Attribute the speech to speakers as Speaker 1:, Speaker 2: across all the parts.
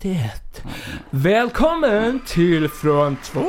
Speaker 1: 51. Välkommen till Från två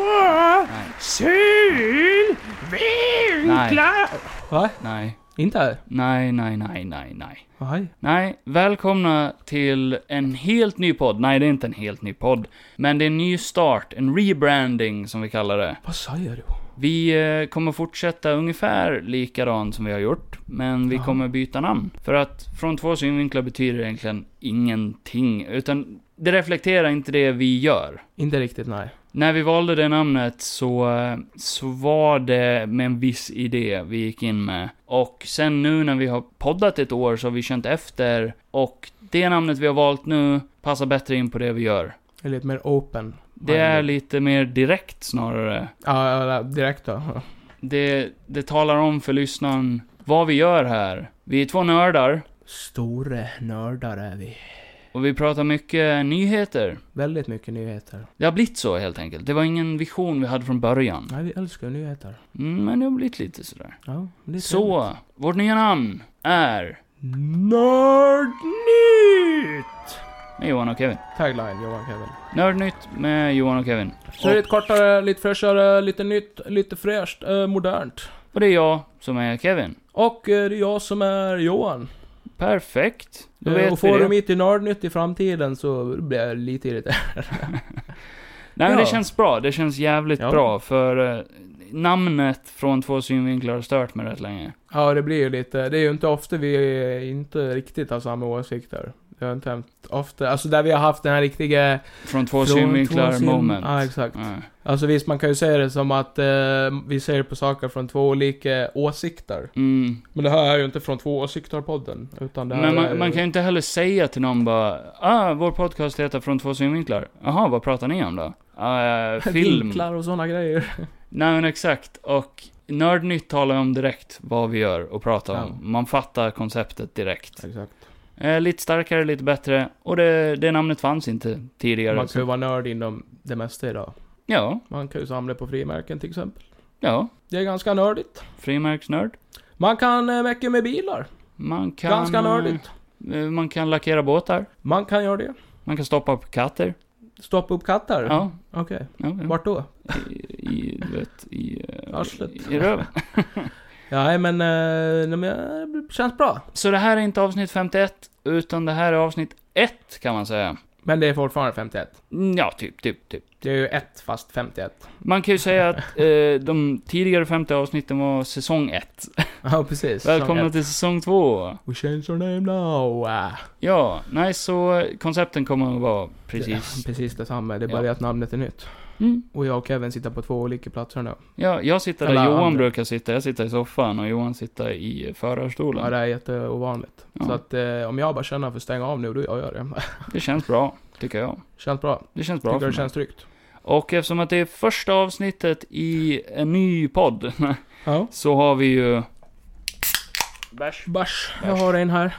Speaker 1: synvinklar. Va?
Speaker 2: Nej,
Speaker 1: Inte här?
Speaker 2: nej, nej, nej, nej, nej.
Speaker 1: Nej.
Speaker 2: Nej, välkomna till en helt ny podd. Nej, det är inte en helt ny podd. Men det är en ny start, en rebranding som vi kallar det.
Speaker 1: Vad säger du?
Speaker 2: Vi eh, kommer fortsätta ungefär likadant som vi har gjort, men vi kommer byta namn. För att från två synvinklar betyder det egentligen ingenting, utan det reflekterar inte det vi gör.
Speaker 1: Inte riktigt, nej.
Speaker 2: När vi valde det namnet så, eh, så var det med en viss idé vi gick in med. Och sen nu när vi har poddat ett år så har vi känt efter och det namnet vi har valt nu passar bättre in på det vi gör.
Speaker 1: Eller lite mer open.
Speaker 2: Det är lite mer direkt snarare.
Speaker 1: Ja, ja, ja, direkt då. Ja.
Speaker 2: Det, det talar om för lyssnaren vad vi gör här. Vi är två nördar
Speaker 1: Store nördar är vi.
Speaker 2: och vi pratar mycket nyheter.
Speaker 1: Väldigt mycket nyheter.
Speaker 2: Det har blivit så helt enkelt. Det var ingen vision vi hade från början.
Speaker 1: Nej, vi älskar ju nyheter.
Speaker 2: Mm, Men det har blivit lite sådär.
Speaker 1: Ja, det är
Speaker 2: Så, vårt nya namn är
Speaker 1: Nördnytt!
Speaker 2: med Johan och Kevin.
Speaker 1: Tagline, Johan Kevin.
Speaker 2: Nördnytt med Johan och Kevin.
Speaker 1: Så det är lite kortare, lite fräschare, lite nytt, lite fräscht, eh, modernt.
Speaker 2: Och det är jag som är Kevin.
Speaker 1: Och eh, det är jag som är Johan.
Speaker 2: Perfekt. Då
Speaker 1: Eh,
Speaker 2: vet
Speaker 1: och
Speaker 2: vi
Speaker 1: får
Speaker 2: det.
Speaker 1: de hit i Nördnytt i framtiden så blir jag lite irriterad.
Speaker 2: Nej, men det
Speaker 1: Ja.
Speaker 2: känns bra. Det känns jävligt
Speaker 1: Ja.
Speaker 2: bra, för eh, namnet från två synvinklar har stört mig rätt länge.
Speaker 1: Ja, det blir ju lite, det är ju inte ofta vi inte riktigt har samma åsikter. Det har inte hänt ofta, alltså där vi har haft den här riktiga...
Speaker 2: Från två
Speaker 1: från
Speaker 2: synvinklar
Speaker 1: två syn-
Speaker 2: moment.
Speaker 1: Ja, exakt.
Speaker 2: Ja.
Speaker 1: Alltså visst, man kan ju säga det som att eh, vi ser på saker från två olika åsikter.
Speaker 2: Mm.
Speaker 1: Men det här är ju inte från två åsikter-podden, utan det här
Speaker 2: Men
Speaker 1: är,
Speaker 2: man, man kan ju inte heller säga till någon bara ah, vår podcast heter Från två synvinklar. Jaha, vad pratar ni om då? Ah, film.
Speaker 1: Vinklar och sådana grejer.
Speaker 2: Nej men exakt, och Nördnytt talar om direkt vad vi gör och pratar om.
Speaker 1: Ja.
Speaker 2: Man fattar konceptet direkt.
Speaker 1: Exakt.
Speaker 2: Eh, lite starkare, lite bättre, och det, det namnet fanns inte tidigare.
Speaker 1: Man kan ju vara nörd inom det mesta idag.
Speaker 2: Ja,
Speaker 1: Man kan ju samla på frimärken till exempel.
Speaker 2: ja.
Speaker 1: Det är ganska nördigt.
Speaker 2: Frimärksnörd.
Speaker 1: Man kan eh, mycket med bilar.
Speaker 2: Man kan...
Speaker 1: Ganska nördigt.
Speaker 2: eh, Man kan lackera båtar.
Speaker 1: Man kan göra det.
Speaker 2: Man kan stoppa upp katter.
Speaker 1: Stoppa upp katter?
Speaker 2: Ja.
Speaker 1: Okej.
Speaker 2: ja, ja.
Speaker 1: Vart då?
Speaker 2: I, i, du vet, i... eh,
Speaker 1: Arslet.
Speaker 2: I röven.
Speaker 1: Ja, nej, men, eh, nej, men eh, det känns bra.
Speaker 2: Så det här är inte avsnitt 51, utan det här är avsnitt 1 kan man säga.
Speaker 1: Men det är fortfarande 51.
Speaker 2: Mm, Ja, typ, typ, typ.
Speaker 1: Det är ju ett fast 51.
Speaker 2: Man kan ju säga att eh, de tidigare 50 avsnitten var säsong 1.
Speaker 1: Ja, precis.
Speaker 2: Välkomna
Speaker 1: Säsong ett.
Speaker 2: till säsong 2.
Speaker 1: We change your name now. Ah.
Speaker 2: Ja, nej så eh, koncepten kommer att vara precis.
Speaker 1: Det, precis detsamma. Det är
Speaker 2: Ja.
Speaker 1: bara det att namnet är nytt.
Speaker 2: Mm.
Speaker 1: Och jag och Kevin sitter på två olika platser nu.
Speaker 2: Ja, jag sitter där
Speaker 1: Eller
Speaker 2: Johan
Speaker 1: andra.
Speaker 2: brukar sitta. Jag sitter i soffan och Johan sitter i eh,
Speaker 1: Ja,
Speaker 2: förarstolen.
Speaker 1: det är jätteovanligt.
Speaker 2: Ja.
Speaker 1: Så att eh, om jag bara känner för att stänga av nu, då gör jag det.
Speaker 2: Det känns bra, tycker jag.
Speaker 1: känns bra.
Speaker 2: Det känns bra
Speaker 1: Tycker
Speaker 2: för
Speaker 1: det
Speaker 2: mig.
Speaker 1: känns tryggt.
Speaker 2: Och eftersom att det är första avsnittet i en ny podd,
Speaker 1: Ja.
Speaker 2: så har vi ju... Bärs.
Speaker 1: Bärs. Jag
Speaker 2: Bärs.
Speaker 1: har en här.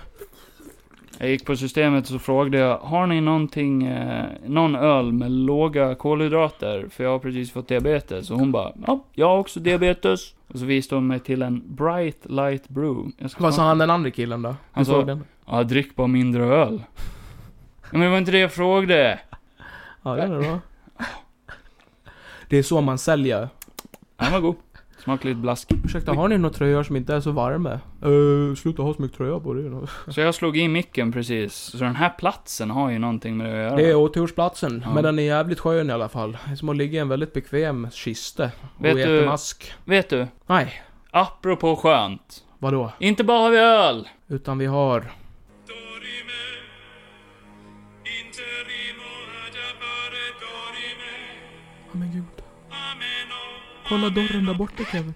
Speaker 2: Jag gick på systemet och så frågade jag, har ni någonting, eh, någon öl med låga kolhydrater? För jag har precis fått diabetes. Och hon bara, ja, jag har också diabetes. Och så visade hon mig till en Bright Light Brew. Jag ska
Speaker 1: Vad sa
Speaker 2: smaka-
Speaker 1: han den andra killen då? Du
Speaker 2: Han sa-
Speaker 1: såg den?
Speaker 2: Ja, drick bara mindre öl. Ja, men det var inte det jag frågade.
Speaker 1: Ja, den är bra. Det är så man säljer.
Speaker 2: Den var god. Smakade lite blask.
Speaker 1: Ursäkta, har ni några tröjor som inte är så varma? Uh, sluta ha så mycket tröja på dig. då.
Speaker 2: Så jag slog i micken precis. Så den här platsen har ju någonting med det att
Speaker 1: Det är
Speaker 2: göra.
Speaker 1: otursplatsen,
Speaker 2: Ja.
Speaker 1: men den är jävligt skön i alla fall. Det är som att ligga i en väldigt bekväm kista. Och
Speaker 2: Vet
Speaker 1: äta
Speaker 2: du-
Speaker 1: mask.
Speaker 2: Vet du?
Speaker 1: Nej,
Speaker 2: Apropå skönt.
Speaker 1: vadå?
Speaker 2: Inte bara har vi öl.
Speaker 1: Utan vi har... Ja, men gud. Kolla dörren där borta Kevin.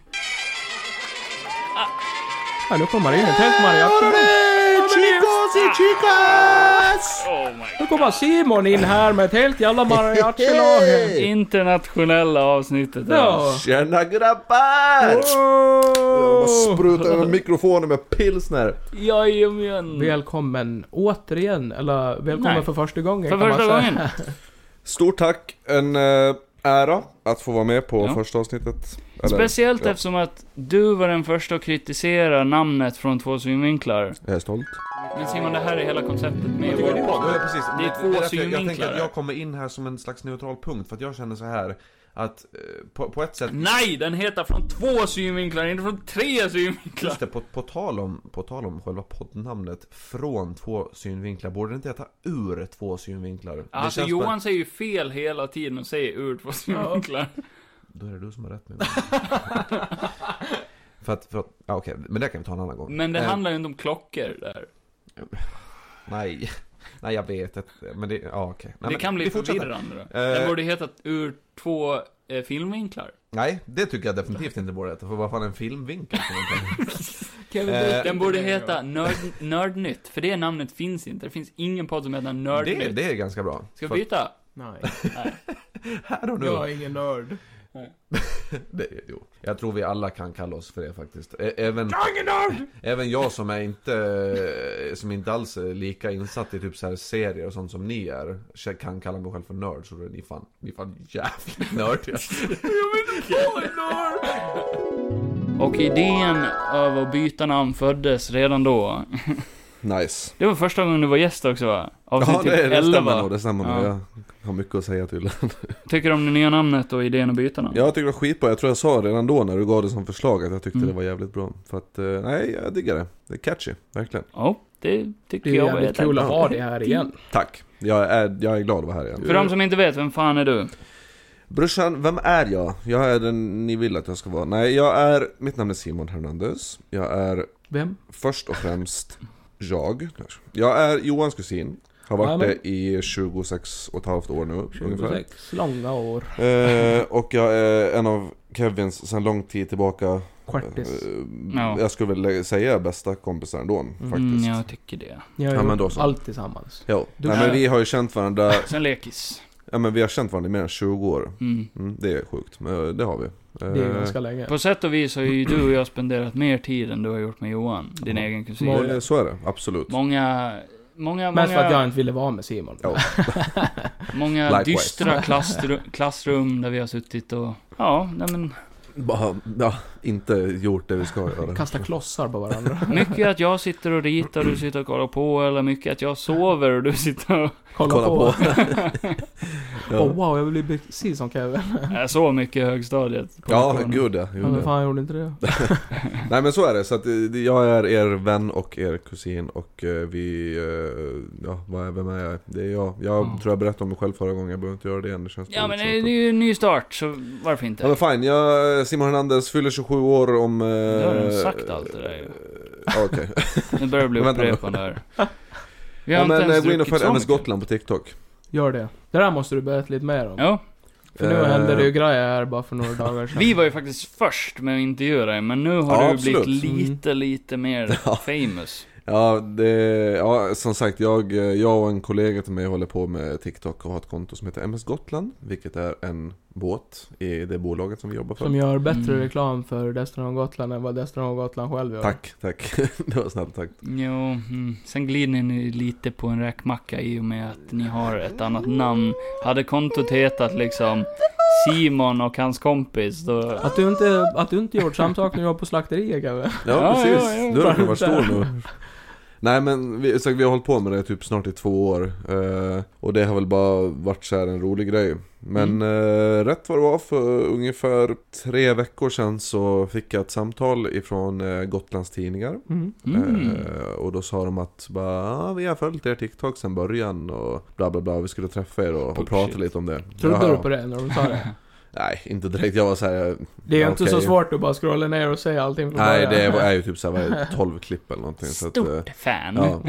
Speaker 1: Ah. Ja, nu kommer in. Tänk mariachi. Chicos y chicas!
Speaker 2: Oh my
Speaker 1: Nu kommer Simon in här med ett helt jävla mariachilag.
Speaker 2: Internationella avsnittet.
Speaker 1: Ja.
Speaker 3: Tjena grabbar! Jag bara
Speaker 1: Wow.
Speaker 3: sprutar över mikrofonen med pilsner.
Speaker 2: Jajamän.
Speaker 1: Mm. Välkommen återigen, eller välkommen
Speaker 2: Nej.
Speaker 1: för första gången
Speaker 2: För
Speaker 1: kan man
Speaker 2: första
Speaker 1: säga.
Speaker 2: gången.
Speaker 3: Stort tack. En eh, ära att få vara med på
Speaker 2: Ja.
Speaker 3: första avsnittet.
Speaker 2: Speciellt
Speaker 3: ja.
Speaker 2: eftersom att du var den första att kritisera namnet från två synvinklar.
Speaker 3: Jag är stolt.
Speaker 2: Men Simon, det här är hela konceptet med
Speaker 4: Jag tycker det är
Speaker 2: vår
Speaker 4: bra. Ja, precis.
Speaker 2: Det är två
Speaker 4: därför jag, jag tänker
Speaker 2: synvinklar
Speaker 4: att
Speaker 2: där.
Speaker 4: jag kommer in här som en slags neutral punkt, för att jag känner så här att eh, på, på ett sätt,
Speaker 2: Nej, den heter från två synvinklar, inte från tre synvinklar.
Speaker 4: just det, på, på, tal om, på tal om själva poddnamnet, från två synvinklar, borde det inte heta ur två synvinklar? Det
Speaker 2: Alltså
Speaker 4: känns
Speaker 2: Johan säger ju fel hela tiden och säger ur två synvinklar.
Speaker 4: Bara, då är det du som har rätt med mig. för att, för att ja, okej, men det kan vi ta en annan gång.
Speaker 2: Men det
Speaker 4: Eh,
Speaker 2: handlar ju inte om klockor där.
Speaker 4: Nej, nej jag vet inte, men det, ja okej. Nej,
Speaker 2: det
Speaker 4: men
Speaker 2: kan bli
Speaker 4: vi fortsätter.
Speaker 2: förvirrande.
Speaker 4: Eh.
Speaker 2: Den borde heta ur två eh, filmvinklar.
Speaker 4: Nej, det tycker jag definitivt inte borde heta, för vad fan är en filmvinkel? för någonting?
Speaker 1: Kevin
Speaker 4: Eh,
Speaker 1: Bacon.
Speaker 2: Den borde heta Nörd, Nördnytt, för det namnet finns inte. Det finns ingen podd som heter
Speaker 4: det,
Speaker 2: Nördnytt.
Speaker 4: det är ganska bra.
Speaker 2: Ska
Speaker 4: För
Speaker 2: vi byta?
Speaker 1: Nej,
Speaker 4: Här och nu.
Speaker 1: jag är ingen nörd.
Speaker 4: Det, jo. Jag tror vi alla kan kalla oss för det faktiskt. Ä- Även, även jag som är inte, eh, som inte alls är lika insatt i typ så här serier och sånt som ni är, k- kan kalla mig själv för nörd. Så då är ni fan, ni är fan jävligt nördiga.
Speaker 2: Och idén av att byta namn föddes redan då.
Speaker 3: Nice.
Speaker 2: Det var första gången du var gäst också va? Avsnitt
Speaker 3: Ja, det,
Speaker 2: typ
Speaker 3: det
Speaker 2: 11.
Speaker 3: stämmer nog. Det stämmer nog.
Speaker 2: Ja.
Speaker 3: Jag har mycket att säga tydligen.
Speaker 2: Tycker du om det nya namnet och idén att byta namn?
Speaker 3: Jag tycker det var skitbra. Jag tror jag sa redan då när du gav det som förslag att jag tyckte
Speaker 2: Mm.
Speaker 3: det var jävligt bra. För att, eh, nej, jag diggar det. Det är catchy, verkligen.
Speaker 2: Ja, det tycker
Speaker 1: Det är
Speaker 2: jag var
Speaker 1: jävligt
Speaker 2: jätte-
Speaker 1: kul att ha
Speaker 3: Ja.
Speaker 1: det här igen.
Speaker 3: Tack. Jag är, jag är glad att vara här igen.
Speaker 2: För de som inte vet, vem fan är du? Mm,
Speaker 3: Brorsan, vem är jag? Jag är den ni vill att jag ska vara. Nej, jag är... Mitt namn är Simon Hernandez. Jag är
Speaker 1: Vem?
Speaker 3: först och främst jag. Jag är Johans kusin. Har varit
Speaker 1: Jajamän.
Speaker 3: det i 26 och ett halvt år nu ungefär.
Speaker 1: 26 långa år.
Speaker 3: Eh, och jag är en av Kevins sedan lång tid tillbaka.
Speaker 1: Kvartis.
Speaker 3: Eh,
Speaker 2: Ja.
Speaker 3: Jag skulle väl säga bästa kompisar ändå faktiskt.
Speaker 2: Mm, jag tycker det.
Speaker 1: Jag
Speaker 3: ja,
Speaker 1: har
Speaker 3: men då
Speaker 1: gjort
Speaker 3: så.
Speaker 1: allt tillsammans.
Speaker 3: Jo.
Speaker 1: Du-
Speaker 3: Nej, men vi har ju känt varandra,
Speaker 2: Sen lekis.
Speaker 3: ja men vi har känt varandra i mer än 20 år.
Speaker 2: Mm.
Speaker 3: Mm, det är sjukt, men det har vi. Eh,
Speaker 1: Det är ganska länge.
Speaker 2: På sätt och vis har ju du och jag spenderat mer tid än du har gjort med Johan, din
Speaker 3: Ja.
Speaker 2: egen kusin.
Speaker 1: Mål.
Speaker 3: det, eh, så är det, absolut.
Speaker 2: Många, många,
Speaker 1: Mest för att jag
Speaker 2: många,
Speaker 1: inte ville vara med Simon.
Speaker 3: Ja.
Speaker 2: många
Speaker 3: Likewise.
Speaker 2: dystra klassrum, klassrum där vi har suttit och, ja, nej men,
Speaker 3: Bara, ja, inte gjort det vi ska göra.
Speaker 1: Kasta klossar på varandra.
Speaker 2: mycket att jag sitter och ritar och du sitter och kollar på, eller mycket att jag sover och du sitter och,
Speaker 1: Kolla,
Speaker 3: Kolla
Speaker 1: på.
Speaker 3: på.
Speaker 1: Åh wow, jag blir precis som Kevin.
Speaker 2: jag sov mycket i högstadiet. på
Speaker 3: Ja,
Speaker 2: morgonen.
Speaker 3: gud ja.
Speaker 1: Men
Speaker 3: gjorde
Speaker 1: vem
Speaker 3: det.
Speaker 1: fan gjorde inte det?
Speaker 3: Nej men så är det, så att eh, jag är er vän och er kusin och eh, vi... eh, Ja, vad är, vem är jag? Det är jag. Jag
Speaker 2: Mm.
Speaker 3: tror jag berättade om mig själv förra gången, jag behöver inte göra det igen. Det känns
Speaker 2: Ja men
Speaker 3: dåligt,
Speaker 2: det
Speaker 3: så
Speaker 2: är
Speaker 3: att-
Speaker 2: det är ju en ny start, så varför
Speaker 3: Ja men
Speaker 2: inte?
Speaker 3: fine, jag, eh, Simon Hernandez fyller 27 år om... Eh,
Speaker 2: Du har redan sagt allt det där ju.
Speaker 3: Ja, Okej.
Speaker 2: Nu börjar det bli
Speaker 3: Vänta nu.
Speaker 2: upprepande här. Vi har
Speaker 3: Ja,
Speaker 2: inte
Speaker 3: men eh,
Speaker 2: ens
Speaker 3: gå in och
Speaker 2: druckit
Speaker 3: följ
Speaker 2: så
Speaker 3: MS
Speaker 2: mycket.
Speaker 3: Gotland på TikTok.
Speaker 1: Gör det. Det där måste du berätta lite mer om.
Speaker 2: Ja,
Speaker 1: För nu hände det ju
Speaker 3: Eh,
Speaker 1: grejer här bara för några dagar sedan.
Speaker 2: vi var ju faktiskt först med att intervjua dig, men nu har
Speaker 3: Ja,
Speaker 2: du
Speaker 3: absolut. Mm.
Speaker 2: blivit lite, lite mer famous.
Speaker 3: Ja, det, ja, som sagt, jag, eh, jag och en kollega till mig håller på med TikTok och har ett konto som heter MS Gotland, vilket är en båt i det bolaget som vi jobbar för.
Speaker 1: Som gör bättre
Speaker 2: Mm.
Speaker 1: reklam för Destination Gotland än vad Destination Gotland själv gör.
Speaker 3: Tack, tack. det var snällt tack.
Speaker 2: Jo, mm. sen glider ni lite på en räkmacka i och med att ni har ett annat namn. Hade kontot hetat liksom Simon och hans kompis, då...
Speaker 1: Att du inte, att du inte gjort samma sak när du var på slakteriet Kevin.
Speaker 3: Ja,
Speaker 2: Ja,
Speaker 3: precis.
Speaker 2: ja, ja.
Speaker 3: Du har kunnat vara stor nu. Nej men vi, så vi har hållit på med det typ snart i två år eh, Och det har väl bara varit så här en rolig grej
Speaker 2: Mm.
Speaker 3: Men eh, rätt vad det var för ungefär tre veckor sedan så fick jag ett samtal ifrån eh, Gotlands tidningar
Speaker 1: Mm.
Speaker 2: Mm.
Speaker 3: eh, Och då sa de att bara, ah, vi har följt er TikTok sedan början och bla bla bla Vi skulle träffa er och, och
Speaker 2: Bullshit.
Speaker 3: prata lite om det
Speaker 1: Trodde
Speaker 3: Ja,
Speaker 1: du på det när de sa det?
Speaker 3: Nej inte direkt, jag var så här.
Speaker 1: Det är ju
Speaker 3: Ja,
Speaker 1: inte
Speaker 3: okej.
Speaker 1: så svårt att bara scrolla ner och säga allting från
Speaker 3: Nej det
Speaker 1: början.
Speaker 3: är ju typ så här, vad är det, 12 klipp eller någonting så att, eh,
Speaker 2: Stort fan.
Speaker 3: Ja.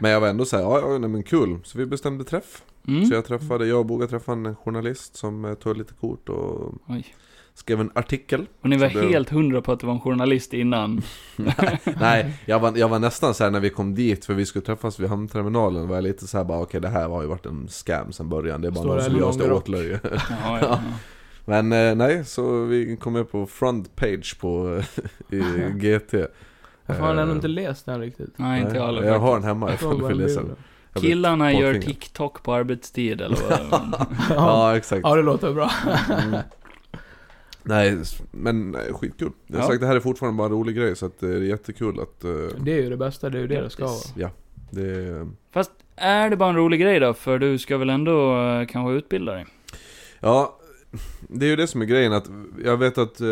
Speaker 3: Men jag var ändå såhär, ja, ja nej, men kul. Så vi bestämde träff.
Speaker 2: Mm.
Speaker 3: Så jag träffade, jag och Boga träffade en journalist som eh, tog lite kort och
Speaker 2: Oj.
Speaker 3: skrev en artikel.
Speaker 2: Och ni var
Speaker 3: Så det-
Speaker 2: helt hundra på att det var en journalist innan.
Speaker 3: Nej, jag var, jag var nästan såhär när vi kom dit, för vi skulle träffas vid hamnterminalen, var jag lite såhär bara okej det här har ju varit en scam sedan början, det är bara
Speaker 1: Står
Speaker 3: någon
Speaker 1: där
Speaker 3: som gör oss till
Speaker 1: långrock.
Speaker 3: åtlöje.
Speaker 2: Ja, ja, ja.
Speaker 3: Men eh, nej, så vi kom med på front page på i GT.
Speaker 1: Fan, jag har
Speaker 3: Eh,
Speaker 1: nog inte läst den riktigt.
Speaker 2: Nej, inte jag heller
Speaker 3: Jag har
Speaker 2: faktiskt.
Speaker 3: den hemma
Speaker 1: Jag tror
Speaker 3: ifall du
Speaker 1: bara
Speaker 3: vill
Speaker 1: en
Speaker 3: läsa
Speaker 1: bild.
Speaker 3: den. Jag blir
Speaker 2: Killarna gör
Speaker 3: påtvingad.
Speaker 2: TikTok på arbetstid eller vad
Speaker 1: ja.
Speaker 3: Ja, exakt.
Speaker 1: ja, det låter bra.
Speaker 3: Mm. Nej, s- men nej, skitkul. Jag har
Speaker 2: Ja.
Speaker 3: sagt, det här är fortfarande bara en rolig grej, så att det är jättekul att... eh,
Speaker 1: Det är ju det bästa, det är ju det det ska vara.
Speaker 2: Grattis.
Speaker 3: det är...
Speaker 2: Fast är det bara en rolig grej då? För du ska väl ändå eh, kanske utbilda dig?
Speaker 3: Ja, det är ju det som är grejen att jag vet att eh,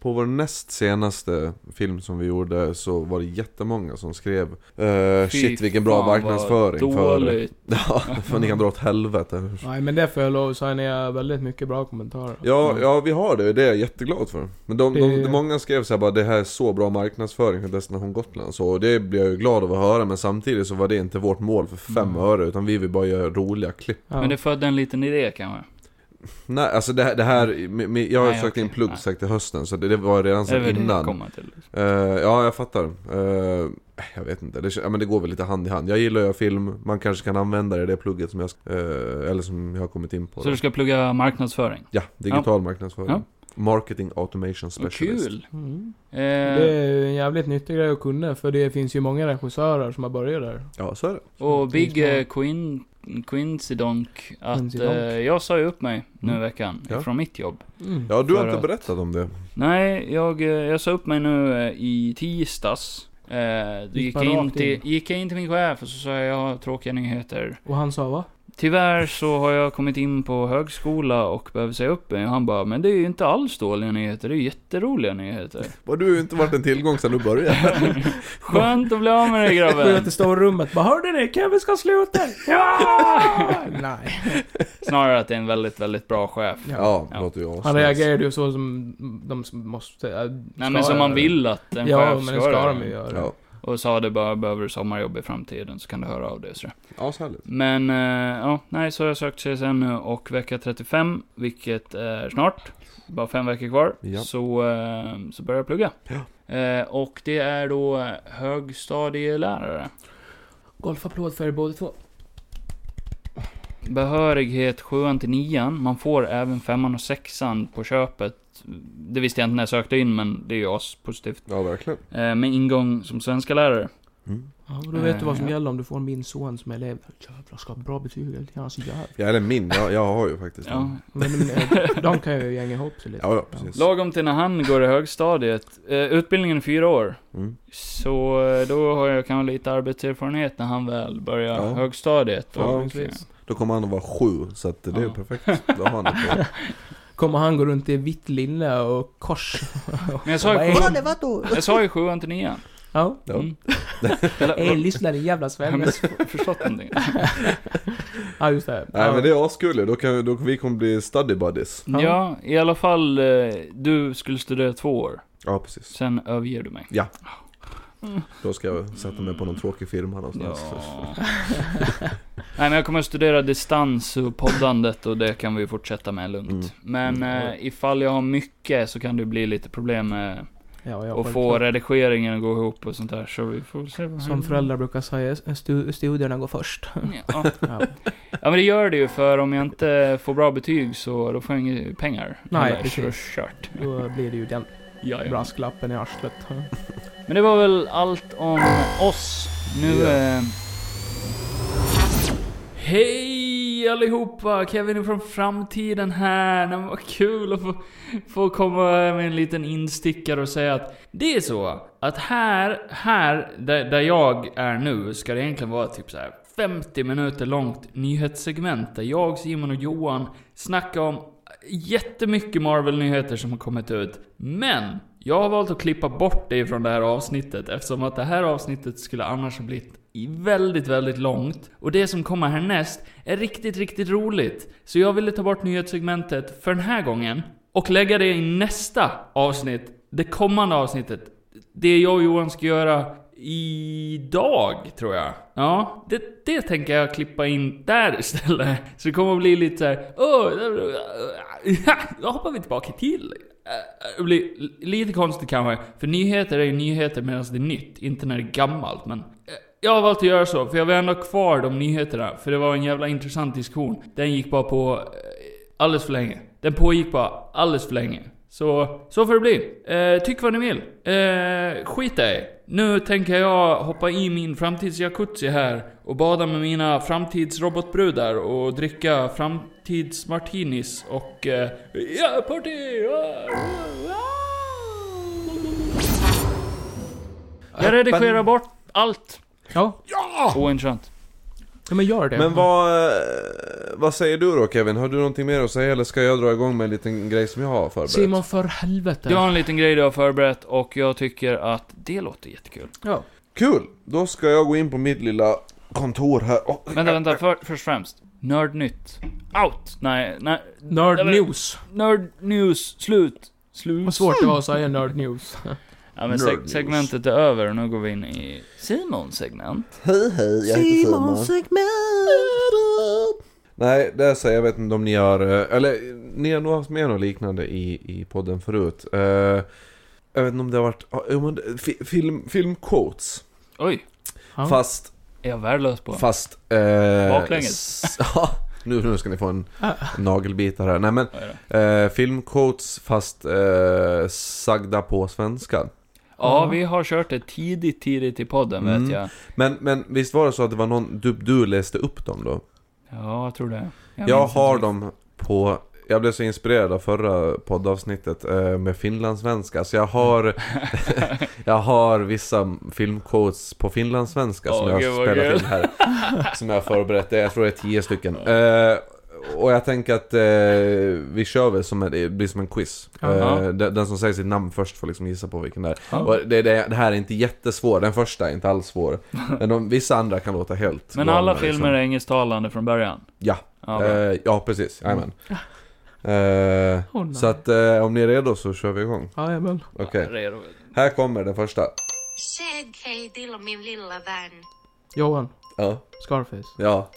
Speaker 3: på vår näst senaste film som vi gjorde så var det jättemånga som skrev eh,
Speaker 2: Fy
Speaker 3: Shit vilken bra
Speaker 2: fan, vad
Speaker 3: marknadsföring för...
Speaker 2: Dåligt.
Speaker 3: Ja, för ni kan dra åt helvete.
Speaker 1: Nej men det får jag lov att säga, ni har väldigt mycket bra kommentarer.
Speaker 3: Ja,
Speaker 2: Mm.
Speaker 3: ja, vi har det, det är jag jätteglad för. Men de, de,
Speaker 1: Det-
Speaker 3: de, många skrev så här bara det här är så bra marknadsföring för Destination Gotland så, och det blir jag ju glad av att höra men samtidigt så var det inte vårt mål för fem
Speaker 2: Mm.
Speaker 3: öre utan vi vill bara göra roliga klipp.
Speaker 1: Ja.
Speaker 2: Men det födde en liten idé kanske?
Speaker 3: Nej, alltså det, här- det här, med- med- jag har
Speaker 2: Mm. Nej,
Speaker 3: sökt in
Speaker 2: okej,
Speaker 3: plugg
Speaker 2: nej.
Speaker 3: sagt till hösten så det, det var redan
Speaker 2: Det är
Speaker 3: sen
Speaker 2: väl det jag
Speaker 3: Alltså, innan.
Speaker 2: kommer till.
Speaker 3: Eh, ja, jag fattar. Eh, jag vet inte, det, kän- ja, men det går väl lite hand i hand. Jag gillar ju film, man kanske kan använda det i det plugget som jag, eh, eller som jag har kommit in på.
Speaker 2: Så
Speaker 3: då.
Speaker 2: du ska plugga marknadsföring?
Speaker 3: Ja, digital marknadsföring.
Speaker 2: Ja.
Speaker 3: Marketing Automation
Speaker 2: Vad
Speaker 3: Specialist.
Speaker 2: kul!
Speaker 1: Mm.
Speaker 2: Eh,
Speaker 1: Det är ju en jävligt nyttig grej att kunna, för det finns ju många regissörer som har börjat där.
Speaker 3: Ja, så är det.
Speaker 2: Och Big
Speaker 1: Finns
Speaker 2: eh, Quin, Quincidonk, att
Speaker 1: Quincidonk.
Speaker 2: eh, jag sa ju upp mig nu i veckan
Speaker 3: Mm. Ja.
Speaker 2: från mitt jobb.
Speaker 3: Ja, du har
Speaker 2: För
Speaker 3: inte
Speaker 2: att-
Speaker 3: berättat om det.
Speaker 2: Nej, jag, eh, jag sa upp mig nu eh, i tisdags. Eh, då
Speaker 1: Gick
Speaker 2: gick,
Speaker 1: bara
Speaker 2: jag in
Speaker 1: rakt
Speaker 2: till,
Speaker 1: in.
Speaker 2: gick jag in till min chef och så sa jag, jag har tråkiga nyheter.
Speaker 1: Och han sa va?
Speaker 2: Tyvärr så har jag kommit in på högskola och behöver säga upp mig. Och han bara, men det är ju inte alls dåliga nyheter, det är jätteroliga nyheter.
Speaker 3: Och du har ju inte varit en tillgång sedan du började.
Speaker 2: Skönt att bli av med dig
Speaker 1: Går jag
Speaker 2: grabben.
Speaker 1: till storrummet bara Hörde ni? Kevin ska sluta! Ja! Nej.
Speaker 2: Snarare att det är en väldigt, väldigt bra chef.
Speaker 3: ja,
Speaker 2: Ja.
Speaker 3: låter ju asnice.
Speaker 1: Han reagerade ju så som de måste... äh,
Speaker 2: Nej
Speaker 1: ska
Speaker 2: men som man
Speaker 1: göra.
Speaker 2: vill att en
Speaker 1: Ja,
Speaker 2: chef
Speaker 1: men det ska
Speaker 2: göra.
Speaker 1: de ju göra.
Speaker 3: Ja,
Speaker 2: Och sa det bara, behöver du sommarjobb i framtiden så kan du höra av dig. och sådär.
Speaker 3: ashärligt.
Speaker 2: Men, eh, ja, nej, så har jag sökt CSN nu och vecka 35, vilket är snart. Bara fem veckor kvar.
Speaker 3: Ja.
Speaker 2: Så, eh, så börjar jag plugga. Eh, och det är då högstadielärare.
Speaker 1: Golfapplåd för er båda två.
Speaker 2: Behörighet 7 till 9 Man får även femman och sexan på köpet. Det visste jag inte när jag sökte in, men det är ju positivt.
Speaker 3: Ja, verkligen.
Speaker 2: Eh, med ingång som svenska lärare.
Speaker 3: Mm.
Speaker 1: Ja, och då vet du vad som
Speaker 2: Eh.
Speaker 1: gäller om du får min son som elev. Jävlar, ska ha bra betyg hela tiden. Alltså jävlar.
Speaker 3: Ja, eller min. Jag, jag har ju faktiskt
Speaker 2: Ja.
Speaker 3: en.
Speaker 1: Men eh, de kan ju gänga ihop sig lite.
Speaker 3: Ja, ja, precis.
Speaker 2: Lagom till när han går i högstadiet. Eh, utbildningen är fyra år.
Speaker 3: Mm.
Speaker 2: Så eh, då har jag kanske lite arbetserfarenhet när han väl börjar
Speaker 3: Ja.
Speaker 2: högstadiet.
Speaker 3: Ja,
Speaker 2: Och,
Speaker 1: precis.
Speaker 3: Då kommer han att vara sju, så att det är
Speaker 2: Ja.
Speaker 3: perfekt. Då har han det på.
Speaker 1: Kommer han gå runt i vitt linne och kors?
Speaker 2: Men jag sa ju
Speaker 1: Vad är
Speaker 2: sjuan-
Speaker 1: det, vadå?
Speaker 2: jag sa ju sjuan till nian.
Speaker 1: Ja.
Speaker 3: Ja.
Speaker 2: Mm. Eller,
Speaker 1: Ey,
Speaker 2: vad-
Speaker 1: lyssna din jävla
Speaker 2: har jag
Speaker 1: svenne.
Speaker 2: miss- förstått någonting?
Speaker 1: Ja, just det.
Speaker 3: Nej
Speaker 1: Ja.
Speaker 3: men det är askul ju. då kan då vi kommer bli study buddies.
Speaker 1: Ja.
Speaker 2: Ja, i alla fall, eh, du skulle studera två år.
Speaker 3: Ja precis.
Speaker 2: Sen överger du mig.
Speaker 3: Då ska jag sätta mig på någon tråkig firma någonstans.
Speaker 2: Ja. Nej men jag kommer att studera distans och poddandet och det kan vi fortsätta med lugnt. Men
Speaker 3: Mm.
Speaker 2: eh, ifall jag har mycket så kan det bli lite problem med
Speaker 1: Ja, ja,
Speaker 2: att få
Speaker 1: självklart.
Speaker 2: redigeringen att gå ihop och sånt där. Så vi får se vad
Speaker 1: Som föräldrar brukar säga, stu- studierna går först.
Speaker 2: Ja.
Speaker 1: Ja.
Speaker 2: ja men det gör det ju för om jag inte får bra betyg så då får jag inga pengar.
Speaker 1: Nej,
Speaker 2: Eller så är det
Speaker 1: precis.
Speaker 2: kört.
Speaker 1: Då blir det ju den
Speaker 2: Ja, ja.
Speaker 1: brasklappen i arslet.
Speaker 2: Men det var väl allt om oss. Nu...
Speaker 3: Ja.
Speaker 2: Eh... Hej allihopa! Kevin från framtiden här. Det var kul att få, få komma med en liten instickare och säga att det är så att här, här där, där jag är nu ska det egentligen vara typ så här 50 minuter långt nyhetssegment där jag, Simon och Johan snackar om jättemycket Marvel-nyheter som har kommit ut. Men jag har valt att klippa bort det från det här avsnittet eftersom att det här avsnittet skulle annars ha blivit i väldigt, väldigt långt. Och det som kommer härnäst är riktigt, riktigt roligt. Så jag ville ta bort nyhetssegmentet för den här gången och lägga det i nästa avsnitt, det kommande avsnittet. Det jag och Johan ska göra idag, tror jag. Ja, det, det tänker jag klippa in där istället. Så det kommer att bli lite såhär... Då hoppar vi tillbaka till... Eh, Det blir lite konstigt kanske, för nyheter är ju nyheter medan det är nytt, inte när det är gammalt. Men eh, jag har valt att göra så, för jag vill ändå ha kvar de nyheterna, för det var en jävla intressant diskussion. Den gick bara på eh, alldeles för länge. Den pågick bara alldeles för länge. Så, så får det bli. Eh, tyck vad ni vill. Eh, skit i. Nu tänker jag hoppa i min framtidsjacuzzi här och bada med mina framtidsrobotbrudar och dricka framtidsmartinis och... Eh, ja, party! Ah, ah, ah. Jag redigerar bort allt
Speaker 1: Ja,
Speaker 2: Ah. ointressant.
Speaker 1: ja, men gör det.
Speaker 3: Men vad, eh, vad säger du då Kevin? Har du någonting mer att säga eller ska jag dra igång med en liten grej som jag har förberett?
Speaker 1: Simon, för helvete.
Speaker 2: Du har en liten grej du har förberett och jag tycker att det låter jättekul.
Speaker 1: Ja.
Speaker 3: Kul! Då ska jag gå in på mitt lilla kontor här. Åh,
Speaker 2: Vänta, vänta. För, först främst. Nördnytt. Out! Nej, nej.
Speaker 1: Nerd
Speaker 2: Nej, men-
Speaker 1: news.
Speaker 2: Nerd news. Slut. Slut.
Speaker 1: Vad svårt det var att säga nerd news.
Speaker 2: Ja, men
Speaker 3: Nerd
Speaker 2: seg-
Speaker 3: news.
Speaker 2: segmentet är över och nu går vi in i Simons segment.
Speaker 3: Hej hej, jag heter Simon. Nej, det är så jag vet inte om ni har... eh, Eller eh, ni har nog haft med något liknande i, i podden förut. Eh, jag vet inte om det har varit... ja, jo, men det- fi- Film, film quotes.
Speaker 2: Oj,
Speaker 1: Ja.
Speaker 3: Fast...
Speaker 2: är jag värdelös på?
Speaker 3: Fast... Eh,
Speaker 2: Baklänges.
Speaker 3: s- Ja, nu, nu ska ni få en
Speaker 1: Ah.
Speaker 3: nagelbitare här. Nej men,
Speaker 2: Vad är det?
Speaker 3: eh, film quotes fast eh, sagda på svenska.
Speaker 2: Ja, vi har kört det tidigt, tidigt i podden
Speaker 3: Mm.
Speaker 2: vet jag.
Speaker 3: Men, men visst var det så att det var någon... Du, du läste upp dem då?
Speaker 2: Ja, jag tror det.
Speaker 3: Jag,
Speaker 2: minns inte
Speaker 3: har
Speaker 2: riktigt.
Speaker 3: dem på... Jag blev så inspirerad av förra poddavsnittet eh, med finlandssvenska, så jag har... jag har vissa filmquotes på finlandssvenska som
Speaker 2: Åh,
Speaker 3: jag
Speaker 2: gud,
Speaker 3: har
Speaker 2: vad
Speaker 3: spelat
Speaker 2: kul.
Speaker 3: in här. Som jag har förberett, det jag tror det är tio stycken. Eh, och jag tänker att eh, vi kör väl som en, det blir som en quiz. Eh,
Speaker 2: Jaha.
Speaker 3: den, den som säger sitt namn först får liksom gissa på vilken det är.
Speaker 2: Ja.
Speaker 3: Och det, det, det här är inte jättesvår, den första är inte alls svår. Men de, vissa andra kan låta helt
Speaker 2: Men alla
Speaker 3: galna, liksom.
Speaker 2: filmer är engelsktalande från början.
Speaker 3: Ja.
Speaker 2: Ja, bra.
Speaker 3: Eh, ja, precis. Jajamän. Eh,
Speaker 1: Åh, nej.
Speaker 3: så att eh, om ni är redo så kör vi igång.
Speaker 1: Jajamän.
Speaker 3: Okej.
Speaker 2: Ja, det är det.
Speaker 3: Här kommer den första.
Speaker 5: Säg hej till min lilla vän.
Speaker 1: Johan.
Speaker 3: Ja.
Speaker 1: Scarface.
Speaker 3: ja.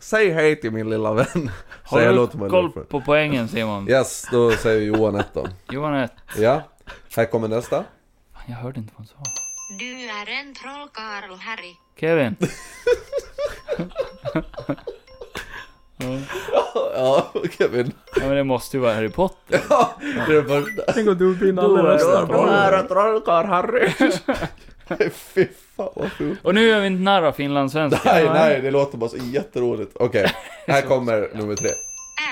Speaker 3: Säg hej till min lilla vän.
Speaker 2: Har
Speaker 3: Säg
Speaker 2: du
Speaker 3: hello to my
Speaker 2: koll
Speaker 3: girlfriend.
Speaker 2: på poängen Simon?
Speaker 3: Yes, då säger Johan ett då.
Speaker 2: Johan är...
Speaker 3: Ja. Här kommer nästa.
Speaker 2: Fan, jag hörde inte vad han sa.
Speaker 5: Du är en trollkarl, Harry.
Speaker 2: Kevin.
Speaker 3: Ja, Kevin.
Speaker 2: Ja, men det måste ju vara Harry Potter.
Speaker 3: Det är den första.
Speaker 1: Tänk om du vinner
Speaker 2: alla röster.
Speaker 3: Du är en trollkarl, Harry. Fy fan vad fult.
Speaker 2: Och nu gör vi inte narr av finlandssvenska.
Speaker 3: Nej, nej, det låter bara så jätteroligt. Okej, här kommer nummer tre.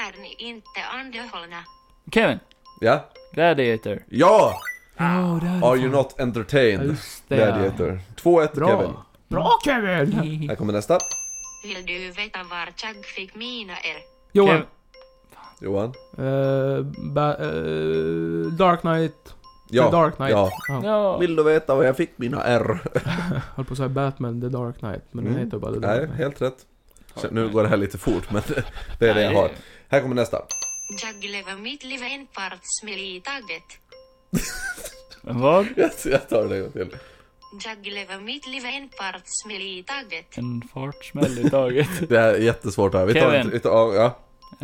Speaker 5: Är ni inte underhållna?
Speaker 2: Kevin.
Speaker 3: Ja.
Speaker 2: Gladiator.
Speaker 3: Ja!
Speaker 1: Ja, det är
Speaker 3: Are you not entertained?
Speaker 1: det.
Speaker 3: Gladiator. 2-1
Speaker 1: Bra.
Speaker 3: Kevin.
Speaker 1: Bra Kevin!
Speaker 3: Här kommer nästa.
Speaker 5: Vill du veta var jag fick mina er?
Speaker 1: Johan.
Speaker 2: Kev-
Speaker 3: Johan.
Speaker 1: Eh, ba- eh, Dark Knight.
Speaker 3: Ja.
Speaker 1: The Dark Knight.
Speaker 3: Ja.
Speaker 1: Ja.
Speaker 2: Ja.
Speaker 3: Vill du veta var jag fick mina R?
Speaker 1: Höll på att säga Batman, The Dark Knight. Men
Speaker 3: Mm.
Speaker 1: den heter bara The Dark
Speaker 3: Nej,
Speaker 1: Knight.
Speaker 3: helt rätt. Så nu går det här lite fort, men det är det jag
Speaker 2: Nej,
Speaker 3: har. Här kommer nästa.
Speaker 5: Jag lever mitt liv en partsmil i taget.
Speaker 2: Men vad?
Speaker 3: Jag tar det en gång till.
Speaker 5: Jag lever mitt liv en partsmil i taget.
Speaker 2: En fartsmäll i taget.
Speaker 3: Det här är jättesvårt här. Vi tar
Speaker 2: Kevin.
Speaker 3: inte... utav- Ja.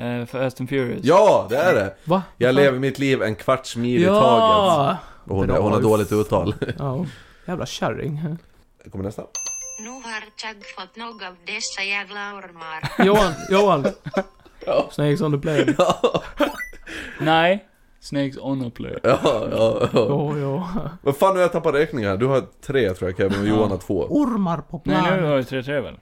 Speaker 2: Eh, Fast and Furious.
Speaker 3: ja, det är det!
Speaker 1: Va?
Speaker 3: Jag lever mitt liv en kvarts mil i taget.
Speaker 1: Ja!
Speaker 3: Och hon, hon har dåligt uttal.
Speaker 1: ja. Jävla kärring.
Speaker 3: Här kommer nästa.
Speaker 5: Nu har jag fått nog av dessa jävla ormar.
Speaker 1: Johan, Johan! Snakes on the plane. Ja,
Speaker 2: Nej. Snakes on a play.
Speaker 3: Ja, ja, ja.
Speaker 1: ja.
Speaker 3: Vad fan, nu har jag tappat räkningen här. Du har tre tror jag Kevin och Johan har två.
Speaker 1: Ormar på
Speaker 2: Nej, nu
Speaker 1: plan.
Speaker 2: har du 3-3 väl?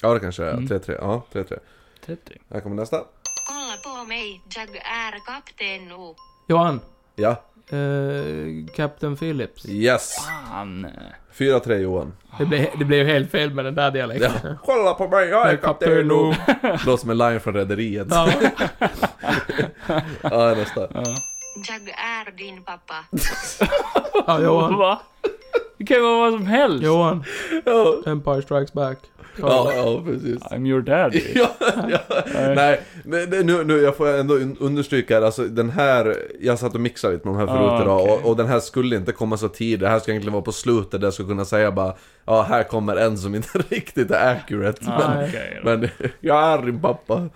Speaker 3: Ja, det kanske det är. 3-3. Ja, 3-3.
Speaker 2: 30.
Speaker 3: Här kommer nästa.
Speaker 5: Kolla på mig, jag är kapten nu.
Speaker 1: Johan.
Speaker 3: Ja.
Speaker 1: eh, Captain Phillips.
Speaker 3: Yes!
Speaker 2: Fan.
Speaker 3: 4-3 Johan.
Speaker 1: Det blev, det blev ju helt fel med den där dialekten.
Speaker 3: Kolla på mig, jag
Speaker 1: är kapten nu.
Speaker 3: Låter som en line från Rederiet.
Speaker 1: Ja.
Speaker 3: Ja, nästa.
Speaker 5: Jag är din pappa.
Speaker 1: ja, Johan.
Speaker 2: Va? Det kan ju vara vad som helst.
Speaker 1: Johan.
Speaker 3: Ja,
Speaker 1: Empire Strikes Back.
Speaker 3: ja, ja precis.
Speaker 2: I'm your daddy.
Speaker 3: Ja, ja. Nej, nej, det- nu, nu, jag får ändå un- understryka här, alltså den här, jag satt och mixade lite med de här förut
Speaker 2: Ah,
Speaker 3: idag,
Speaker 2: okej.
Speaker 3: och, och den här skulle inte komma så tidigt, det här ska egentligen vara på slutet där jag skulle kunna säga bara, ja här kommer en som inte riktigt är accurate.
Speaker 2: Ah,
Speaker 1: Nej.
Speaker 2: okej då.
Speaker 3: Men, men jag är din pappa.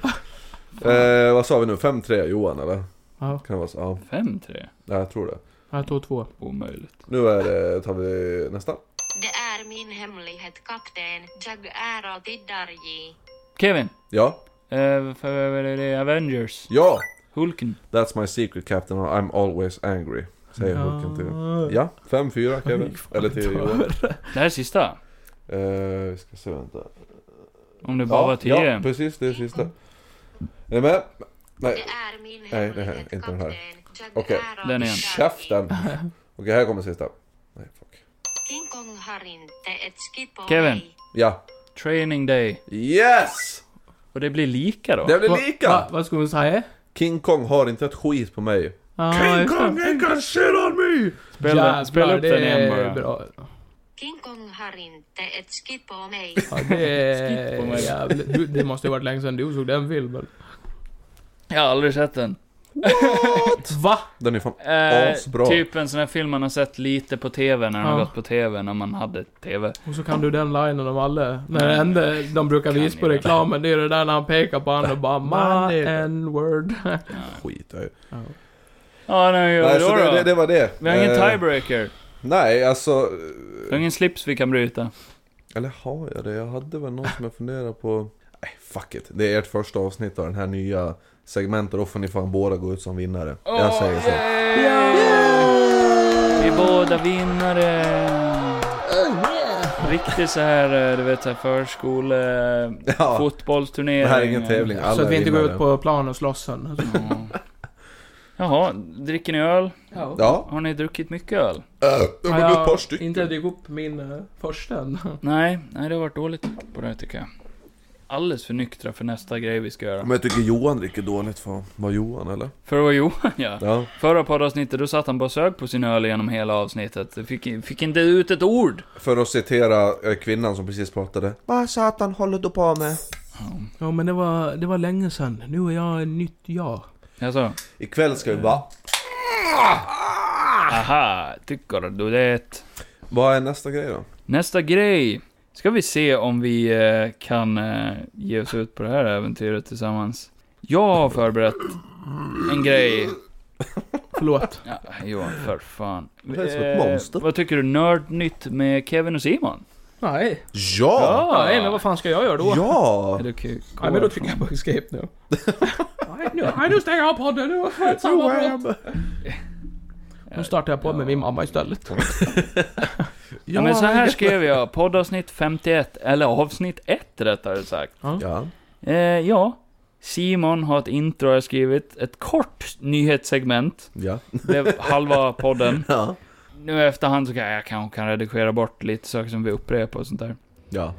Speaker 3: eh, vad sa vi nu, 5-3 Johan eller?
Speaker 1: Ja,
Speaker 3: Kan det vara så? Ja,
Speaker 2: 5-3.
Speaker 3: ja, jag tror det.
Speaker 1: jag tog två.
Speaker 2: Omöjligt.
Speaker 3: Nu är det, tar vi nästa.
Speaker 5: Det är min hemlighet, kapten. Jag är alltid darrig.
Speaker 2: Kevin.
Speaker 3: Ja,
Speaker 2: Eh, för- för- för- för- Avengers.
Speaker 3: ja!
Speaker 2: Hulken.
Speaker 3: That's my secret captain, I'm always angry. Säger Hulken till... Ja, 5-4 Kevin. Eller till Johan.
Speaker 2: Det här är sista.
Speaker 3: Eh, vi ska se, vänta.
Speaker 2: Om det bara var tio.
Speaker 3: ja, precis det är sista. Är ni med?
Speaker 5: Det
Speaker 3: Nej,
Speaker 5: är min
Speaker 3: nej,
Speaker 5: hemlighet,
Speaker 3: inte den här.
Speaker 5: kapten. Jag
Speaker 3: Okej.
Speaker 5: är av
Speaker 2: Den igen.
Speaker 3: käften! Okej, här kommer sista. Nej, fuck.
Speaker 5: King Kong har inte ett skit på
Speaker 2: Kevin.
Speaker 5: mig.
Speaker 3: Ja.
Speaker 2: Training Day.
Speaker 3: Yes!
Speaker 2: Och det blir lika då.
Speaker 3: Det blev
Speaker 1: Va-
Speaker 3: lika!
Speaker 1: va- Vad ska hon säga?
Speaker 3: King Kong har inte ett skit på mig.
Speaker 1: Ah, just det.
Speaker 3: ain't got shit on me!
Speaker 2: Spela,
Speaker 1: Jävlar,
Speaker 2: spela upp
Speaker 1: det
Speaker 2: den igen
Speaker 1: är
Speaker 2: bara.
Speaker 1: Bra.
Speaker 5: King Kong har inte ett skit på mig.
Speaker 1: Ja, det
Speaker 2: Skit på
Speaker 1: är
Speaker 2: mig.
Speaker 1: jävligt. Du, det måste ju varit länge sedan du såg den filmen.
Speaker 2: Jag har aldrig sett den.
Speaker 1: Va?
Speaker 3: Den är fan... Asbra.
Speaker 2: Eh, typ en sån här film man har sett lite på TV när den har
Speaker 1: Ja.
Speaker 2: gått på TV när man hade TV.
Speaker 1: Och så kan du den linen om alla. Men det enda de brukar
Speaker 2: Kan
Speaker 1: visa
Speaker 2: ni
Speaker 1: på
Speaker 2: väl.
Speaker 1: reklamen, det är det där när han pekar på honom och bara
Speaker 3: Man
Speaker 1: My
Speaker 3: är-
Speaker 1: N-word.
Speaker 3: Skit jag ju.
Speaker 2: Ja, nu gör vi
Speaker 3: Nej,
Speaker 2: då
Speaker 3: så det,
Speaker 2: då.
Speaker 3: det, det var det.
Speaker 2: Vi har ingen
Speaker 3: Eh,
Speaker 2: tiebreaker.
Speaker 3: Nej, alltså...
Speaker 2: Vi har ingen slips vi kan bryta.
Speaker 3: Eller har jag det? Jag hade väl någon som jag funderar på... Nej, fuck it. Det är ert första avsnitt av den här nya segmentet. Då får ni fan båda gå ut som vinnare. jag säger så.
Speaker 2: Vi är båda vinnare.
Speaker 3: Oh,
Speaker 2: Riktigt så här, eh, du vet så här förskole...
Speaker 3: Ja.
Speaker 2: Fotbollsturnering.
Speaker 3: Det här är ingen tävling. Alla
Speaker 1: Så att vi inte går
Speaker 3: vinnare.
Speaker 1: ut på plan och slåss sen.
Speaker 2: Ja. Mm. Jaha, dricker ni öl?
Speaker 3: Ja.
Speaker 2: Har ni druckit mycket öl?
Speaker 3: Äh, det
Speaker 1: Ja,
Speaker 3: blev ett par stycken.
Speaker 1: Inte dykt upp min eh, första än.
Speaker 2: Nej, nej det har varit dåligt på det här tycker jag. Alldeles för nyktra för nästa grej vi ska göra.
Speaker 3: Men jag tycker Johan dricker dåligt för var Johan eller?
Speaker 2: För det var Johan ja.
Speaker 3: Ja.
Speaker 2: Förra poddavsnittet, då satt han bara och sög på sin öl genom hela avsnittet. Det Fick, fick inte ut ett ord.
Speaker 3: För att citera eh, kvinnan som precis pratade. Vad satan håller du på med?
Speaker 1: Ja men det var, det var länge sedan. Nu är jag en nytt jag.
Speaker 2: Alltså,
Speaker 3: Ikväll ska vi bara... Ah!
Speaker 2: aha, tycker du det?
Speaker 3: Vad är nästa grej då?
Speaker 2: Nästa grej. Ska vi se om vi eh, kan eh, ge oss ut på det här äventyret tillsammans. Jag har förberett en grej.
Speaker 1: Förlåt.
Speaker 2: Ja, Johan, för fan. Eh,
Speaker 3: Det är som ett monster.
Speaker 2: vad tycker du? Nördnytt med Kevin och Simon?
Speaker 1: Nej.
Speaker 3: Ja!
Speaker 1: Nej men vad fan ska jag göra då?
Speaker 3: Ja!
Speaker 2: Är det kul?
Speaker 1: Nej men då trycker jag på escape nu. Nej nu, nej, nu stänger jag av podden, nu får jag ett sammanbrott. Nu startar jag podd med min mamma istället.
Speaker 2: Ja, men så här skrev jag, poddavsnitt 51, eller avsnitt 1 rättare sagt.
Speaker 3: Ja.
Speaker 2: Eh, ja, Simon har ett intro jag skrivit, ett kort nyhetssegment,
Speaker 3: Ja.
Speaker 2: det är halva podden.
Speaker 3: Ja.
Speaker 2: Nu efterhand så kan jag kanske kan redigera bort lite saker som vi upprepar och sånt där.
Speaker 3: Ja.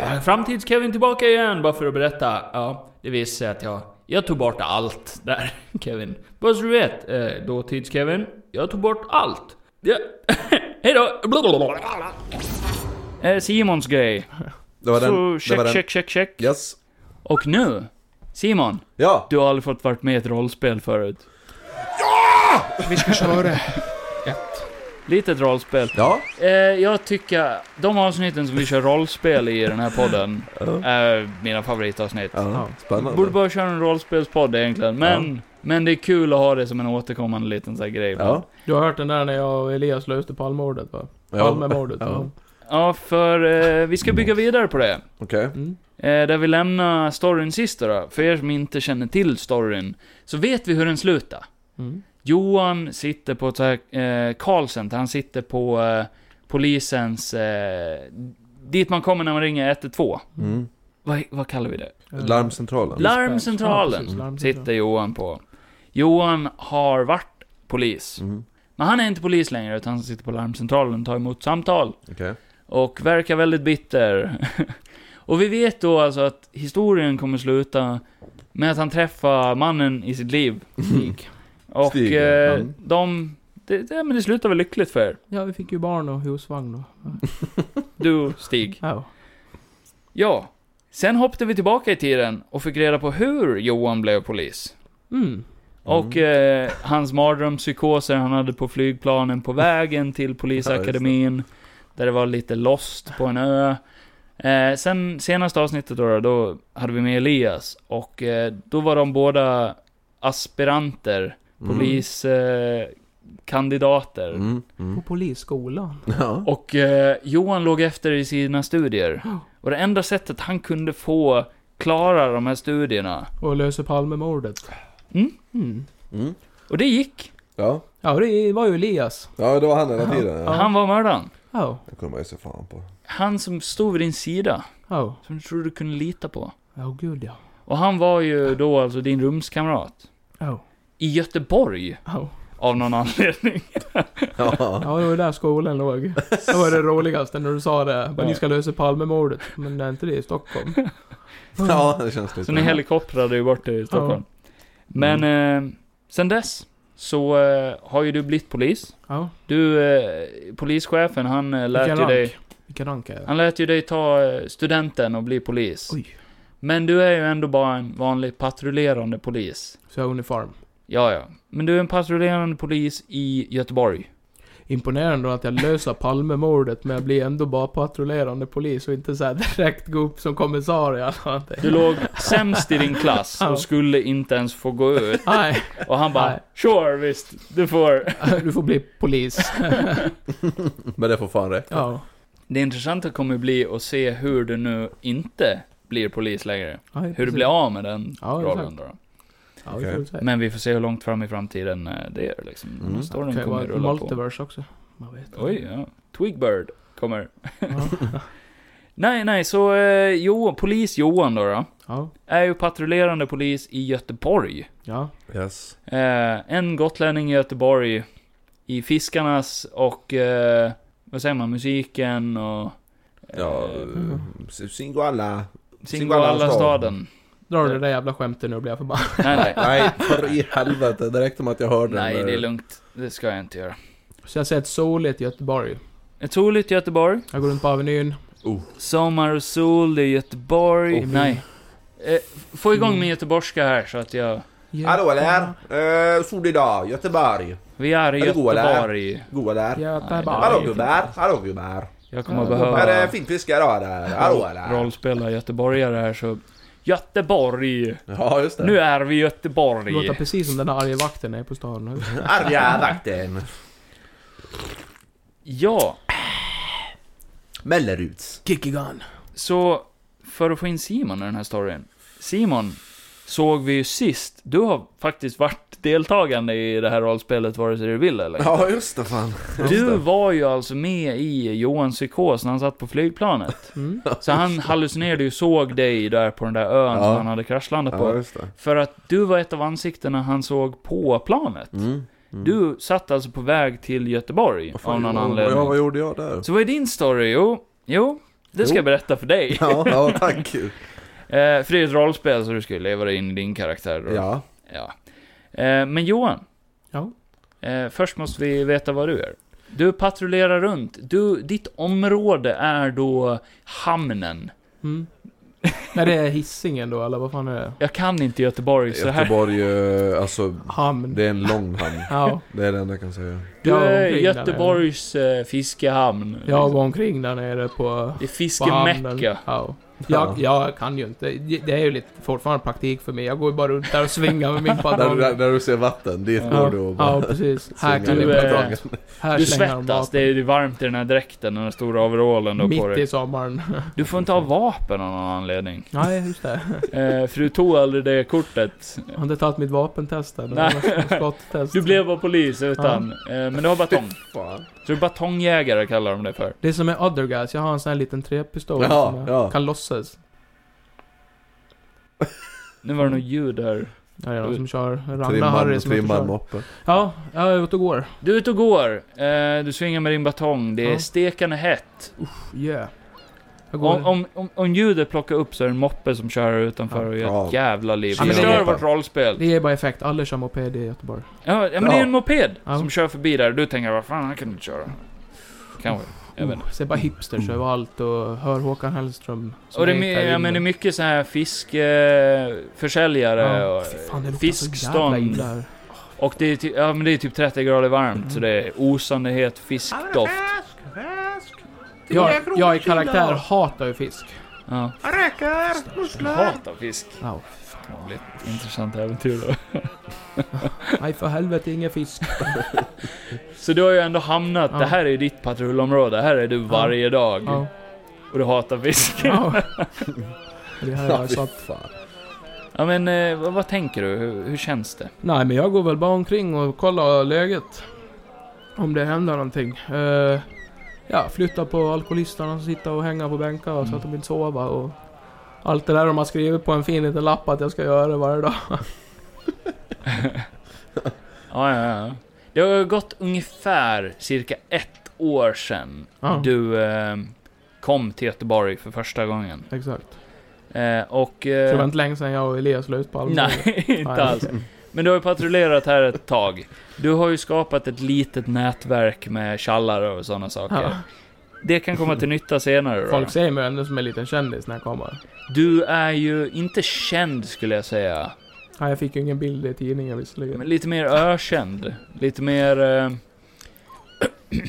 Speaker 2: Äh, Framtids-Kevin tillbaka igen, bara för att berätta. Ja, det visade sig att jag, jag tog bort allt där, Kevin. Bara så du vet, eh, dåtids-Kevin, jag tog bort allt. Ja. Hejdå! Eh, Simons grej.
Speaker 3: Det var
Speaker 2: Så
Speaker 3: den. det var
Speaker 2: check,
Speaker 3: den.
Speaker 2: check, check, check.
Speaker 3: Yes.
Speaker 2: Och nu, Simon,
Speaker 3: Ja!
Speaker 2: du har aldrig fått varit med i ett rollspel förut.
Speaker 1: Vi ska köra.
Speaker 2: Litet rollspel.
Speaker 3: Ja.
Speaker 2: Eh, jag tycker de avsnitten som vi kör rollspel i den här podden är mina favoritavsnitt.
Speaker 3: ja. Spännande.
Speaker 2: Borde bara köra en rollspelspodd egentligen, men, men det är kul att ha det som en återkommande liten sån här grej.
Speaker 3: Ja.
Speaker 1: Du har hört den där när jag och Elias löste Palmemordet va?
Speaker 3: Ja.
Speaker 1: Palmemordet.
Speaker 3: Ja.
Speaker 1: Ja.
Speaker 2: Ja, för eh, vi ska bygga vidare på det.
Speaker 3: Okej.
Speaker 1: Mm.
Speaker 2: Eh, där vi lämnar storyn sist då. För er som inte känner till storyn, så vet vi hur den slutar.
Speaker 1: Mm.
Speaker 2: Johan sitter på ett så här, eh, call center, han sitter på eh, polisens... Eh, dit man kommer när man ringer 112.
Speaker 3: Mm.
Speaker 2: Vad, vad kallar vi det?
Speaker 3: Larmcentralen.
Speaker 2: La- Larmcentralen
Speaker 1: Ja, precis, larmcentralen.
Speaker 2: Sitter Johan på. Johan har varit polis.
Speaker 3: Mm.
Speaker 2: Men han är inte polis längre, utan han sitter på larmcentralen och tar emot samtal.
Speaker 3: Okej.
Speaker 2: Och verkar väldigt bitter. och vi vet då alltså att historien kommer sluta med att han träffar mannen i sitt liv.
Speaker 1: Stig.
Speaker 2: Och
Speaker 3: Stig, ja.
Speaker 2: eh,
Speaker 3: Mm.
Speaker 2: de... Det, det, men det slutar väl lyckligt för er?
Speaker 1: Ja, vi fick ju barn och husvagn och...
Speaker 2: Du och Stig.
Speaker 1: Ja.
Speaker 2: Ja. Sen hoppade vi tillbaka i tiden och fick reda på hur Johan blev polis.
Speaker 1: Mm.
Speaker 2: Och eh, hans mardrömspsykoser han hade på flygplanen på vägen till polisakademin. Där det var lite lost på en ö. Eh, sen senaste avsnittet då, då hade vi med Elias. Och eh, då var de båda aspiranter, poliskandidater. Eh, kandidater.
Speaker 3: Mm. Mm.
Speaker 1: På polisskolan.
Speaker 3: Ja.
Speaker 2: Och eh, Johan låg efter i sina studier. Och det enda sättet han kunde få klarar de här studierna.
Speaker 1: Och löser Palmemordet.
Speaker 2: Mm.
Speaker 1: Mm.
Speaker 3: Mm.
Speaker 2: Och det gick.
Speaker 3: Ja.
Speaker 1: Ja, det var ju Elias.
Speaker 3: ja, det var han hela tiden. Ja.
Speaker 2: Han var mördaren.
Speaker 1: Ja,
Speaker 3: Det kunde man ju se fan på.
Speaker 2: Han som stod vid din sida.
Speaker 1: ja.
Speaker 2: Som du trodde du kunde lita på.
Speaker 1: Ja, gud ja.
Speaker 2: Och han var ju då alltså din rumskamrat.
Speaker 1: Ja,
Speaker 2: I Göteborg.
Speaker 1: ja.
Speaker 2: Av någon anledning.
Speaker 3: Ja.
Speaker 1: Ja, det var där skolan låg. Det var det roligaste när du sa det. Men
Speaker 2: Ja.
Speaker 1: ni ska lösa Palmemordet. Men det är inte det i Stockholm.
Speaker 3: ja, det känns lite
Speaker 2: Så ni helikoptrade ju bort det i Stockholm. Men
Speaker 1: Mm.
Speaker 2: eh, sen dess så eh, har ju du blivit polis.
Speaker 1: Ja,
Speaker 2: Du, eh, polischefen han eh, lät ju
Speaker 1: Vilken
Speaker 2: dig...
Speaker 1: rank. vilken rank är jag?
Speaker 2: Han lät ju dig ta eh, studenten och bli polis.
Speaker 1: Oj.
Speaker 2: Men du är ju ändå bara en vanlig patrullerande polis.
Speaker 1: Så jag har uniform.
Speaker 2: Ja, ja. Men du är en patrullerande polis i Göteborg.
Speaker 1: Imponerande att jag löser Palmemordet men jag blir ändå bara patrullerande polis och inte så här direkt gå upp som kommissarie eller någonting.
Speaker 2: Du låg sämst i din klass
Speaker 1: Ja.
Speaker 2: och skulle inte ens få gå ut.
Speaker 1: Nej,
Speaker 2: Och han bara
Speaker 1: Nej.
Speaker 2: “Sure, visst, du får”.
Speaker 1: du får bli polis.
Speaker 3: Men det får fan räcka.
Speaker 1: Ja.
Speaker 2: Det intressanta kommer bli att se hur du nu inte blir polis längre.
Speaker 1: Ja,
Speaker 2: Hur du
Speaker 1: precis.
Speaker 2: blir av med den
Speaker 1: Ja,
Speaker 2: rollen då.
Speaker 1: Ja, det får vi se.
Speaker 2: Men vi får se hur långt fram i framtiden eh, det är liksom. Den här
Speaker 3: Mm.
Speaker 1: Det
Speaker 2: storyn
Speaker 1: kan ju
Speaker 2: kommer
Speaker 1: vara ett
Speaker 2: rulla på.
Speaker 1: multiverse också. Man vet inte.
Speaker 2: Oj, ja. Twigbird kommer.
Speaker 1: Ja.
Speaker 2: Nej, nej, så eh, jo, polis Johan då, då
Speaker 1: Ja.
Speaker 2: är ju patrullerande polis i Göteborg.
Speaker 1: ja.
Speaker 3: Yes.
Speaker 2: Eh, en gotlänning i Göteborg i fiskarnas och, eh, vad säger man, musiken och... eh,
Speaker 3: Ja, eh,
Speaker 1: Mm.
Speaker 3: Singoalla.
Speaker 2: Singoalla-staden.
Speaker 1: Drar du det där jävla skämtet nu blir jag förbannad.
Speaker 2: Nej, nej.
Speaker 3: Nej, för i helvete. Det räckte med att jag hörde
Speaker 2: Nej,
Speaker 3: den. eh,
Speaker 2: det är lugnt. Det ska jag inte göra.
Speaker 1: Så jag säger ett soligt Göteborg.
Speaker 2: Ett soligt Göteborg.
Speaker 1: Jag går runt på Avenyn.
Speaker 2: Sommar och sol, det är Göteborg.
Speaker 1: Oh.
Speaker 2: Nej. Eh, få
Speaker 3: Mm.
Speaker 2: igång min göteborgska här så att jag...
Speaker 3: Hallå där! Eh, sol idag, Göteborg.
Speaker 2: Vi är i
Speaker 3: Är det god, eller?
Speaker 2: Göteborg.
Speaker 3: Goa där.
Speaker 2: Ja,
Speaker 1: Göteborg.
Speaker 3: Hallå
Speaker 2: det är
Speaker 3: gubbar, hallå gubbar.
Speaker 2: Jag kommer
Speaker 1: Ja,
Speaker 2: behöva...
Speaker 3: Är det fint fiske idag där? Hallå eller?
Speaker 2: rollspela göteborgare här så... Göteborg!
Speaker 3: Ja, just
Speaker 2: Nu
Speaker 3: det.
Speaker 2: är vi i
Speaker 1: Det låter
Speaker 2: Göteborg!
Speaker 1: precis som den där arga vakten är på stan nu.
Speaker 3: Arga vakten.
Speaker 2: Ja,
Speaker 3: Melleruds.
Speaker 1: Kickigan.
Speaker 2: så för att få in Simon i den här storyn. Simon såg vi ju sist. Du har faktiskt varit deltagande i det här rollspelet vare sig du vill eller?
Speaker 3: Ja, just det fan.
Speaker 2: Du var ju alltså med i Johans psykos när han satt på flygplanet.
Speaker 1: Mm.
Speaker 2: Så han hallucinerade ju, såg dig där på den där ön som
Speaker 3: Ja.
Speaker 2: han hade kraschlandat
Speaker 3: Ja,
Speaker 2: på.
Speaker 3: just det.
Speaker 2: För att du var ett av ansiktena han såg på planet.
Speaker 3: Mm. Mm.
Speaker 2: Du satt alltså på väg till Göteborg
Speaker 3: Vad fan
Speaker 2: av någon
Speaker 3: gjorde- Ja, vad
Speaker 2: anledning.
Speaker 3: gjorde jag där?
Speaker 2: Så vad är din story? Jo, jo det ska
Speaker 3: Jo.
Speaker 2: jag berätta för dig.
Speaker 3: Ja, ja tack.
Speaker 2: Eh, för det är ett rollspel så du ska ju leva dig in i din karaktär. då.
Speaker 3: Ja.
Speaker 2: Ja. Eh, men Johan.
Speaker 1: Ja.
Speaker 2: Eh, först måste vi veta vad du är. Du patrullerar runt. Du, ditt område är då hamnen.
Speaker 1: Mm. Nej, det är hissingen då, eller vad fan är det?
Speaker 2: Jag kan inte Göteborg så här.
Speaker 3: Göteborg, eh, alltså
Speaker 1: Hamn.
Speaker 3: det är en lång hamn.
Speaker 1: Ja.
Speaker 3: Det är det enda jag kan säga.
Speaker 2: Du
Speaker 1: Jag var
Speaker 2: är
Speaker 1: omkring där nere.
Speaker 2: Göteborgs eh, fiskehamn. liksom.
Speaker 1: Jag var omkring där nere på...
Speaker 2: Det är
Speaker 1: på hamnen.
Speaker 2: fiskemecka.
Speaker 1: Ja.
Speaker 3: Ja.
Speaker 1: Jag, jag kan ju inte. Det är ju lite fortfarande praktik för mig. Jag går ju bara runt där och svingar med min
Speaker 3: Där,
Speaker 1: padong.
Speaker 3: där, där du ser vatten, dit går du och bara...
Speaker 1: Ja, precis. Här kan
Speaker 3: svingar
Speaker 2: du,
Speaker 1: du...
Speaker 3: med
Speaker 2: eh,
Speaker 3: dragen.
Speaker 1: Här
Speaker 2: Du
Speaker 1: slänger de
Speaker 2: svettas, det är ju varmt i den här dräkten, den här stora overallen
Speaker 1: vapen.
Speaker 2: du har på
Speaker 1: Mitt i
Speaker 2: dig.
Speaker 1: sommaren.
Speaker 2: Du får inte ha vapen av någon anledning.
Speaker 1: Nej, just det.
Speaker 2: Eh, för du tog aldrig det kortet.
Speaker 1: Jag har inte tagit mitt vapentest än.
Speaker 2: Nej.
Speaker 1: eller Skotttest.
Speaker 2: Du blev bara polis utan... Eh, men du har batong.
Speaker 3: Fan.
Speaker 2: Så du är batongjägare kallar de det för.
Speaker 1: Det är som med other guys. Jag har en sån här liten träpistol
Speaker 3: Ja,
Speaker 1: som jag
Speaker 3: ja.
Speaker 1: kan låtsas.
Speaker 2: Nu var det något ljud där.
Speaker 1: Ja, det är någon som kör. Ragnar Harry
Speaker 3: Trimman,
Speaker 1: som inte
Speaker 3: trimman
Speaker 1: kör.
Speaker 3: moppe.
Speaker 1: Ja, jag är ute och går.
Speaker 2: Du är ute och går. Eh, du svingar med din batong. Det är
Speaker 1: Ja.
Speaker 2: stekande hett.
Speaker 1: Yeah. Jag går.
Speaker 2: Om, om, om, om ljudet plockar upp så är det en moppe som kör här utanför och gör ett
Speaker 3: Ja.
Speaker 2: jävla liv.
Speaker 1: Ja, men det-
Speaker 2: Förstör vårt rollspel.
Speaker 1: Det ger bara effekt. Alla kör moped i Göteborg.
Speaker 2: Ja, ja, men det är en
Speaker 3: Ja.
Speaker 2: moped
Speaker 1: Ja.
Speaker 2: som kör förbi där. Du tänker, vad fan, han kan inte köra. Kanske. Jag vet inte.
Speaker 1: Oh, ser bara hipsters
Speaker 3: Mm.
Speaker 1: överallt och hör Håkan Hellström. Oh. som
Speaker 2: Och det är,
Speaker 1: är
Speaker 2: my-
Speaker 1: där
Speaker 2: ja,
Speaker 1: inne.
Speaker 2: men det är mycket så här fiskförsäljare
Speaker 1: Ja,
Speaker 2: och
Speaker 1: fy fan, det luktar så jävla
Speaker 2: fiskstånd.
Speaker 1: illa här.
Speaker 2: Och det är, ty- ja, men det är typ 30 grader varmt, så
Speaker 1: Mm.
Speaker 2: det är osande het fiskdoft.
Speaker 1: Jag, jag i karaktär hatar ju fisk.
Speaker 2: Ja. Jag hatar fisk.
Speaker 1: Ja.
Speaker 2: Det blir ett intressant äventyr då.
Speaker 1: Nej för helvete, ingen fisk.
Speaker 2: Så du har ju ändå hamnat,
Speaker 1: Ja.
Speaker 2: det här är ju ditt patrullområde, här är du varje dag.
Speaker 1: Ja.
Speaker 2: Och du hatar fisk.
Speaker 1: Ja. på det här.
Speaker 3: Ja,
Speaker 1: så
Speaker 3: fy
Speaker 1: att,
Speaker 3: fan.
Speaker 2: Ja men eh, vad, vad tänker du? Hur, hur känns det?
Speaker 1: nej, men jag går väl bara omkring och kollar läget. Om det händer någonting. Eh, ja, flytta på alkoholisterna som sitter och hänga på bänkar så att de inte sover och... Allt det där de har skrivit på en fin liten lapp att jag ska göra varje dag.
Speaker 2: Ja, ja, ja. Det har gått ungefär cirka ett år sedan
Speaker 1: Ja.
Speaker 2: du eh, kom till Göteborg för första gången.
Speaker 1: Exakt.
Speaker 2: Eh, och...
Speaker 1: Så det var
Speaker 2: Eh,
Speaker 1: inte länge sedan jag och Elias la ut på allvar.
Speaker 2: nej,
Speaker 1: Nej.
Speaker 2: inte alls. Men du har ju patrullerat här ett tag. Du har ju skapat ett litet nätverk med tjallare och sådana saker.
Speaker 1: Ja.
Speaker 2: Det kan komma till nytta senare då.
Speaker 1: Folk ser mig ändå som en liten kändis när jag kommer.
Speaker 2: Du är ju inte känd skulle jag säga.
Speaker 1: Ja, jag fick ju ingen bild i tidningen visserligen.
Speaker 2: Men lite mer ökänd. Lite mer... Eh...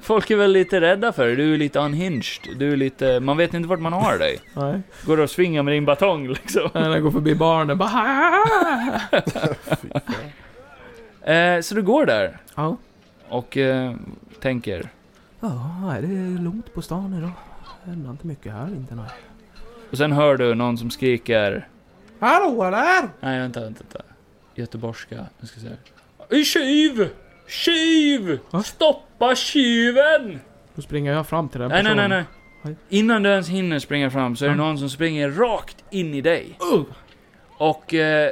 Speaker 2: Folk är väl lite rädda för dig. Du är lite unhinged. Du är lite... Man vet inte vart man har dig.
Speaker 1: Nej.
Speaker 2: Går du och svingar med din batong liksom?
Speaker 1: När jag går förbi barnen bara "Ah!"
Speaker 2: Eh, så du går där
Speaker 1: Ja.
Speaker 2: och eh, tänker...
Speaker 1: Ja, det är lugnt på stan idag. Det händer inte mycket här inte nej.
Speaker 2: Och sen hör du någon som skriker...
Speaker 1: Hallå där!
Speaker 2: Nej, vänta, vänta, vänta. Göteborgska. Nu ska jag se. Tjuv! Tjuv!
Speaker 1: Va?
Speaker 2: Stoppa tjuven!
Speaker 1: Då springer jag fram till den
Speaker 2: Nej, nej,
Speaker 1: personen.
Speaker 2: nej, nej.
Speaker 1: Oj.
Speaker 2: Innan du ens hinner springa fram så är det
Speaker 1: Ja.
Speaker 2: någon som springer rakt in i dig.
Speaker 1: Uh!
Speaker 2: Och eh,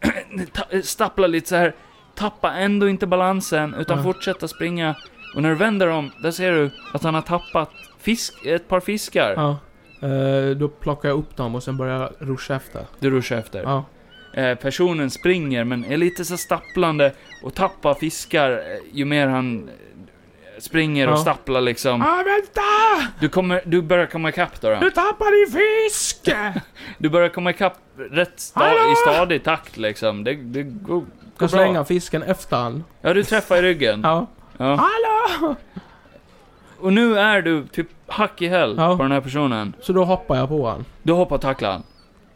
Speaker 2: ta- eh, stapplar lite så här. Tappa ändå inte balansen utan
Speaker 1: Ja.
Speaker 2: fortsätta springa. Och när du vänder om, där ser du att han har tappat fisk, ett par fiskar.
Speaker 1: Ja. Eh, då plockar jag upp dem och sen börjar jag ruscha efter.
Speaker 2: Du ruschar efter.
Speaker 1: Ja.
Speaker 2: Eh, personen springer men är lite så stapplande och tappar fiskar eh, ju mer han eh, springer och
Speaker 1: Ja.
Speaker 2: stapplar liksom.
Speaker 1: Ah, vänta!
Speaker 2: Du, kommer, du börjar komma ikapp då. då.
Speaker 1: tappar din fisk!
Speaker 2: Du börjar komma ikapp rätt sta-
Speaker 1: Hallå!
Speaker 2: i stadig takt liksom. Det, det går, går bra.
Speaker 1: Jag slänger fisken efter han.
Speaker 2: Ja, du träffar i ryggen.
Speaker 1: Ja. Ah.
Speaker 2: Ja.
Speaker 1: Hallå!
Speaker 2: Och nu är du typ hack i häl
Speaker 1: Ja.
Speaker 2: på den här personen.
Speaker 1: Så då hoppar jag på han.
Speaker 2: Du hoppar och tacklar han.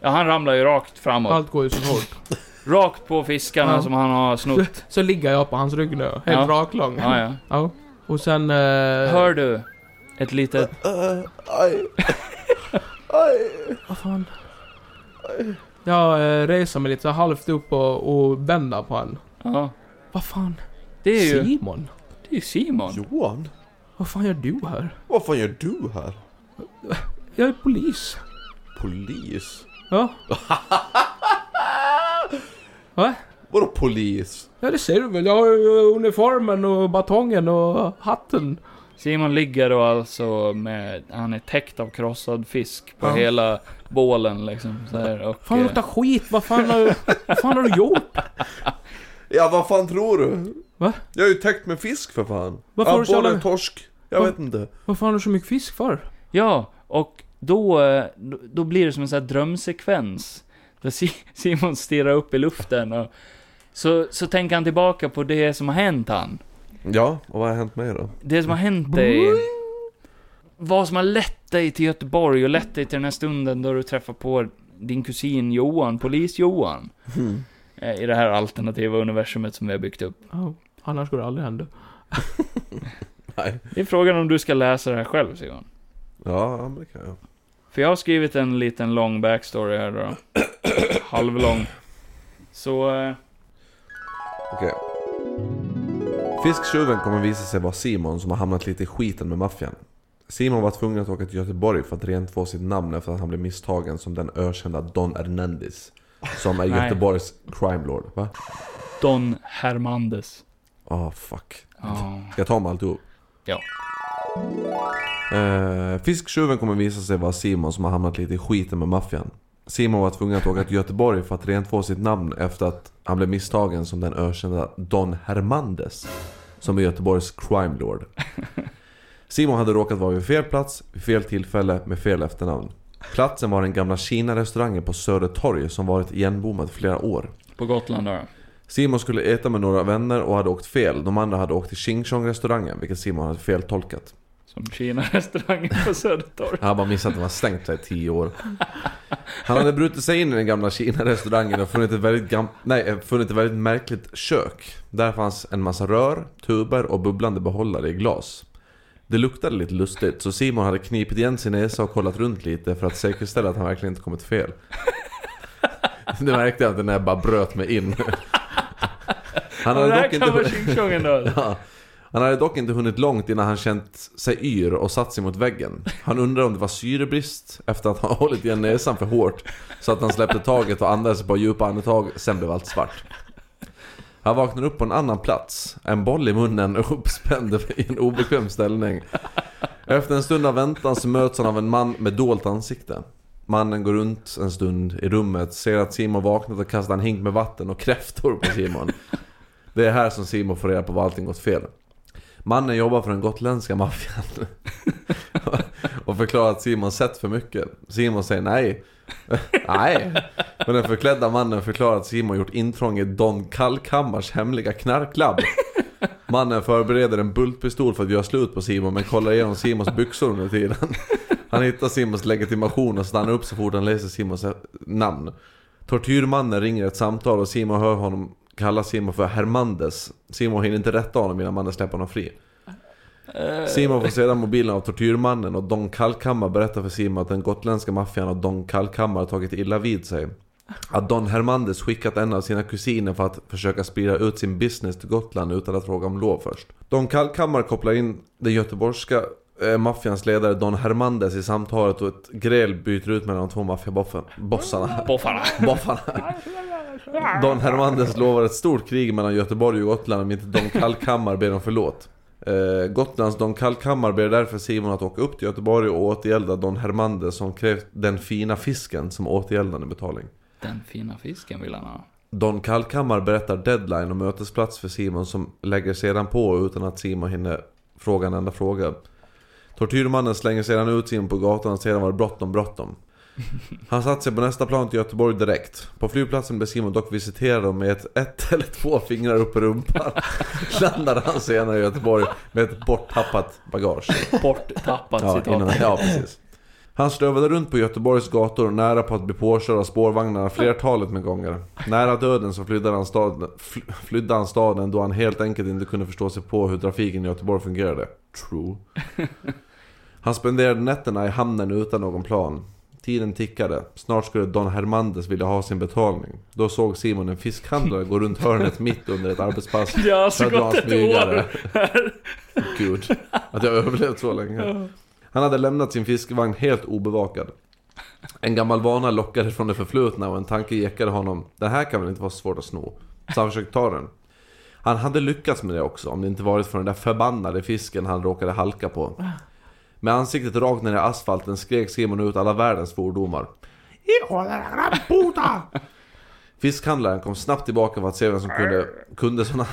Speaker 2: Ja, han ramlar ju rakt framåt.
Speaker 1: Allt går ju så fort.
Speaker 2: Rakt på fiskarna
Speaker 1: Ja.
Speaker 2: som han har snott.
Speaker 1: Så ligger jag på hans rygg nu. Helt
Speaker 2: Ja.
Speaker 1: raklång.
Speaker 2: Ja, ja.
Speaker 1: Ja. Och sen... eh,
Speaker 2: Hör du ett litet...
Speaker 3: Eh, Aj.
Speaker 1: Vad fan? Jag eh, reser mig lite så här halvt upp och, och vänder på han.
Speaker 2: Ja.
Speaker 1: Vad fan?
Speaker 2: Det är ju
Speaker 1: Simon?
Speaker 2: det är ju Simon.
Speaker 3: Johan?
Speaker 1: Vad fan gör du här?
Speaker 3: Vad fan gör du här?
Speaker 1: Jag är polis.
Speaker 3: Polis?
Speaker 1: Ja. Va?
Speaker 3: Vadå polis?
Speaker 1: Ja det ser du väl. Jag har ju eh, uniformen och batongen och eh, hatten.
Speaker 2: Simon ligger då alltså med... Han är täckt av krossad fisk på
Speaker 1: Ja.
Speaker 2: hela bålen liksom. Så här, och,
Speaker 1: Fan
Speaker 2: eh,
Speaker 1: luktar skit. Vad fan har, vad fan har du gjort?
Speaker 3: Ja vad fan tror du?
Speaker 1: Va?
Speaker 3: Jag är ju täckt med fisk för fan.
Speaker 1: Varför har du så
Speaker 3: Abborre,
Speaker 1: jävla-
Speaker 3: torsk. Jag
Speaker 1: Va-
Speaker 3: vet inte.
Speaker 1: Vad fan har du så mycket fisk för?
Speaker 2: Ja, och då, eh, då- då blir det som en sån här drömsekvens. Där Si- Simon stirrar upp i luften och så, så tänker han tillbaka på det som har hänt han.
Speaker 3: Ja, och vad har hänt mig då?
Speaker 2: Det som har hänt dig. Vad som har lett dig till Göteborg och lett dig till den här stunden då du träffar på din kusin Johan, polis-Johan.
Speaker 1: Mm.
Speaker 2: eh, I det här alternativa universumet som vi har byggt upp.
Speaker 1: Ja, annars skulle det aldrig hända.
Speaker 3: Nej.
Speaker 2: Det är frågan om du ska läsa det här själv Simon.
Speaker 3: Ja, ja, men det kan jag.
Speaker 2: För jag har skrivit en liten lång backstory här då. Halvlång. Så... eh,
Speaker 3: Okej. Fisktjuven kommer visa sig vara Simon som har hamnat lite i skiten med maffian. Simon var tvungen att åka till Göteborg för att rentvå sitt namn efter att han blev misstagen som den ökända Don Hernandez. Som är
Speaker 2: Nej.
Speaker 3: Göteborgs crime lord, va?
Speaker 2: Don Hermandes.
Speaker 3: Ah, fuck.
Speaker 2: Ja.
Speaker 3: Ska jag ta med alltihop?
Speaker 2: Ja.
Speaker 3: Eh, fisktjuven kommer visa sig vara Simon som har hamnat lite i skiten med maffian. Simon var tvungen att åka till Göteborg för att rentvå sitt namn efter att han blev misstagen som den ökända Don Hermandes. Som är Göteborgs crime lord. Simon hade råkat vara vid fel plats, vid fel tillfälle, med fel efternamn. Platsen var den gamla Kina-restaurangen på Södertorg som varit igenbommad i flera år.
Speaker 2: På Gotland då.
Speaker 3: Simon skulle äta med några vänner och hade åkt fel. De andra hade åkt till Ching Chong-restaurangen, vilket Simon hade feltolkat.
Speaker 2: Som Kina-restaurangen på Södertorg.
Speaker 3: Han har bara missat att den var stängt så här i tio år. Han hade brutit sig in i den gamla Kina-restaurangen och funnit ett, väldigt gam- nej, eh, funnit ett väldigt märkligt kök. Där fanns en massa rör, tuber och bubblande behållare i glas. Det luktade lite lustigt, så Simon hade knipit igen sin näsa och kollat runt lite för att säkerställa att han verkligen inte kommit fel. Det märkte jag inte när jag bara bröt mig in. Han
Speaker 2: det
Speaker 3: hade
Speaker 2: här kan
Speaker 3: dock
Speaker 2: vara
Speaker 3: inte...
Speaker 2: tjing ändå.
Speaker 3: Ja. Han hade dock inte hunnit långt innan han känt sig yr och satt sig mot väggen. Han undrade om det var syrebrist efter att ha hållit igen näsan för hårt. Så att han släppte taget och andades på djupa andetag, sen blev allt svart. Han vaknade upp på en annan plats, en boll i munnen och uppspänd i en obekväm ställning. Efter en stund av väntan så möts han av en man med dolt ansikte. Mannen går runt en stund i rummet, ser att Simon vaknat och kastar en hink med vatten och kräftor på Simon. Det är här som Simon får reda på vad allting gått fel. Mannen jobbar för den gotländska maffian. och förklarar att Simon sett för mycket. Simon säger nej. nej. Men den förklädda mannen förklarar att Simon gjort intrång i Don Kalkhammars hemliga knarklabb. Mannen förbereder en bultpistol för att göra slut på Simon men kollar igenom Simons byxor under tiden. Han hittar Simons legitimation och stannar upp så fort han läser Simons namn. Tortyrmannen ringer ett samtal och Simon hör honom kalla Simon för Hermandes. Simon hinner inte rätta honom innan mannen släpper honom fri. Simon får sedan mobilen av tortyrmannen och Don Kalkhammar berättar för Simon att den gotländska maffian och Don Kalkhammar har tagit illa vid sig. Att Don Hermandes skickat en av sina kusiner för att försöka sprida ut sin business till Gotland utan att fråga om lov först. Don Kalkhammar kopplar in den göteborgska eh, maffians ledare Don Hermandes i samtalet och ett gräl bryter ut mellan de två maffiabossarna.
Speaker 2: Boffarna.
Speaker 3: Boffarna. Don Hermandes lovar ett stort krig mellan Göteborg och Gotland om inte Don Kalkhammar ber om förlåt. Eh, Gotlands Don Kalkhammar ber därför Simon att åka upp till Göteborg och återgälda Don Hermandes som krävt den fina fisken som återgäldande betalning.
Speaker 2: Den fina fisken vill han ha.
Speaker 3: Don Kalkhammar berättar deadline och mötesplats för Simon som lägger sedan på utan att Simon hinner fråga en enda fråga. Tortyrmannen slänger sedan ut Simon på gatan och sedan var det bråttom, bråttom. Han satte sig på nästa plan till Göteborg direkt. På flygplatsen blev Simon dock visiterad och med ett, ett eller två fingrar upp i rumpan landade han senare i Göteborg med ett borttappat bagage.
Speaker 2: Borttappat
Speaker 3: Ja,
Speaker 2: citat.
Speaker 3: innan- ja, precis. Han strövade runt på Göteborgs gator nära på att bli påkörd av spårvagnarna flertalet med gånger. Nära döden så flydde han, staden, fly- flydde han staden då han helt enkelt inte kunde förstå sig på hur trafiken i Göteborg fungerade. True. Han spenderade nätterna i hamnen utan någon plan. Tiden tickade. Snart skulle Don Hermandes vilja ha sin betalning. Då såg Simon en fiskhandlare gå runt hörnet mitt under ett arbetspass.
Speaker 2: Det har alltså
Speaker 3: För att
Speaker 2: gått
Speaker 3: vara
Speaker 2: ett år.
Speaker 3: Gud, att jag överlevt så länge. Han hade lämnat sin fiskvagn helt obevakad. En gammal vana lockade från det förflutna och en tanke ekade honom. Det här kan väl inte vara så svårt att sno? Så han försökte ta den. Han hade lyckats med det också, om det inte varit för den där förbannade fisken han råkade halka på. Med ansiktet rakt ner i asfalten skrek Simon ut alla världens svordomar. Fiskhandlaren kom snabbt tillbaka för att se vem som kunde, kunde såna,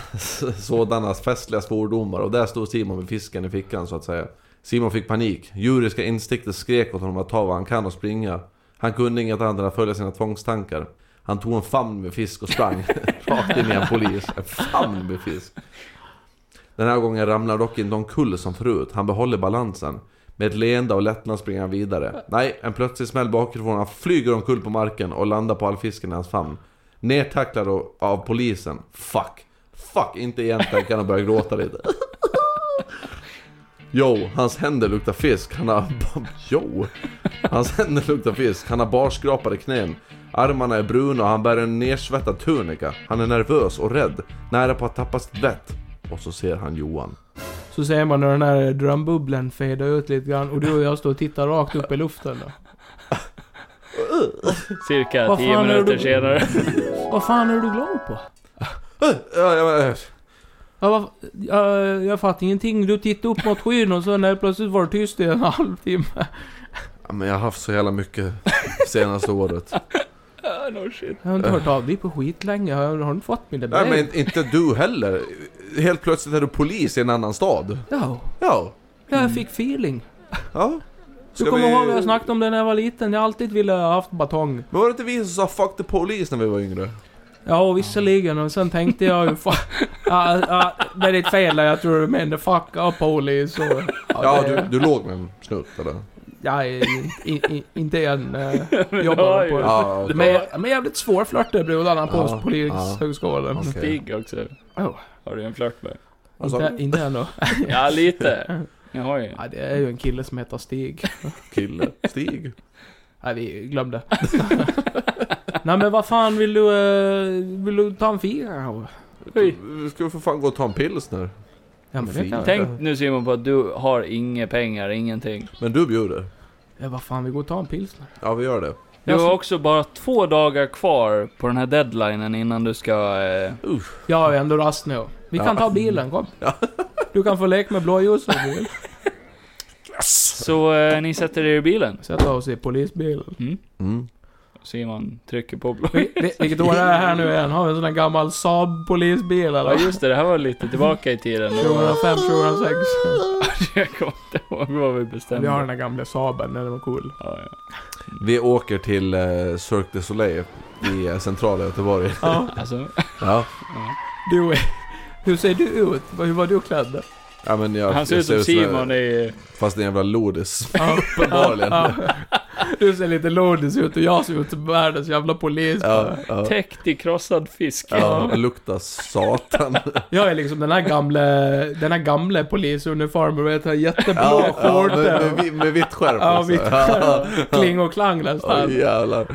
Speaker 3: sådana festliga svordomar och där stod Simon med fisken i fickan så att säga. Simon fick panik. Djuriska instinkter skrek åt honom att ta vad han kan och springa. Han kunde inget annat än att följa sina tvångstankar. Han tog en famn med fisk och sprang rakt in i en polis. En famn med fisk. Den här gången ramlar dock inte omkull som förut. Han behåller balansen. Med ett leende av lättnad springer han vidare. Nej, en plötslig smäll bakifrån. Han flyger omkull på marken och landar på all fisken i hans famn. Nertacklad av- av polisen. Fuck. Fuck, inte igen tänker han och börjar gråta lite. Jo, hans händer luktar fisk. Han har... Jo! Hans händer luktar fisk. Han har barskrapade knän. Armarna är bruna och han bär en nersvettad tunika. Han är nervös och rädd. Nära på att tappa sitt vett. Och så ser han Johan.
Speaker 1: Så ser man när den här drömbubblan fadar ut lite grann och du och jag står och tittar rakt upp i luften då.
Speaker 2: Cirka
Speaker 1: Vad
Speaker 2: 10
Speaker 1: fan är det
Speaker 2: minuter
Speaker 1: du-
Speaker 2: senare.
Speaker 1: Vad fan är du glad på?
Speaker 3: eh.
Speaker 1: Jag, var, jag, jag fattar ingenting. Du tittade upp mot skyn och så när plötsligt var det tyst i en halvtimme.
Speaker 3: Ja, men jag har haft så jävla mycket senaste året.
Speaker 2: Ah, no shit.
Speaker 1: Jag har inte hört av dig på skit länge. Har, har du inte fått mina brev?
Speaker 3: Nej men inte du heller. Helt plötsligt är du polis i en annan stad.
Speaker 1: Ja,
Speaker 3: Ja.
Speaker 1: ja,
Speaker 3: Mm.
Speaker 1: jag fick feeling.
Speaker 3: Ja.
Speaker 1: Du kommer ihåg vad jag snackade om det när jag var liten. Jag har alltid ville ha haft batong.
Speaker 3: Men var det inte vi som sa 'fuck the police' när vi var yngre?
Speaker 1: Ja, och visserligen. Och sen tänkte jag ju fan... Ja, ja, det är ditt fel där. Jag tror du menade fuck up police och...
Speaker 3: Ja,
Speaker 1: det-
Speaker 3: du, du låg med en snut eller?
Speaker 1: Jag är in, in, in, inte än äh,
Speaker 2: har
Speaker 1: jobbar
Speaker 2: ju-
Speaker 1: på det.
Speaker 3: Ja,
Speaker 1: De är, de är jävligt svårflörtade brudarna på
Speaker 3: Ja,
Speaker 1: polishögskolan.
Speaker 3: okej.
Speaker 2: Stig också.
Speaker 1: Oh.
Speaker 2: Har du en flört med?
Speaker 3: Vad sa
Speaker 1: Inte, inte ännu.
Speaker 2: Ja, lite. Jaha, ja.
Speaker 1: Nej, det är ju en kille som heter Stig.
Speaker 3: Kille. Stig.
Speaker 1: Nej, vi glömde. Nej men vad fan vill du, eh, vill du ta en fira?
Speaker 2: Oj.
Speaker 3: Vi ska för fan gå och ta en pilsner.
Speaker 1: Ja men det
Speaker 3: Fira.
Speaker 1: kan
Speaker 2: Tänk nu Simon på att du har inga pengar, ingenting.
Speaker 3: Men du bjuder.
Speaker 1: Ja vad fan, vi går och tar en pilsner.
Speaker 3: Ja, vi gör det.
Speaker 2: Du
Speaker 1: Jag
Speaker 2: har
Speaker 1: som-
Speaker 2: också bara två dagar kvar på den här deadlinen innan du ska... Eh,
Speaker 1: Jag har ju ändå rast nu. Vi kan
Speaker 3: Ja.
Speaker 1: ta bilen, kom. Du kan få leka med blåljus om du vill.
Speaker 2: så eh, ni sätter er i bilen.
Speaker 1: Sätta oss i polisbilen.
Speaker 3: Mm.
Speaker 2: Simon trycker på blå.
Speaker 1: Vi- vi- Vilket år är det här nu igen? Har vi en sån där gammal Saab polisbil
Speaker 2: Ja
Speaker 1: eller?
Speaker 2: just det, det här var lite tillbaka i tiden.
Speaker 1: 2005, 2006.
Speaker 2: Jag kommer inte ihåg vad vi bestämde.
Speaker 1: Vi har den där gamla Saaben, den var cool.
Speaker 2: Ja, ja.
Speaker 3: Vi åker till eh, Cirque du Soleil i eh, centrala Göteborg.
Speaker 1: Ja,
Speaker 2: Alltså,
Speaker 3: Ja.
Speaker 1: du är... Hur ser du ut? Hur var du klädd?
Speaker 3: ja men jag,
Speaker 2: han ser ut
Speaker 3: jag
Speaker 2: som
Speaker 3: en-
Speaker 2: Simon i...
Speaker 3: Fast en jävla lodis.
Speaker 1: Ja,
Speaker 3: Uppenbarligen.
Speaker 1: ja. Du ser lite lodis ut och jag ser ut som världens jävla polis.
Speaker 3: Ja, ja.
Speaker 2: Täckt i krossad fisk.
Speaker 3: Ja, och luktar satan.
Speaker 1: Jag är liksom den här gamla, den här gamla polisuniformen med ett här jätteblå
Speaker 3: Ja, ja,
Speaker 1: skjorta.
Speaker 3: med, med, vi- med vitt skärp
Speaker 1: Ja,
Speaker 3: också.
Speaker 1: vitt skärp. Kling och klang
Speaker 3: Ja,
Speaker 1: nästan.
Speaker 3: jävlar.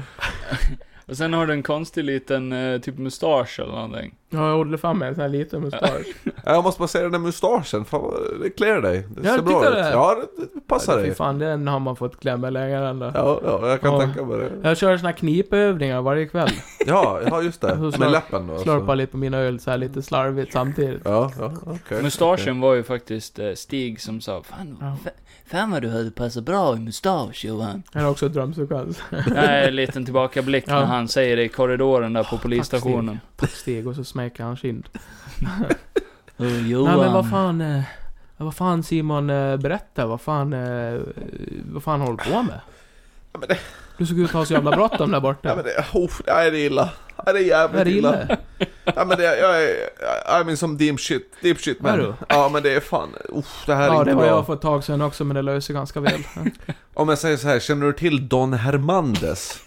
Speaker 2: Och sen har du en konstig liten eh, typ mustasch eller någonting.
Speaker 1: Ja, jag odlade fram mig en sån här liten mustasch.
Speaker 3: Ja, Jag måste bara säga den där mustaschen, fan vad- det klär dig. Det
Speaker 1: Ja,
Speaker 3: ser
Speaker 1: jag
Speaker 3: bra
Speaker 1: tyckte
Speaker 3: ut.
Speaker 1: det.
Speaker 3: Ja, det, det passar
Speaker 1: Fy
Speaker 3: dig.
Speaker 1: fan, den har man fått klämma längre än då.
Speaker 3: Ja, ja, jag kan
Speaker 1: Ja.
Speaker 3: tänka mig det.
Speaker 1: Jag kör såna här knipövningar varje kväll.
Speaker 3: Ja, ja just det.
Speaker 1: Så
Speaker 3: Med
Speaker 1: slurp-
Speaker 3: läppen då.
Speaker 1: Slurpar
Speaker 3: så.
Speaker 1: lite på mina öl så här lite slarvigt samtidigt.
Speaker 3: Ja, Alltså. ja, okej.
Speaker 2: Mustaschen var ju faktiskt eh, Stig som sa Fan,
Speaker 1: Ja.
Speaker 2: fa- fan vad du hade passat bra i mustasch Johan.
Speaker 1: Det är också en drömsekvens.
Speaker 2: Nej, en liten tillbakablick
Speaker 1: Ja.
Speaker 2: när han säger det i korridoren där på polisstationen.
Speaker 1: Tack steg och så smäcker han kind.
Speaker 2: Oh,
Speaker 1: Nej men
Speaker 2: Johan.
Speaker 1: vad fan... Eh, vad fan Simon, eh, berätta. Vad fan... Eh, vad fan håller du på med?
Speaker 3: Ja, men det-
Speaker 1: Du såg ut att ha så jävla bråttom där borta.
Speaker 3: Ja, men det, oh, nej, det är illa. Ja, det är jävligt
Speaker 1: Är det
Speaker 3: illa.
Speaker 1: illa?
Speaker 3: Ja men det, jag är, jag är min som deep shit, deep shit
Speaker 1: Är
Speaker 3: man.
Speaker 1: du?
Speaker 3: Ja men det är fan, uff, det här är
Speaker 1: Ja,
Speaker 3: inte
Speaker 1: det var
Speaker 3: bra.
Speaker 1: jag för ett tag sedan också, men det löser sig ganska väl.
Speaker 3: Om jag säger så här, känner du till Don Hermandes?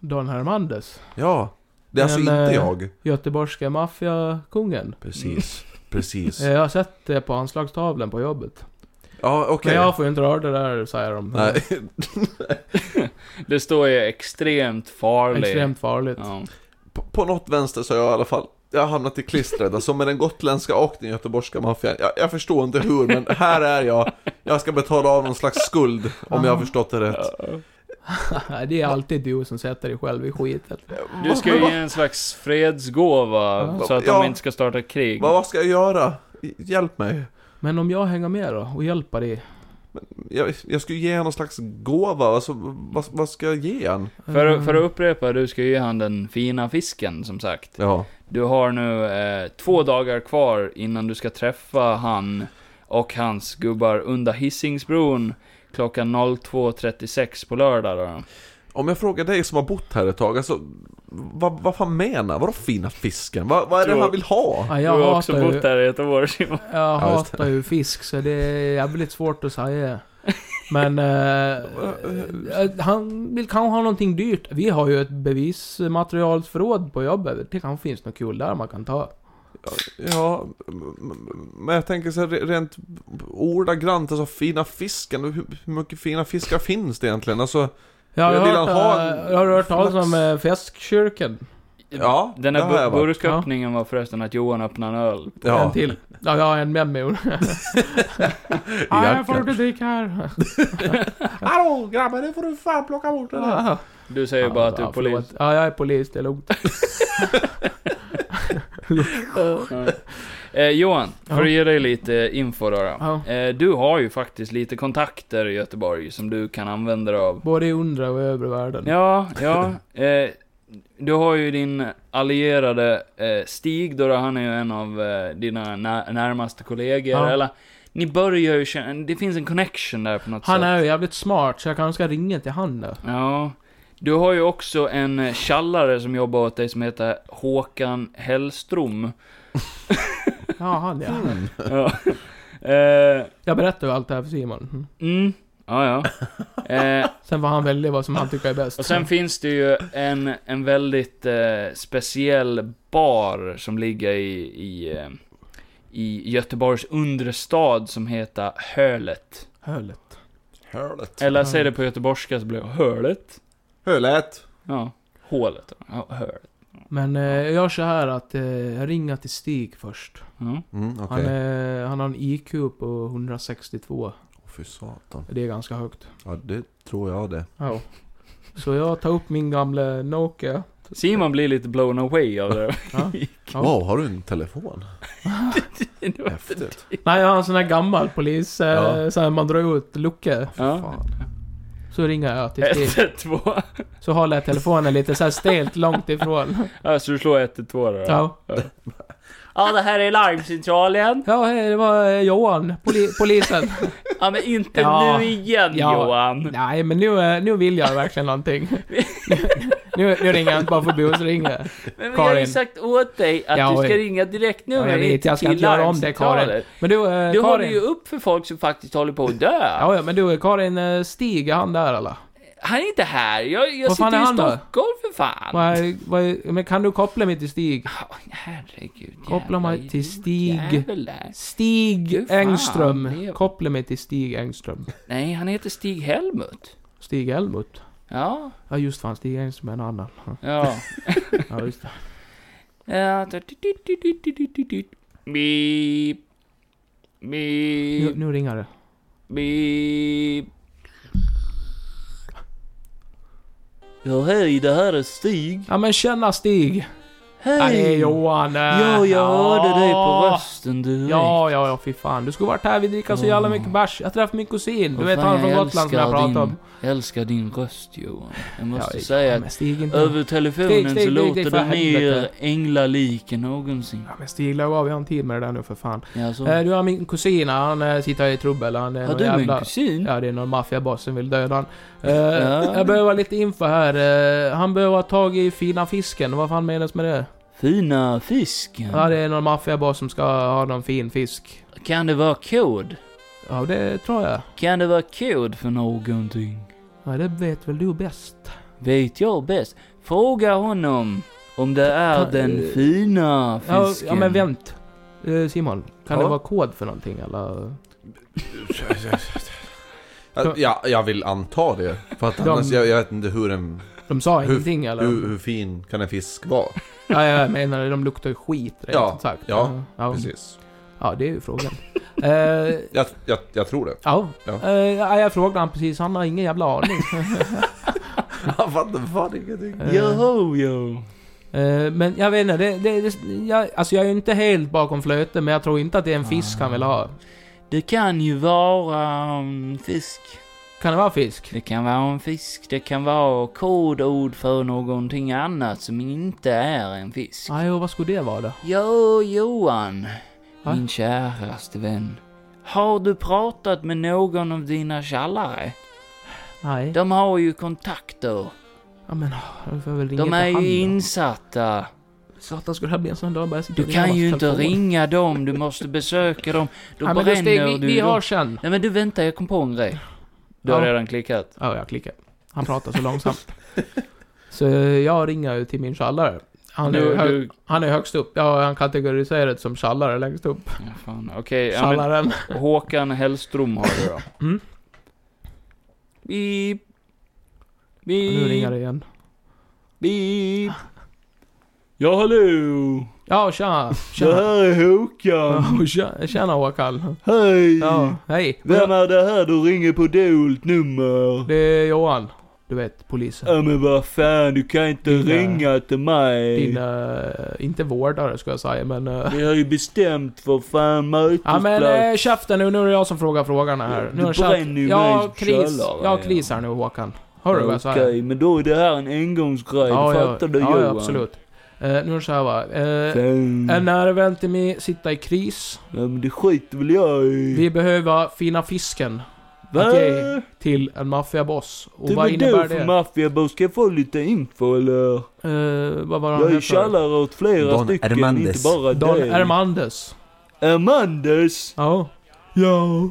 Speaker 1: Don Hermandes.
Speaker 3: Ja. Det är alltså
Speaker 1: Men,
Speaker 3: inte
Speaker 1: eh,
Speaker 3: jag.
Speaker 1: Göteborgska maffiakungen.
Speaker 3: Precis, precis.
Speaker 1: Eh, Jag har sett det på anslagstavlan på jobbet.
Speaker 3: Ja okej.
Speaker 1: Men jag får ju inte röra det där, säger de.
Speaker 3: Nej.
Speaker 2: Det står ju extremt farlig.
Speaker 1: Extremt farligt.
Speaker 2: Ja.
Speaker 3: På, på något vänster så har jag i alla fall, jag har hamnat i klistret. Alltså med den gotländska och den göteborgska maffian. Jag, jag förstår inte hur men här är jag. Jag ska betala av någon slags skuld om jag har förstått det rätt.
Speaker 1: Nej, det är alltid du som sätter dig själv i skiten.
Speaker 2: Du ska ju ge en slags fredsgåva
Speaker 1: Ja.
Speaker 2: så att
Speaker 3: Ja.
Speaker 2: de inte ska starta krig.
Speaker 3: Vad, vad ska jag göra? Hjälp mig.
Speaker 1: Men om jag hänger med då och hjälper dig?
Speaker 3: Jag, jag skulle ge honom någon slags gåva, alltså, vad, vad ska jag ge han?
Speaker 2: För,
Speaker 1: Mm.
Speaker 2: för att upprepa, du ska ge han den fina fisken som sagt.
Speaker 3: Ja.
Speaker 2: Du har nu eh, två dagar kvar innan du ska träffa han och hans gubbar under Hisingsbron klockan 02.36 på lördag då.
Speaker 3: Om jag frågar dig som har bott här ett tag, alltså, vad, vad fan menar Vadå fina fisken? Vad, vad är det
Speaker 2: Jo.
Speaker 3: han vill ha?
Speaker 1: Ja,
Speaker 2: Du
Speaker 1: jag
Speaker 2: har
Speaker 1: hatar
Speaker 2: också
Speaker 1: ju...
Speaker 2: bott där i ett år Simon.
Speaker 1: Jag
Speaker 3: Ja, just det.
Speaker 1: hatar ju fisk, så det är jävligt svårt att säga. Men... Eh, eh, han vill kanske ha någonting dyrt. Vi har ju ett bevismaterialsförråd på jobbet. Det kanske finns något kul där man kan ta.
Speaker 3: Ja, m- men jag tänker så här, re- rent ordagrant, alltså fina fisken, hur, hur mycket fina fiskar finns det egentligen? Alltså,
Speaker 1: Jag har
Speaker 3: Jag vill
Speaker 1: hört,
Speaker 3: ha
Speaker 1: eh,
Speaker 3: en
Speaker 1: jag har hört talas om
Speaker 3: flax.
Speaker 1: eh, festkyrkan.
Speaker 3: ja,
Speaker 2: Den
Speaker 3: det
Speaker 2: där
Speaker 3: har jag
Speaker 2: bu-
Speaker 3: varit.
Speaker 2: burköppningen var förresten att Johan öppnade en öl.
Speaker 1: En
Speaker 3: Ja,
Speaker 1: till. Ja, jag har en med mig. Nej, jag får inte dricka här.
Speaker 3: Hallå grabbar, nu får du fan plocka bort den här.
Speaker 2: Du säger bara att du är polis.
Speaker 1: förlåt. Ja, jag är polis. Det är lugnt.
Speaker 2: Ja. Eh, Johan, för
Speaker 1: Ja.
Speaker 2: att ge dig lite info då. då.
Speaker 1: Ja.
Speaker 2: Eh, du har ju faktiskt lite kontakter i Göteborg som du kan använda dig av.
Speaker 1: Både i undre och övre världen.
Speaker 2: Ja, ja. Eh, du har ju din allierade eh, Stig då, då, han är ju en av eh, dina nä- närmaste kollegor.
Speaker 1: Ja.
Speaker 2: Eller, ni börjar ju känna, det finns en connection där på något
Speaker 1: Han
Speaker 2: sätt.
Speaker 1: är ju jävligt smart, så jag kanske ska ringa till han nu.
Speaker 2: Ja. Du har ju också en eh, tjallare som jobbar åt dig som heter Håkan Hellström.
Speaker 1: Ja, han ja.
Speaker 3: Mm.
Speaker 2: Ja. Eh,
Speaker 1: Jag berättar ju allt det här för Simon. Mm.
Speaker 2: mm. Ja, ja. Eh,
Speaker 1: Sen får han välja vad som han tycker är bäst.
Speaker 2: och sen finns det ju en, en väldigt eh, speciell bar som ligger i, i, eh, i Göteborgs undre stad som heter Hölet.
Speaker 1: Hölet.
Speaker 3: Hölet.
Speaker 2: Eller säg det på göteborgska så blir det Hölet.
Speaker 3: Hölet.
Speaker 2: Ja, hålet. Ja, Hölet.
Speaker 1: Men eh, jag gör så här att eh, jag ringer till Stig först.
Speaker 2: Ja.
Speaker 3: Mm,
Speaker 1: Han,
Speaker 3: okej.
Speaker 1: eh, han har en IQ på 162.
Speaker 3: Åh Fy satan.
Speaker 1: Det är ganska högt.
Speaker 3: Ja, det tror jag det.
Speaker 1: Ja. Så jag tar upp min gamla Nokia.
Speaker 2: Simon blir lite blown away av det.
Speaker 1: Ja. Ja.
Speaker 3: Wow, har du en telefon? Häftigt.
Speaker 1: Nej, jag har en sån här gammal polis, eh,
Speaker 3: Ja.
Speaker 1: så här man drar ut luckor.
Speaker 2: Ja.
Speaker 3: Fan.
Speaker 1: Så ringer jag till Stig.
Speaker 2: 112.
Speaker 1: Så håller jag telefonen lite så här stelt långt ifrån.
Speaker 2: Ja, så du slår 112 då?
Speaker 1: Ja.
Speaker 2: Ja, det här är larmcentralen.
Speaker 1: Ja, hej, det var eh, Johan, poli polisen.
Speaker 2: Ja, men inte
Speaker 1: Ja.
Speaker 2: nu igen
Speaker 1: Ja.
Speaker 2: Johan.
Speaker 1: Nej, men nu, eh, nu vill jag verkligen någonting. Nu, nu ringer jag inte bara för att busringa.
Speaker 2: Men vi har ju
Speaker 1: Karin.
Speaker 2: sagt åt dig att
Speaker 1: Ja,
Speaker 2: du ska
Speaker 1: oj.
Speaker 2: ringa direktnummer
Speaker 1: Ja, jag vet, jag ska
Speaker 2: till
Speaker 1: inte göra om det, Karin.
Speaker 2: larmcentralen.
Speaker 1: Men du, eh,
Speaker 2: Du håller
Speaker 1: Karin.
Speaker 2: ju upp för folk som faktiskt håller på att dö.
Speaker 1: Ja, ja, men du, eh, Karin, eh, Stig, är han där eller?
Speaker 2: Han är inte här. Jag, jag
Speaker 1: Vad fan
Speaker 2: sitter
Speaker 1: är
Speaker 2: i
Speaker 1: han då?
Speaker 2: Stockholm för fan.
Speaker 1: Vad, vad, men kan du koppla mig till Stig?
Speaker 2: Ja, Herregud.
Speaker 1: Koppla
Speaker 2: jävla
Speaker 1: mig till Stig.
Speaker 2: idiotjävel där. Hur
Speaker 1: Stig
Speaker 2: fan
Speaker 1: Engström.
Speaker 2: lever-
Speaker 1: Koppla mig till Stig Engström.
Speaker 2: Nej, han heter Stig Helmut.
Speaker 1: Stig Elmut.
Speaker 2: Ja,
Speaker 1: Ja, just fan, Stig Engström är en annan.
Speaker 2: ja.
Speaker 1: Ja, just det.
Speaker 2: ja. så- Beep.
Speaker 1: Nu,
Speaker 2: Beep.
Speaker 1: nu ringer det.
Speaker 2: Beep. Ja, hej, det här är Stig.
Speaker 1: Ja, men tjena Stig!
Speaker 2: Hej!
Speaker 1: Ja, det är Johan. eh.
Speaker 2: Ja, jag hörde dig på rösten direkt.
Speaker 1: Ja, ja, ja, fy fan. Du skulle varit här, vi dricker så jävla mycket bärs. Jag träffade min kusin, du
Speaker 2: Vad
Speaker 1: vet
Speaker 2: fan,
Speaker 1: han från
Speaker 2: jag
Speaker 1: Gotland som jag
Speaker 2: älskar
Speaker 1: pratade om.
Speaker 2: din- Jag älskar din röst Johan. Jag måste
Speaker 1: Ja,
Speaker 2: säga
Speaker 1: ja,
Speaker 2: att
Speaker 1: men Stig inte.
Speaker 2: över telefonen
Speaker 1: Stig, Stig,
Speaker 2: så
Speaker 1: Stig,
Speaker 2: låter
Speaker 1: Stig, för
Speaker 2: den mer
Speaker 1: helvete.
Speaker 2: änglalik än någonsin.
Speaker 1: Ja, men Stig, lägg av. Vi har en tid med det där nu för fan.
Speaker 2: Alltså,
Speaker 1: Eh, du har min kusin, han eh, sitter i trubbel. Han är
Speaker 2: har
Speaker 1: någon
Speaker 2: du
Speaker 1: jävla...
Speaker 2: min kusin?
Speaker 1: Ja, det är någon maffiaboss som vill döda han. Eh,
Speaker 2: Ja.
Speaker 1: Jag behöver lite info här. Eh, han behöver ha tag i fina fisken. Vad fan menas med det?
Speaker 2: Fina fisken.
Speaker 1: Ja, det är någon maffiaboss som ska ha någon fin fisk.
Speaker 2: Kan det vara kod?
Speaker 1: Ja, det tror jag.
Speaker 2: Kan det vara kod för någonting?
Speaker 1: Ja, det vet väl du bäst?
Speaker 2: Vet jag bäst. Fråga honom om det är
Speaker 1: Ta- eh,
Speaker 2: den fina
Speaker 1: Ja,
Speaker 2: fisken.
Speaker 1: ja, men vänt. Eh, Simon, kan
Speaker 3: Ja?
Speaker 1: det vara kod för någonting eller?
Speaker 3: Ja, jag vill anta det. För att
Speaker 1: De-
Speaker 3: annars, jag, jag vet inte hur en...
Speaker 1: De sa
Speaker 3: Hur-
Speaker 1: ingenting eller?
Speaker 3: Hur, hur fin kan en fisk vara?
Speaker 1: Ja, jag menar de luktar ju skit rent
Speaker 3: Ja,
Speaker 1: ut sagt.
Speaker 3: ja,
Speaker 1: ja.
Speaker 3: Precis.
Speaker 1: Ja, det är ju frågan. Eh,
Speaker 3: Jag, jag, jag tror det.
Speaker 1: ja.
Speaker 3: Ja.
Speaker 1: Eh, ja, jag frågade han precis, han har ingen jävla aning.
Speaker 3: Jag fattar fan ingenting.
Speaker 1: Eh,
Speaker 2: Joho, jo.
Speaker 1: eh, men jag vet inte, det, det, det, jag, alltså jag är ju inte helt bakom flöten, men jag tror inte att det är en fisk han vill ha.
Speaker 2: Det kan ju vara um, fisk.
Speaker 1: Kan det vara fisk?
Speaker 2: Det kan vara en fisk, det kan vara kodord för någonting annat som inte är en fisk.
Speaker 1: Nej, och vad skulle det vara då?
Speaker 2: Jo, Johan,
Speaker 1: Va?
Speaker 2: min käraste vän. Har du pratat med någon av dina tjallare?
Speaker 1: Nej.
Speaker 2: De har ju kontakter.
Speaker 1: Ja men, åh, då får jag väl ringa
Speaker 2: De är
Speaker 1: till han då.
Speaker 2: ju insatta.
Speaker 1: Satan, skulle det här bli en sån dag? Bara jag sitter
Speaker 2: Du
Speaker 1: och ringer
Speaker 2: kan ju
Speaker 1: massa
Speaker 2: inte
Speaker 1: telefoner.
Speaker 2: ringa dem, du måste besöka dem. Då
Speaker 1: Nej, men du,
Speaker 2: bränner
Speaker 1: Stig, vi,
Speaker 2: du
Speaker 1: vi
Speaker 2: dem.
Speaker 1: hörs sen.
Speaker 2: Nej men du, vänta, jag kom på en grej. Du har
Speaker 1: Ja.
Speaker 2: redan klickat.
Speaker 1: Ja, jag klickar. Han pratar så långsamt. så jag ringer ju till min tjallare. Han är,
Speaker 2: Du,
Speaker 1: hö-
Speaker 2: du...
Speaker 1: han är högst upp. Ja, han kategoriserad som tjallare längst upp.
Speaker 2: Ja, fan, okej. ja, men-
Speaker 1: Tjallaren.
Speaker 2: Håkan Hellström har du då.
Speaker 1: Mm.
Speaker 2: Beep.
Speaker 1: Och nu ringer
Speaker 2: Beep.
Speaker 1: det igen.
Speaker 2: Beep. Ja, hallå.
Speaker 1: Ja, tjena.
Speaker 2: Det
Speaker 1: Tjena,
Speaker 2: här är Håkan.
Speaker 1: ja, tjena, tjena Håkan.
Speaker 2: Hej.
Speaker 1: Ja, hej.
Speaker 2: Vem är det här du ringer på dolt nummer?
Speaker 1: Det är Johan. Du vet, polisen.
Speaker 2: Ja, men vad fan, du kan inte
Speaker 1: Din, eh,
Speaker 2: ringa till mig.
Speaker 1: Din, eh, inte vårdare ska jag säga, men... eh,
Speaker 2: Vi har ju bestämt för fan
Speaker 1: Ja
Speaker 2: mötesplats.
Speaker 1: men eh, käften nu, nu är det jag som frågar frågorna här.
Speaker 2: Du
Speaker 1: Nu är
Speaker 2: bränner ju
Speaker 1: jag
Speaker 2: mig i
Speaker 1: har kris,
Speaker 2: källaren,
Speaker 1: jag har
Speaker 2: ja.
Speaker 1: kris här nu Håkan. Hör du vad jag
Speaker 2: Okej,
Speaker 1: säger?
Speaker 2: men då är det här en engångsgrej. fattar du
Speaker 1: ja,
Speaker 2: Johan?
Speaker 1: ja, absolut. Eh, nu är det så här va. Eh,
Speaker 2: Fan.
Speaker 1: en nära vän till mig sitter i kris.
Speaker 2: Ja, men det skiter väl jag i.
Speaker 1: Vi behöver fina fisken
Speaker 2: Va?
Speaker 1: Att ge- till en maffiaboss. Och
Speaker 2: Det
Speaker 1: vad
Speaker 2: var du
Speaker 1: innebär
Speaker 2: för
Speaker 1: det?
Speaker 2: maffiaboss, ska jag få lite info eller?
Speaker 1: Eh, vad var
Speaker 2: Jag
Speaker 1: han
Speaker 2: är
Speaker 1: heter?
Speaker 2: tjallare åt flera
Speaker 3: Don
Speaker 2: stycken,
Speaker 3: Hermandes.
Speaker 2: inte bara
Speaker 1: Don
Speaker 2: dig.
Speaker 1: Ermandes.
Speaker 2: Ermandes!
Speaker 1: Ja. Ja.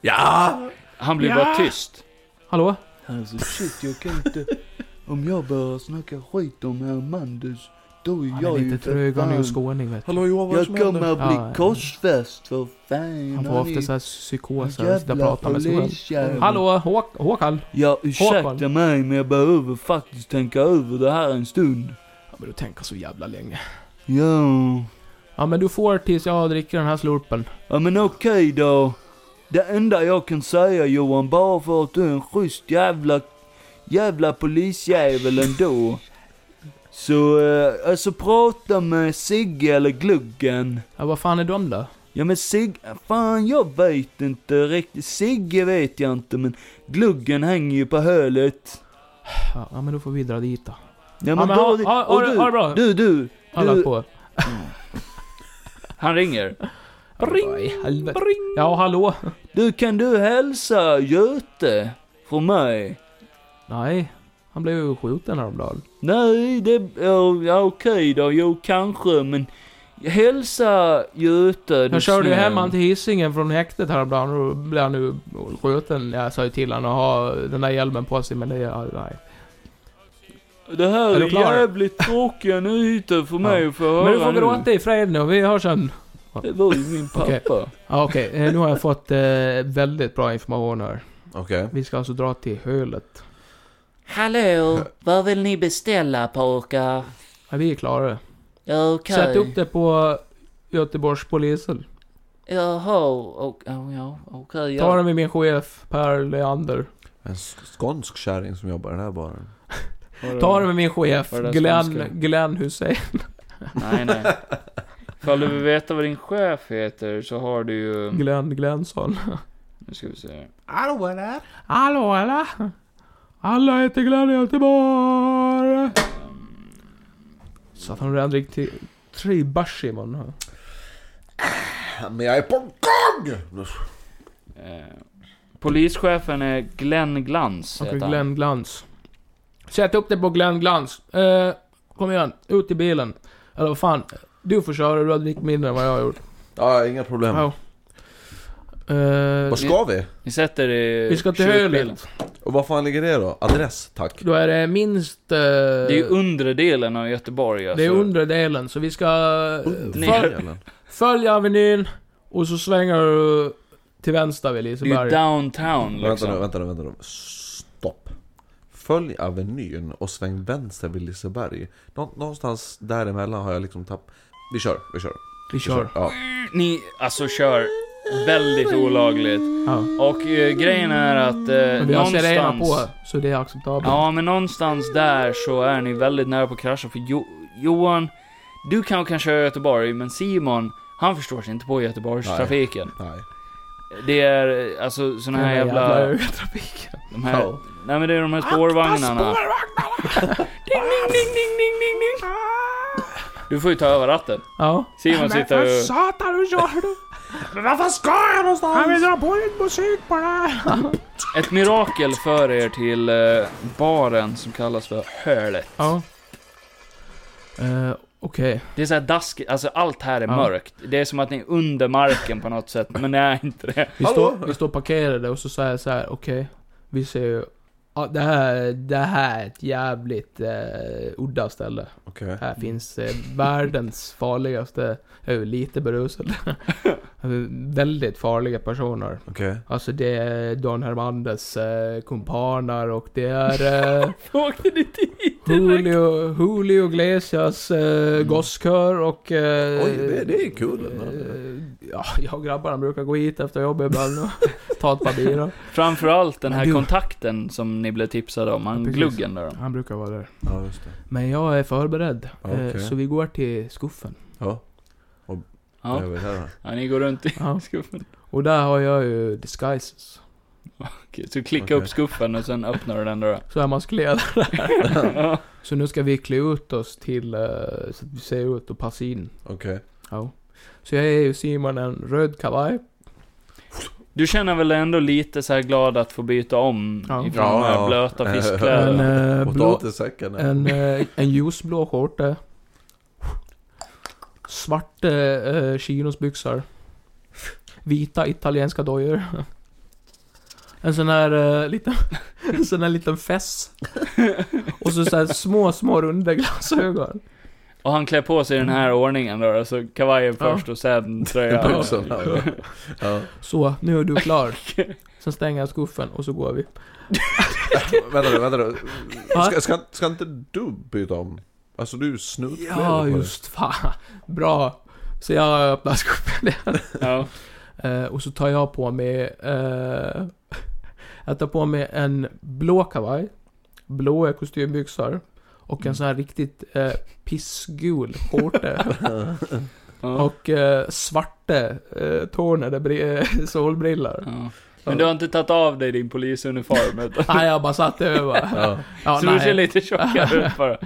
Speaker 3: Ja!
Speaker 2: Han blir bara tyst.
Speaker 1: Hallå?
Speaker 2: Alltså shit, jag kan inte... Om jag börjar snacka skit om Ermandes,
Speaker 6: då är
Speaker 1: Han är
Speaker 6: jag
Speaker 1: lite
Speaker 6: ju
Speaker 1: trög, han är
Speaker 6: för
Speaker 1: ju
Speaker 6: fan.
Speaker 1: skåning vet du.
Speaker 3: Hallå Johan, vad är det
Speaker 6: Jag
Speaker 3: som
Speaker 6: kommer
Speaker 3: händer?
Speaker 6: att bli
Speaker 1: Ja, ja.
Speaker 6: korsfäst för fan.
Speaker 1: Han får
Speaker 6: Han
Speaker 1: ofta
Speaker 6: är-
Speaker 1: såhär psykoser, där
Speaker 6: Jävla
Speaker 1: pratar med sig själv.
Speaker 6: polisjävel.
Speaker 1: Hallå Håk Håkan?
Speaker 6: Ja, ursäkta
Speaker 1: Håkan.
Speaker 6: mig men jag behöver faktiskt tänka över det här en stund.
Speaker 1: Ja men du tänker så jävla länge.
Speaker 6: Ja.
Speaker 1: Ja men du får tills jag dricker den här slurpen.
Speaker 6: Ja men okej då. Det enda jag kan säga Johan, bara för att du är en schysst jävla, jävla polisjävel ändå. Så, eh, alltså prata med Sigge eller Gluggen.
Speaker 1: Ja vad fan är de då?
Speaker 6: Ja men Sigge, fan jag vet inte riktigt. Sigge vet jag inte men Gluggen hänger ju på hölet.
Speaker 1: Ja ja, men då får vi dra dit då.
Speaker 6: Ja
Speaker 1: men ha-
Speaker 6: det-
Speaker 1: ha- ha
Speaker 6: och
Speaker 1: det-
Speaker 6: du,
Speaker 1: ha det bra.
Speaker 6: Du, du.
Speaker 1: Alla
Speaker 6: du-
Speaker 1: på.
Speaker 2: Han ringer.
Speaker 1: Ring!
Speaker 2: Bring.
Speaker 1: Ja hallå?
Speaker 6: Du, kan du hälsa Göte från mig?
Speaker 1: Nej. Han blev ju skjuten häromdagen.
Speaker 6: Nej, det... Ja, ja, okej då. Jo, kanske, men... Hälsa Göte, du
Speaker 1: Jag körde ju
Speaker 6: snäll.
Speaker 1: hem han till Hisingen från häktet häromdagen och då blev han nu skjuten. Jag sa ju till honom att ha den där hjälmen på sig men det... Ja, nej.
Speaker 6: Det här
Speaker 1: Är
Speaker 6: är,
Speaker 1: du klar?
Speaker 6: jävligt tråkiga nyheter för mig att få höra
Speaker 1: Men du får
Speaker 6: nu.
Speaker 1: gråta i fred nu, vi hörs sen.
Speaker 6: Det var ju min
Speaker 1: Okej.
Speaker 6: pappa.
Speaker 1: Ja, okej. Eh, Nu har jag fått eh, väldigt bra information här.
Speaker 3: Okej.
Speaker 1: Vi ska alltså dra till Hölet.
Speaker 7: Hallå, vad vill ni beställa pojkar?
Speaker 1: Ja, vi är klara.
Speaker 7: Okej.
Speaker 1: Sätt upp det på Göteborgspolisen.
Speaker 7: Jaha, och, ja, ja, okej.
Speaker 1: Ta
Speaker 7: ja.
Speaker 1: det med min chef Per Leander.
Speaker 3: En sk- skånsk kärring som jobbar i den här baren.
Speaker 7: Mm.
Speaker 1: Ta det med min chef
Speaker 2: Var det där
Speaker 1: Glenn,
Speaker 2: skånska?
Speaker 1: Glenn Hussein.
Speaker 2: Nej, nej. Ifall du vill veta vad din chef heter så har du
Speaker 7: Mm.
Speaker 2: ju...
Speaker 1: Glenn Glensson.
Speaker 2: Nu ska vi se.
Speaker 1: Hallå alla! Alla heter Glenn i Göteborg! Så att han redan drick till tre bärs i morgon, här.
Speaker 3: Men jag är på gång!
Speaker 2: Eh, polischefen är Glenn Glans,
Speaker 1: Och
Speaker 2: heter han.
Speaker 1: Glenn Glans. Sätt upp det på Glenn Glans. Eh, kom igen, ut i bilen. Eller vad fan. Du får köra, du har drickit mindre än vad jag har gjort.
Speaker 3: Ja, inga problem.
Speaker 1: Ja. Eh,
Speaker 3: Vad ska vi?
Speaker 2: Vi sätter i...
Speaker 1: vi ska till
Speaker 2: kyrkbilen.
Speaker 1: Hölet.
Speaker 3: Och vad fan ligger det då? Adress, tack.
Speaker 1: Då är det minst... eh,
Speaker 2: Det är ju undre delen av Göteborg alltså.
Speaker 1: det är undre delen, så vi ska...
Speaker 2: Ner.
Speaker 1: Föl, följ Avenyn, och så svänger du till vänster vid
Speaker 2: Det är ju
Speaker 1: Liseberg.
Speaker 2: downtown
Speaker 3: Vänta
Speaker 2: liksom.
Speaker 3: nu, vänta nu, vänta nu. Stopp. Följ Avenyn och sväng vänster vid Liseberg. Nå- någonstans däremellan har jag liksom tappat... Vi kör, vi kör.
Speaker 1: Vi kör.
Speaker 3: Ja.
Speaker 2: Ni, alltså kör väldigt olagligt.
Speaker 1: Ja.
Speaker 2: Och eh, grejen är att eh,
Speaker 1: Men vi har sirena
Speaker 2: någonstans...
Speaker 1: på, så det är acceptabelt.
Speaker 2: Ja, men någonstans där så är ni väldigt nära på att krascha för jo, Johan, du kanske kan köra Göteborg, men Simon, han förstår sig inte på Göteborgstrafiken.
Speaker 3: Nej.
Speaker 2: Det är eh, alltså såna här
Speaker 1: Den där
Speaker 2: jävla...
Speaker 1: jävla trafiken.
Speaker 2: De här,
Speaker 1: Ja.
Speaker 2: Nej men det är de här spårvagnarna. Du får ju ta över ratten.
Speaker 1: Ja.
Speaker 2: Simon sitter ju...
Speaker 1: satan, hur kör du?
Speaker 3: Men varför ska jag någonstans?
Speaker 1: vill dra på lite musik bara.
Speaker 2: Ett mirakel för er till eh, baren som kallas för Hölet.
Speaker 1: Ja. Eh, Okej.
Speaker 2: Det är så här dask, alltså allt här är
Speaker 1: Ja.
Speaker 2: mörkt. Det är som att ni är under marken på något sätt, men det är inte det.
Speaker 1: Vi, står, vi står parkerade och så säger jag så här, okej. vi ser ju... Ja, det, här, det här är ett jävligt eh, udda ställe.
Speaker 3: Okej.
Speaker 1: Här finns eh, världens farligaste... Jag är ju lite berusad. Väldigt farliga personer.
Speaker 3: Okej.
Speaker 1: Alltså det är Don Hermandes eh, kumpaner och det är... Eh,
Speaker 2: Åkte ni dit?
Speaker 1: Julio, Julio Iglesias eh, gosskör och... Eh,
Speaker 3: Mm. Oj, det- det är kul ändå.
Speaker 1: Eh, ja, jag och grabbarna brukar gå hit efter jobbet ibland och ta ett par bira.
Speaker 2: Framförallt den här
Speaker 1: Men du-
Speaker 2: kontakten som ni blev tipsade om, han
Speaker 1: Ja, precis.
Speaker 2: gluggen där.
Speaker 1: Han brukar vara där.
Speaker 3: Ja, just det.
Speaker 1: Men jag är förberedd.
Speaker 3: Ja,
Speaker 1: eh,
Speaker 3: okej.
Speaker 1: Så vi går till skuffen.
Speaker 3: Ja,
Speaker 2: Ja,
Speaker 3: jag vet det här.
Speaker 2: ja ni går runt i
Speaker 1: Ja.
Speaker 2: skuffen.
Speaker 1: Och där har jag ju disguises.
Speaker 2: Okej, så klicka
Speaker 3: Okej.
Speaker 2: upp skuffen och sen öppnar du den då.
Speaker 1: Så är man skled.
Speaker 2: Ja.
Speaker 1: Så nu ska vi klä ut oss till... Eh, så att vi ser ut och passa in.
Speaker 3: Okej.
Speaker 1: Ja. Så jag är ju Simon en röd kavaj.
Speaker 2: Du känner väl ändå lite så här glad att få byta om
Speaker 1: Ja.
Speaker 2: ifrån de
Speaker 3: Ja,
Speaker 2: här
Speaker 3: ja.
Speaker 2: blöta
Speaker 3: Eh,
Speaker 1: En,
Speaker 2: fiskkläderna?
Speaker 1: eh, blå,
Speaker 3: Potatissäcken. ja.
Speaker 1: En, eh, en ljusblå skjorta. Svarta eh, chinosbyxor. Vita italienska dojor. En sån här eh, liten, en sån här liten fess. Och så, så här små, små runda glasögon.
Speaker 2: Och han klär på sig i den här ordningen då, alltså kavajen
Speaker 1: Mm. Ja.
Speaker 2: först och sen
Speaker 1: Ja.
Speaker 2: tröjan.
Speaker 3: Pulsen.
Speaker 1: Så, nu är du klar. Sen stänger jag skuffen och så går vi.
Speaker 3: vänta nu, vänta nu.
Speaker 1: Va?
Speaker 3: Ska, ska, ska inte du byta om? Alltså du är ju snutklädd på
Speaker 1: Ja,
Speaker 3: dig.
Speaker 1: just fan. Bra. Så jag öppnar skuffen igen.
Speaker 2: Ja.
Speaker 1: Eh, och så tar jag på mig... Eh, jag tar på mig en blå kavaj, blåa kostymbyxor och
Speaker 2: Mm.
Speaker 1: en sån här riktigt eh, pissgul skjorta.
Speaker 2: Ja.
Speaker 1: och eh, svarta eh, tornade bri- solbrillor.
Speaker 2: Ja. Men du har inte tagit av dig din polisuniform? utan-
Speaker 1: Nej, jag bara satt över.
Speaker 3: Ja.
Speaker 1: Ja,
Speaker 2: så du
Speaker 1: nej.
Speaker 2: ser lite tjockare ut bara?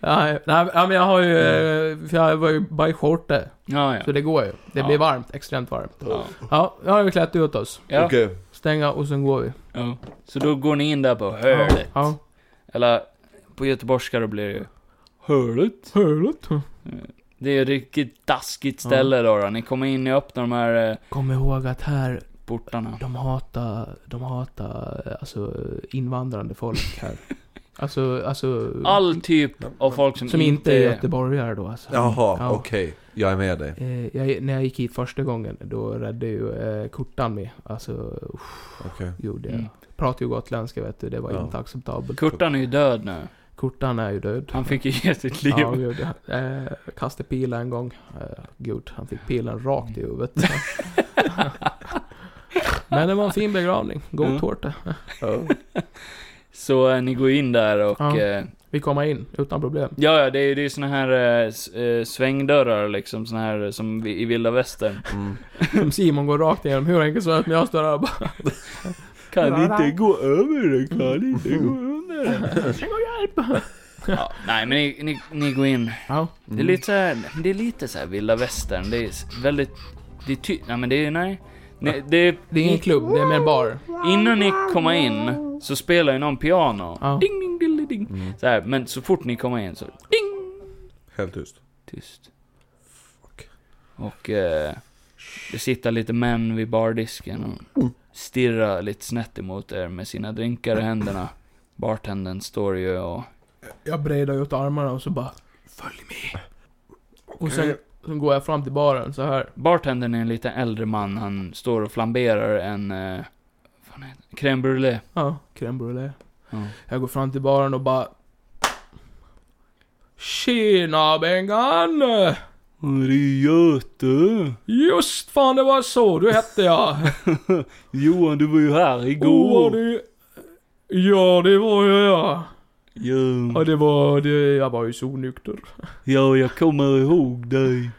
Speaker 1: Nej, nej, ja, men jag har ju... eh, För jag var ju bara i skjorta.
Speaker 2: Mm. Ja, ja.
Speaker 1: Så det går ju. Det
Speaker 2: Ja.
Speaker 1: blir varmt, extremt varmt.
Speaker 2: ja.
Speaker 1: Ja, nu har vi klätt ut oss.
Speaker 2: ja.
Speaker 3: Okej.
Speaker 1: Stänga och sen går vi.
Speaker 2: ja. Så då går ni in där på
Speaker 1: Ja.
Speaker 2: hörlet.
Speaker 1: Ja.
Speaker 2: Eller på göteborgska då blir det ju hörlet.
Speaker 1: Härligt.
Speaker 2: Det är ju ett riktigt daskigt ställe då, då. Ni kommer in, ni öppnar de här eh,
Speaker 1: Kom ihåg att här,
Speaker 2: portarna.
Speaker 1: de hatar, de hatar eh, alltså invandrande folk här. alltså, alltså...
Speaker 2: All typ av folk som,
Speaker 1: som inte är göteborgare då alltså.
Speaker 3: Jaha,
Speaker 1: Ja.
Speaker 3: okej.
Speaker 4: Jag är med dig.
Speaker 1: Eh, jag, när jag gick hit första gången, då räddade ju eh, Kurtan mig. Alltså, uff,
Speaker 3: Okej.
Speaker 1: gjorde jag.
Speaker 2: Mm.
Speaker 1: Pratar ju gotländska vet du, det var
Speaker 3: Ja.
Speaker 1: inte acceptabelt.
Speaker 2: Kurtan är ju död nu.
Speaker 1: Kurtan är ju död.
Speaker 2: Han fick ju ge sitt liv.
Speaker 1: Ja, gud. ja. Eh, kastade pilen en gång. Eh, gud, han fick pilen rakt i huvudet.
Speaker 2: Mm.
Speaker 1: Men det var en fin begravning. God
Speaker 2: Mm.
Speaker 1: tårta.
Speaker 2: Så eh, ni går in där och...
Speaker 1: Ja.
Speaker 2: Eh,
Speaker 1: Vi kommer in utan problem.
Speaker 2: ja, ja, det är ju det är såna här eh, s- eh, svängdörrar liksom, såna här eh, som vi- i vilda västern.
Speaker 3: Mm.
Speaker 1: Som Simon går rakt igenom hur enkelt som helst, men jag står där och bara...
Speaker 2: Kan inte gå över den,
Speaker 6: kan
Speaker 2: inte gå
Speaker 1: Mm.
Speaker 2: under den. ja, nej, men ni, ni, ni går in.
Speaker 1: Ja.
Speaker 2: Det är lite så här, det är lite så här vilda västern. Det är s- väldigt, det är ty, nej men det är, nej. nej det är,
Speaker 1: Det är ingen klubb, det är mer en bar.
Speaker 2: Innan ni kommer in så spelar ju någon piano.
Speaker 1: Ja.
Speaker 2: Ding, ding, ding, ding. Så här, men så fort ni kommer in så ding,
Speaker 3: Helt tyst.
Speaker 2: tyst. Och eh, det sitter lite män vid bardisken och stirrar lite snett emot er med sina drinkar i händerna. Bartendern står ju och...
Speaker 1: Jag bredar ut armarna och så bara... Följ med. Och sen, sen går jag fram till baren så här.
Speaker 2: Bartendern är en lite äldre man. Han står och flamberar en... Eh, vad fan heter det? Crème brûlée.
Speaker 1: Ja, crème brûlée.
Speaker 2: Ja.
Speaker 1: Jag går fram till baren och bara... Tjena Bengan!
Speaker 6: Det är Göte.
Speaker 1: Just fan det var så du hette jag!
Speaker 6: Johan, du var ju här
Speaker 1: Åh,
Speaker 6: igår.
Speaker 1: Oh, det... Ja det var jag ja.
Speaker 6: Ja,
Speaker 1: Ja det var det, jag var ju så onykter.
Speaker 6: ja, jag kommer ihåg dig.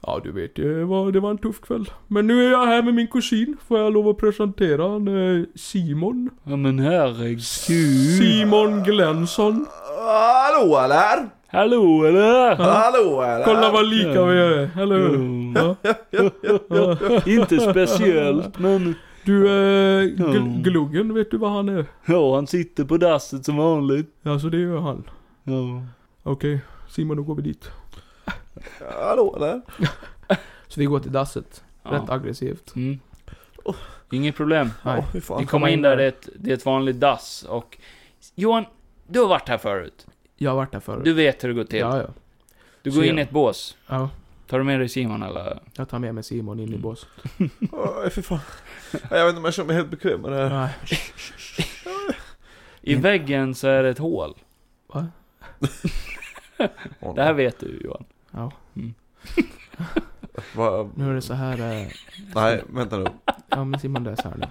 Speaker 1: Ja du vet, det var, det var en tuff kväll. Men nu är jag här med min kusin, får jag lov att presentera han eh, Simon.
Speaker 6: Ja, men herregud.
Speaker 1: Simon Glensson.
Speaker 3: Hallå eller?
Speaker 6: Hallå, eller?
Speaker 3: Hallå eller?
Speaker 1: Kolla vad lika vi är, eller hur?
Speaker 3: Mm.
Speaker 6: Ja.
Speaker 1: Ja. Ja.
Speaker 6: Inte speciellt, men...
Speaker 1: Du, eh,
Speaker 3: Mm.
Speaker 1: gl-
Speaker 6: Ja.
Speaker 1: Gluggen, vet du vad han är?
Speaker 6: Ja, han sitter på dasset som vanligt.
Speaker 1: Alltså det är han.
Speaker 6: Ja.
Speaker 1: Okej, Simon då går vi dit.
Speaker 3: Hallå eller?
Speaker 1: Så vi går till dasset.
Speaker 2: Ja.
Speaker 1: Rätt aggressivt.
Speaker 2: Mm. Inget problem.
Speaker 1: Nej.
Speaker 3: Åh, fy fan.
Speaker 2: Ni kommer in där, det är, ett, det är ett vanligt dass och... Johan, du har varit här förut.
Speaker 1: Jag har varit där förut.
Speaker 2: Du vet hur det går till.
Speaker 1: ja, ja.
Speaker 2: du går in
Speaker 1: ser.
Speaker 2: i ett bås.
Speaker 1: ja.
Speaker 2: Tar du med dig Simon eller?
Speaker 1: Jag tar med mig Simon in i båset.
Speaker 3: Åh, fy fan. Jag vet inte om jag känner mig helt bekväm med det här.
Speaker 1: Nej.
Speaker 2: I väggen så är det ett hål.
Speaker 1: Va?
Speaker 3: Åh,
Speaker 2: Det här vet du Johan.
Speaker 1: Ja.
Speaker 3: vad-
Speaker 1: Nu är det så här... Eh,
Speaker 3: Nej, vänta nu.
Speaker 1: ja men Simon det är så här nu.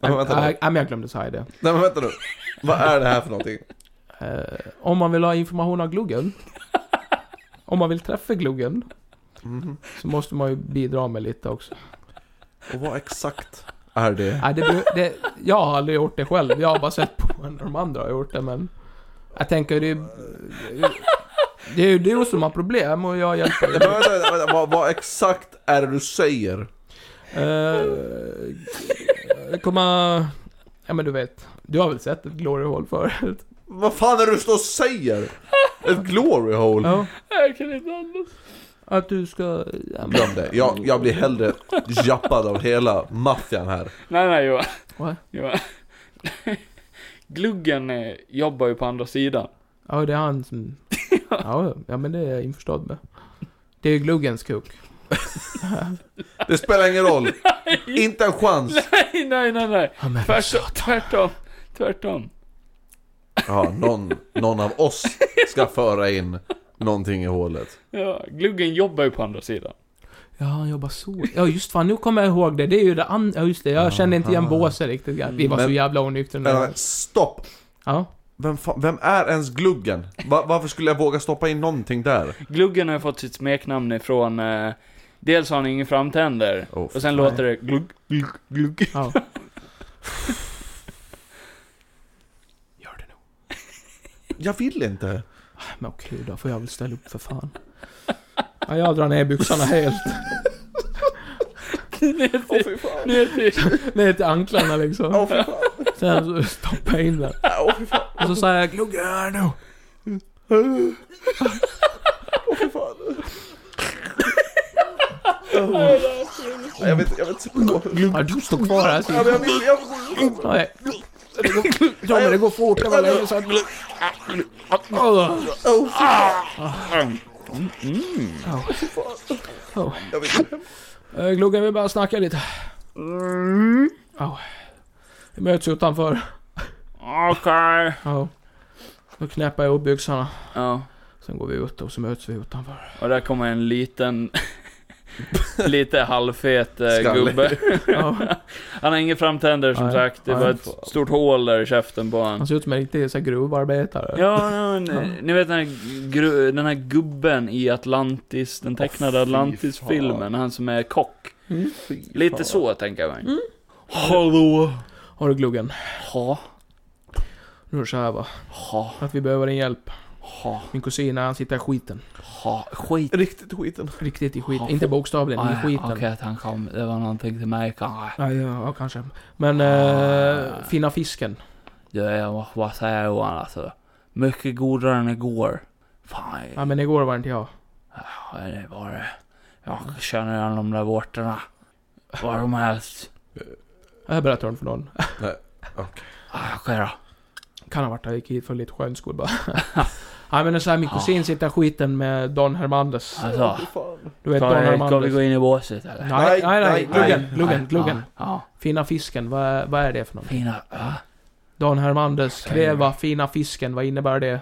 Speaker 3: Men vänta nu.
Speaker 1: Nej, nej, men jag glömde säga det.
Speaker 3: Nej men vänta nu. Vad är det här för någonting?
Speaker 1: Eh, om man vill ha information av gluggen. om man vill träffa gluggen.
Speaker 3: Mhm.
Speaker 1: Så måste man ju bidra med lite också.
Speaker 3: Och vad exakt är det?
Speaker 1: Nej, det, beror- det, jag har aldrig gjort det själv. Jag har bara sett på när de andra har gjort det men... Jag tänker det är Det är ju du som har problem och jag hjälper
Speaker 3: Nej,
Speaker 1: dig.
Speaker 3: men vänta, vänta, vänta. Vad, vad exakt är det du säger?
Speaker 1: Eh, komma... Ja men du vet, du har väl sett ett glory hole förut?
Speaker 3: Vad fan är det du står och säger? Ett glory hole?
Speaker 1: Ja.
Speaker 2: Jag kan inte andas.
Speaker 1: Att du ska... Ja, men,
Speaker 3: Glöm det. Jag, jag blir hellre jappad av hela maffian här.
Speaker 2: Nej, nej Johan.
Speaker 1: Vad?
Speaker 2: Johan. Gluggen eh, jobbar ju på andra sidan.
Speaker 1: ja det är han som... Ja, ja men det är jag införstådd med. Det är ju gluggens kuk.
Speaker 4: Det spelar ingen roll. Inte en chans.
Speaker 2: Nej, nej, nej, nej.
Speaker 1: Ja, men
Speaker 2: Tvärtom, tvärtom, tvärtom.
Speaker 4: Ja, någon, någon av oss ska föra in någonting i hålet.
Speaker 2: Ja, gluggen jobbar ju på andra sidan.
Speaker 1: Ja, han jobbar så. Ja, just fan, nu kommer jag ihåg det. Det är ju det andra... Ja, just det. Jag kände inte igen
Speaker 4: Aha.
Speaker 1: båsen riktigt. grabbar. Vi var
Speaker 4: Men-
Speaker 1: så jävla onyktra
Speaker 4: Men,
Speaker 1: nu.
Speaker 4: men, Stopp!
Speaker 1: Ja.
Speaker 4: Vem, fa- vem är ens gluggen? Va- varför skulle jag våga stoppa in någonting där?
Speaker 2: Gluggen har ju fått sitt smeknamn ifrån, eh, dels har han ingen framtänder,
Speaker 4: Oh,
Speaker 2: och sen låter det glugg, glugg, glugg.
Speaker 1: ja. Gör det nu.
Speaker 4: Jag vill inte.
Speaker 1: Men okej då, får jag väl ställa upp för fan. Ja, jag drar ner byxorna helt.
Speaker 2: Åh fy fan. Ner till,
Speaker 1: Ner till anklarna liksom.
Speaker 4: Åh fy fan.
Speaker 1: Sen så stoppade jag in den.
Speaker 4: Åh fy fan.
Speaker 1: Och så sa jag 'Gluggen här nu'
Speaker 4: Åh fy fan. Nej, Jag vet, jag vet inte.
Speaker 1: Ja, du står kvar här
Speaker 4: Ja,
Speaker 1: Simon.
Speaker 4: men jag vill, jag vill.
Speaker 1: Nej. Ja men det går fort, det var länge sedan. Åh. Åh. Åh. Eh, Gluggen, vi bara snacka lite.
Speaker 2: Mm.
Speaker 1: Åh. Vi möts utanför.
Speaker 2: okej.
Speaker 1: Ja. Då knäpper jag upp byxorna.
Speaker 2: Ja,
Speaker 1: Sen går vi ut och så möts vi utanför.
Speaker 2: och där kommer en liten, lite halvfet eh,
Speaker 4: Skallig.
Speaker 2: gubbe.
Speaker 1: Ja.
Speaker 2: Han har inga framtänder som
Speaker 1: Nej,
Speaker 2: sagt, det
Speaker 1: nej.
Speaker 2: var ett stort hål där i käften på
Speaker 1: Han
Speaker 2: han.
Speaker 1: ser ut som en riktig så här, gruvarbetare.
Speaker 2: Ja, ja, ni, ni vet den här, gru, den här gubben i Atlantis, den tecknade
Speaker 4: Åh, fy
Speaker 2: Atlantis-filmen, han som är kock. Lite så tänker jag mig.
Speaker 1: Hallå! Har du gluggen?
Speaker 2: Ha,
Speaker 1: Nu är det så här va.
Speaker 2: ha,
Speaker 1: Att vi behöver din hjälp.
Speaker 2: ha,
Speaker 1: Min kusin, han sitter i skiten.
Speaker 2: ha. Skit.
Speaker 4: Riktigt skiten.
Speaker 1: Riktigt i skiten.
Speaker 2: Ja.
Speaker 1: Inte bokstavligen, i
Speaker 2: Ah, Okej
Speaker 1: skiten.
Speaker 2: att han kom, det var någonting till mig kanske.
Speaker 1: Ja, ja, ja, kanske. Men
Speaker 2: Ah.
Speaker 1: eh, finna fisken.
Speaker 2: Du, jag måste bara säga Johan alltså. Mycket godare än igår. Fan,
Speaker 1: Ja, men igår var inte jag.
Speaker 2: ja, det var det. Jag känner igen de där vårtorna. Var de helst.
Speaker 1: Jag berättar inte för någon.
Speaker 2: Ah, Okej då.
Speaker 1: Kan ha varit jag gick hit för lite skönskor bara. Ja men det är så här, min
Speaker 2: Ah.
Speaker 1: kusin sitter i skiten med Don Hernandez.
Speaker 2: Alltså.
Speaker 1: Du vet Don
Speaker 2: Ska, ska vi
Speaker 1: Hernandez.
Speaker 2: gå
Speaker 1: Nej,
Speaker 2: in i båset eller?
Speaker 1: nej, nej.
Speaker 4: Nej,
Speaker 1: Gluggen, gluggen, gluggen.
Speaker 2: Ja, ja.
Speaker 1: Fina fisken, vad är, vad är det för någonting?
Speaker 2: Fina. Ja.
Speaker 1: Don Hernandez, kräva fina fisken, vad innebär det?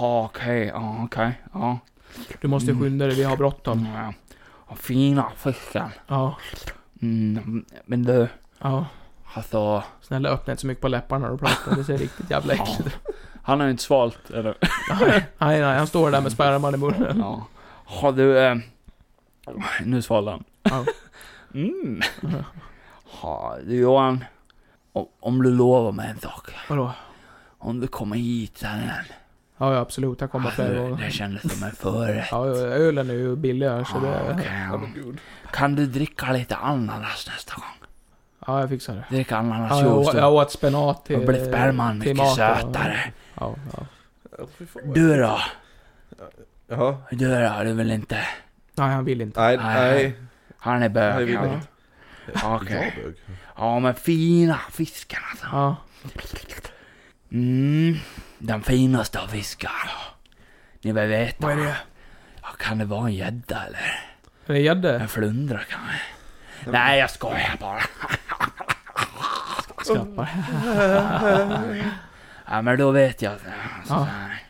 Speaker 2: Ja, Okej, ja, okej. Ja.
Speaker 1: Du måste skynda dig, vi har bråttom.
Speaker 2: Mm, ja. Fina fisken.
Speaker 1: Ja,
Speaker 2: Mm, men du,
Speaker 1: ja.
Speaker 2: alltså.
Speaker 1: Snälla öppna inte så mycket på läpparna när du pratar, det ser riktigt jävla äckligt ut.
Speaker 2: Han har ju inte svalt, eller?
Speaker 1: Nej, nej, nej, han står där med sperman i munnen.
Speaker 2: Ja. Har du... Eh, nu svalde han.
Speaker 1: Ja.
Speaker 2: Mm. Ha, du Johan. Om, om du lovar mig en sak.
Speaker 1: Vadå?
Speaker 2: Om du kommer hit sen igen.
Speaker 1: Ja, ja absolut, jag kommer flera
Speaker 2: Alltså,
Speaker 1: gånger.
Speaker 2: det kändes som en förrätt.
Speaker 1: Ja, ja, ölen är ju billigare så
Speaker 2: Ja,
Speaker 1: det...
Speaker 2: okej, ja. Kan du dricka lite ananas nästa gång?
Speaker 1: Ja, jag fixar det.
Speaker 2: Dricka
Speaker 1: Ja, jag,
Speaker 2: ananasjuice.
Speaker 1: å- jag åt spenat till...
Speaker 2: Då blir sperman
Speaker 1: till
Speaker 2: mycket
Speaker 1: maten.
Speaker 2: sötare.
Speaker 1: Ja, ja.
Speaker 2: Du då?
Speaker 4: Jaha.
Speaker 2: Du då? Du vill inte?
Speaker 1: Nej, han vill inte.
Speaker 4: Nej,
Speaker 2: Nej.
Speaker 4: nej.
Speaker 2: Han är
Speaker 4: Nej,
Speaker 2: bög.
Speaker 4: vi vill
Speaker 2: Ja.
Speaker 4: inte.
Speaker 2: Okej.
Speaker 4: Jag bög.
Speaker 2: Ja men fina fiskar alltså.
Speaker 1: Ja.
Speaker 2: Mm, den finaste av fiskar. Ni vill veta.
Speaker 1: Vad är det?
Speaker 2: Ja, kan det vara en gädda eller?
Speaker 1: Är det gädde?
Speaker 2: En flundra kanske? Nej jag skojar bara.
Speaker 1: Skrattar.
Speaker 2: Ja men då vet jag. Alltså,
Speaker 1: Ja.
Speaker 2: så här.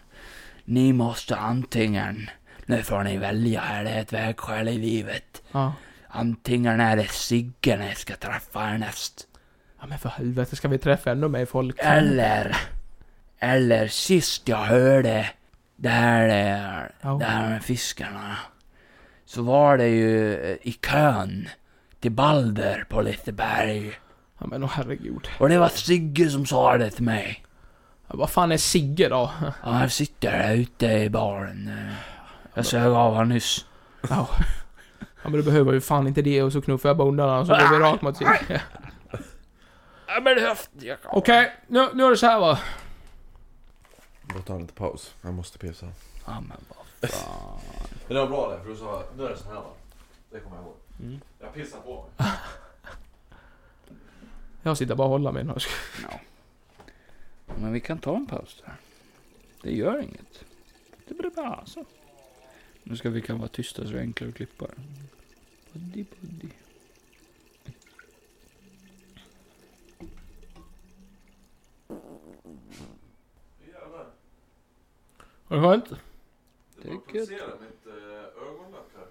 Speaker 2: Ni måste antingen, nu får ni välja här, det är ett vägskäl i livet.
Speaker 1: Ja.
Speaker 2: Antingen är det Sigge ni ska träffa härnäst.
Speaker 1: ja. men för helvete, ska vi träffa ännu mer folk?
Speaker 2: Eller, eller sist jag hörde det här, eh,
Speaker 1: Ja.
Speaker 2: det här med fiskarna. Så var det ju eh, i kön till Balder på Liseberg.
Speaker 1: Ja, men åh herregud.
Speaker 2: Och det var Sigge som sa det till mig.
Speaker 1: Ja, vad fan är Sigge då?
Speaker 2: Ja, han sitter där ute i baren. eh. Jag sög av honom nyss.
Speaker 1: Ja. Ja, men du behöver ju fan inte det och så knuffar jag bara undan honom så går vi rakt mot Sigge.
Speaker 2: Ja men höft. jag-
Speaker 1: Okej, nu, nu är det så här va.
Speaker 4: Då tar en liten paus. Jag måste pissa.
Speaker 2: Ja men vad fan.
Speaker 4: Det var bra det, för du sa nu är det så här va? Det kommer jag ihåg.
Speaker 2: Mm.
Speaker 4: Jag pissar på
Speaker 2: Ah.
Speaker 4: mig.
Speaker 1: Jag sitter bara och håller mig.
Speaker 2: Men vi kan ta en paus där. Det gör inget. Det blir bra så. Nu ska vi kan vara tysta så det är enklare att klippa. Buddy, buddy.
Speaker 1: Var det skönt?
Speaker 2: Det är gött.
Speaker 4: mitt eh, ögonlock här.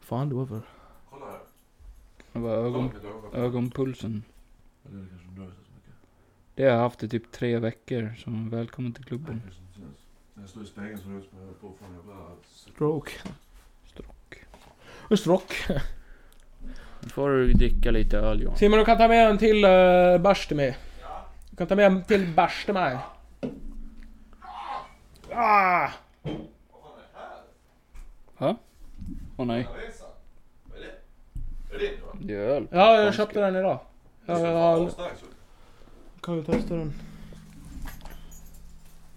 Speaker 1: Fan, det var för...
Speaker 4: Kolla här.
Speaker 2: Det var ögon,
Speaker 4: mitt ögonlock.
Speaker 2: ögonpulsen.
Speaker 4: Eller det kanske inte rör sig så mycket.
Speaker 2: Det har jag haft i typ tre veckor. Som välkommen till klubben.
Speaker 4: kanske inte syns. När jag står i spegeln så rör jag mig på från jävla...
Speaker 1: Stroke.
Speaker 2: Strock.
Speaker 1: En strock.
Speaker 2: Nu får du dricka lite öl Johan.
Speaker 1: Simon, du kan ta med en till uh, bärs till mig. Du kan ta med en till bärs till mig. Ah!
Speaker 2: Åh nej.
Speaker 4: Är det din va?
Speaker 2: Det är öl.
Speaker 1: Ja, jag köpte den idag. Jag har...
Speaker 4: Stark så.
Speaker 1: Kan vi testa den?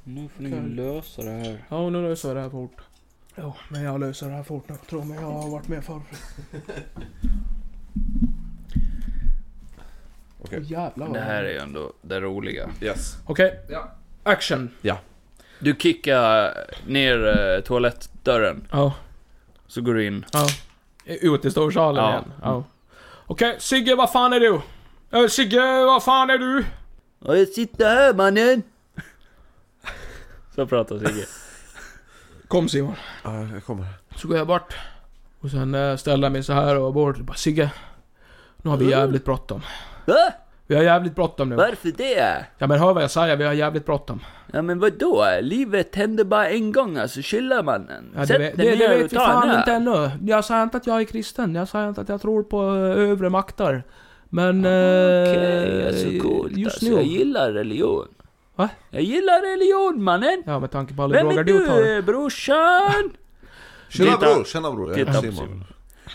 Speaker 2: Nu får ni
Speaker 1: Kan-
Speaker 2: lösa det här.
Speaker 1: Ja, nu löser jag det här fort. Jo, men jag löser det här fort nu. Tror mig, jag har varit med förr.
Speaker 3: Okej.
Speaker 1: Åh, jävlar vad
Speaker 2: Det här är ju ändå det roliga.
Speaker 3: Yes.
Speaker 1: Okej.
Speaker 4: Ja.
Speaker 1: Action.
Speaker 2: Du kickar ner eh, toalettdörren.
Speaker 1: Ja.
Speaker 2: Så går du in.
Speaker 1: Ja. Ut i storsalen
Speaker 2: Ja.
Speaker 1: igen. Ja. Okej, Sigge, vad fan är du? Eh, Sigge, vad fan är du?
Speaker 6: Ja, jag sitter här mannen.
Speaker 2: Så pratar Sigge.
Speaker 1: Kom Simon.
Speaker 3: Ja, jag kommer.
Speaker 1: Så går jag bort. Och sen eh, ställer jag mig så här och bort. Bara, Sigge. Nu har vi
Speaker 6: Mm.
Speaker 1: jävligt bråttom.
Speaker 6: Va?
Speaker 1: Vi har jävligt bråttom nu.
Speaker 6: Varför det?
Speaker 1: Ja men hör vad jag säger, vi har jävligt bråttom.
Speaker 6: Ja men vadå? Livet händer bara en gång alltså, chilla mannen.
Speaker 1: Ja, det,
Speaker 6: Sätt
Speaker 1: vet-
Speaker 6: dig
Speaker 1: det, det
Speaker 6: ner och
Speaker 1: vet vi
Speaker 6: ta en
Speaker 1: fan inte
Speaker 6: öl.
Speaker 1: ännu. Jag säger inte att jag är kristen, jag säger inte att jag tror på eh, övre makter. Men... eh,
Speaker 6: Okej, alltså coolt
Speaker 1: just
Speaker 6: alltså.
Speaker 1: nu.
Speaker 6: Jag gillar religion.
Speaker 1: Va?
Speaker 6: Jag gillar religion mannen.
Speaker 1: Ja med tanke på alla
Speaker 6: Vem är
Speaker 1: droger du tar.
Speaker 6: du eh, brorsan?
Speaker 3: Tjena
Speaker 2: Titta.
Speaker 3: bror, tjena bror. Jag
Speaker 2: Titta
Speaker 3: heter
Speaker 2: på
Speaker 3: Simon.
Speaker 2: Simon.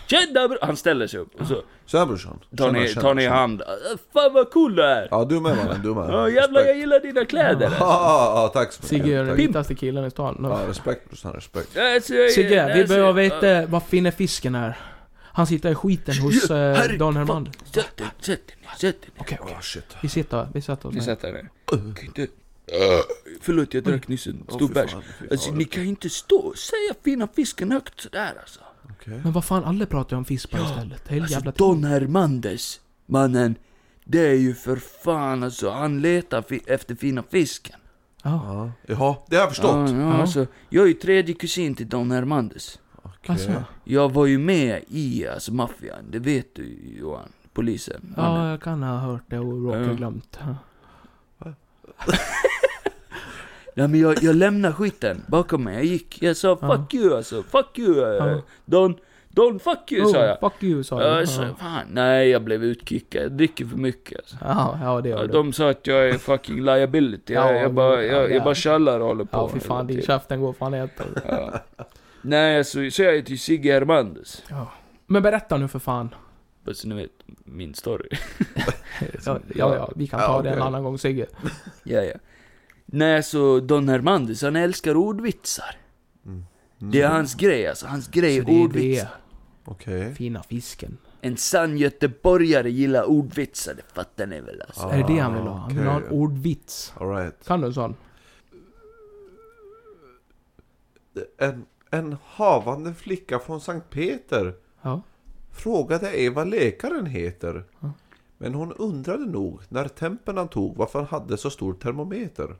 Speaker 2: Tjena bror! Han ställer sig upp och så
Speaker 3: Tjena brorsan.
Speaker 2: tar
Speaker 3: Tjena,
Speaker 2: ni,
Speaker 3: tjena,
Speaker 2: tar ni i
Speaker 3: tjena.
Speaker 2: hand.
Speaker 6: "Ah,
Speaker 2: Äh, Fan vad cool du är!
Speaker 3: Ja du med mannen, du med.
Speaker 6: Ja jävlar jag
Speaker 3: Respekt.
Speaker 6: gillar dina kläder.
Speaker 3: Ja, ja, ja, tack så mycket.
Speaker 1: Sigge är den
Speaker 3: Tack.
Speaker 1: vitaste killen i stan.
Speaker 3: Ja, respekt brorsan, respekt.
Speaker 6: Alltså, jag-
Speaker 1: Sigge, vi
Speaker 6: alltså,
Speaker 1: behöver
Speaker 6: ja.
Speaker 1: veta var finner fisken är. Han sitter i skiten hos eh,
Speaker 6: Herre,
Speaker 1: Dan
Speaker 6: fan.
Speaker 1: Hermander.
Speaker 6: Sätt dig, sätt dig ner, sätt dig ner.
Speaker 1: Okej, okej.
Speaker 3: Ah shit.
Speaker 1: Vi sitter, vi sätter oss
Speaker 2: Ni
Speaker 1: ner.
Speaker 2: sätter er.
Speaker 6: Kan inte... Förlåt jag drack nyss en
Speaker 3: Äh. Åh,
Speaker 6: stor
Speaker 3: fy
Speaker 6: bärs.
Speaker 3: fan, fy fan.
Speaker 6: Alltså ni kan inte stå och säga fina fisken högt sådär alltså.
Speaker 3: Okej.
Speaker 1: Men vad fan, alla pratar ju om fisk på
Speaker 6: Ja,
Speaker 1: istället. Hela
Speaker 6: Alltså
Speaker 1: jävla
Speaker 6: Don Hermandes, mannen. Det är ju för fan alltså, han letar fi- efter fina fisken.
Speaker 1: Ja.
Speaker 3: Ja. Jaha, det har jag
Speaker 6: Ja,
Speaker 3: förstått.
Speaker 6: ja, alltså, jag är ju tredje kusin till Don Hermandes.
Speaker 3: Okej.
Speaker 1: Alltså,
Speaker 6: Jag var ju med i alltså, maffian, det vet du ju, Johan. Polisen.
Speaker 1: ja,
Speaker 6: mannen.
Speaker 1: jag kan ha hört det och råkat
Speaker 6: Ja.
Speaker 1: glömt.
Speaker 6: Nej men jag, jag lämnade skiten bakom mig, jag gick. Jag sa
Speaker 1: Ja.
Speaker 6: fuck you alltså, fuck you eh,
Speaker 1: Ja.
Speaker 6: Don, Don fuck you sa jag.
Speaker 1: Oh, fuck you sa
Speaker 6: Ja,
Speaker 1: du.
Speaker 6: jag sa, fan, nej jag blev utkickad, jag dricker för mycket alltså.
Speaker 1: Ja, ja det gör du.
Speaker 6: De sa att jag är fucking liability, jag,
Speaker 1: Ja,
Speaker 6: jag
Speaker 1: ja,
Speaker 6: bara, jag,
Speaker 1: ja.
Speaker 6: jag bara tjallar och håller på.
Speaker 1: Ja, fy fan,
Speaker 6: hela
Speaker 1: din
Speaker 6: tiden.
Speaker 1: käften går fan äta.
Speaker 6: typ. Ja. Nej, alltså, så jag heter ju Sigge Hermandes.
Speaker 1: Men berätta nu för fan.
Speaker 2: Bara Så ni vet min story.
Speaker 1: Ja, ja, ja vi kan ta
Speaker 3: Ja,
Speaker 1: det en
Speaker 3: okej.
Speaker 1: annan gång Sigge.
Speaker 6: Ja, ja. Nej, alltså Don Hermandes, han älskar ordvitsar. Det är hans grej alltså, hans grej
Speaker 1: Så
Speaker 6: är
Speaker 1: det är det,
Speaker 6: ordvitsar.
Speaker 3: Okej.
Speaker 1: fina fisken.
Speaker 6: En sann göteborgare gillar ordvitsar, det fattar ni väl alltså?
Speaker 1: Är det det han vill ha? Han vill ha en
Speaker 3: okej.
Speaker 1: ordvits.
Speaker 3: Alright.
Speaker 1: Kan du en sån?
Speaker 3: En, en havande flicka från Sankt Peter
Speaker 1: Ja.
Speaker 3: frågade ej vad läkaren heter. Men hon undrade nog när tempen han tog varför han hade så stor termometer.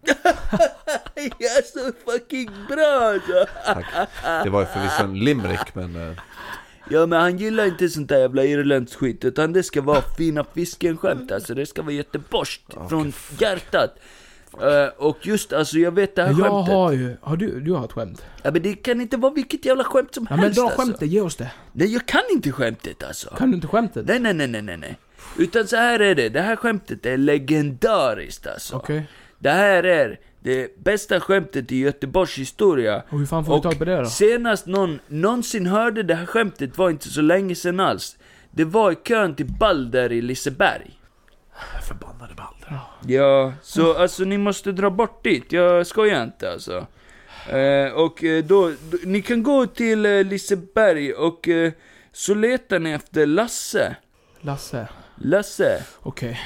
Speaker 6: Jag är så fucking bra alltså.
Speaker 3: Tack. Det var ju förvisso en limerick men... eh,
Speaker 6: Ja men han gillar inte sånt där jävla irländskt skit utan det ska vara fina fisken-skämt alltså. Det ska vara göteborgskt från hjärtat. Eh, och just alltså jag vet det här
Speaker 1: Men jag
Speaker 6: skämtet.
Speaker 1: har ju... Har du, du har ett skämt?
Speaker 6: Ja men det kan inte vara vilket jävla skämt som
Speaker 1: Ja men
Speaker 6: helst
Speaker 1: dra
Speaker 6: alltså.
Speaker 1: skämtet, ge oss det.
Speaker 6: Nej jag kan inte skämtet alltså.
Speaker 1: Kan du inte skämtet?
Speaker 6: Nej nej nej nej nej, nej. Utan så här är det, det här skämtet är legendariskt alltså.
Speaker 1: Okej.
Speaker 6: Det här är det bästa skämtet i Göteborgs historia.
Speaker 1: Och hur fan får vi tag på det då?
Speaker 6: senast någon någonsin hörde det här skämtet var inte så länge sedan alls. Det var i kön till Balder i Liseberg.
Speaker 3: Förbannade Balder.
Speaker 6: Ja, så alltså ni måste dra bort dit. Jag skojar inte alltså. Eh, och eh, då, då, ni kan gå till eh, Liseberg och eh, så letar ni efter Lasse.
Speaker 1: Lasse.
Speaker 6: Lasse,
Speaker 1: Okej.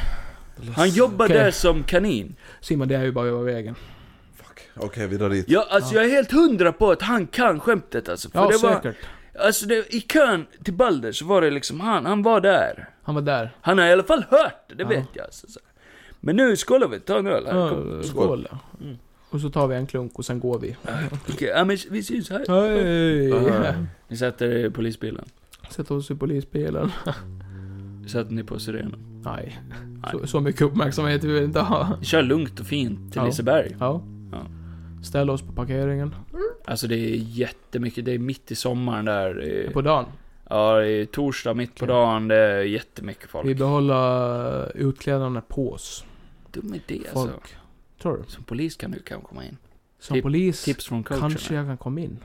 Speaker 6: han jobbar
Speaker 1: Okej.
Speaker 6: där som kanin.
Speaker 1: Simon, det är ju bara över vägen.
Speaker 3: Fuck. Okej, vi drar dit.
Speaker 2: Ja, alltså jag är helt hundra på att han kan skämtet alltså. För
Speaker 1: Ja,
Speaker 2: det var,
Speaker 1: säkert.
Speaker 2: Alltså det, i kön till Balder så var det liksom han, han var där.
Speaker 1: Han var där.
Speaker 2: Han har i alla fall hört det, det vet jag. Alltså. så. Men nu skålar vi, ta en öl här.
Speaker 1: Ja,
Speaker 2: Kom. Mm.
Speaker 1: skål. Och så tar vi en klunk och sen går vi.
Speaker 2: Okej, ja, men vi syns här.
Speaker 1: Hej!
Speaker 2: Ni sätter er i polisbilen.
Speaker 1: Sätter oss i polisbilen.
Speaker 2: Sätter ni på sirenen.
Speaker 1: Nej. Så, så mycket uppmärksamhet vill vi inte ha.
Speaker 2: Kör lugnt och fint till
Speaker 1: Ja.
Speaker 2: Liseberg.
Speaker 1: Ja.
Speaker 2: Ja.
Speaker 1: Ställ oss på parkeringen.
Speaker 2: Alltså det är jättemycket, det är mitt i sommaren där. eh,
Speaker 1: På dagen.
Speaker 2: Ja, det är torsdag mitt på
Speaker 1: Okej.
Speaker 2: dagen, det är jättemycket
Speaker 1: Vi
Speaker 2: folk.
Speaker 1: behåller utklädarna på oss.
Speaker 2: Dum idé alltså.
Speaker 1: Folk. Tror du?
Speaker 2: Som polis kan du kanske komma in.
Speaker 1: Som
Speaker 2: Tip-
Speaker 1: polis
Speaker 2: Tips från coacherna.
Speaker 1: kanske jag kan komma in.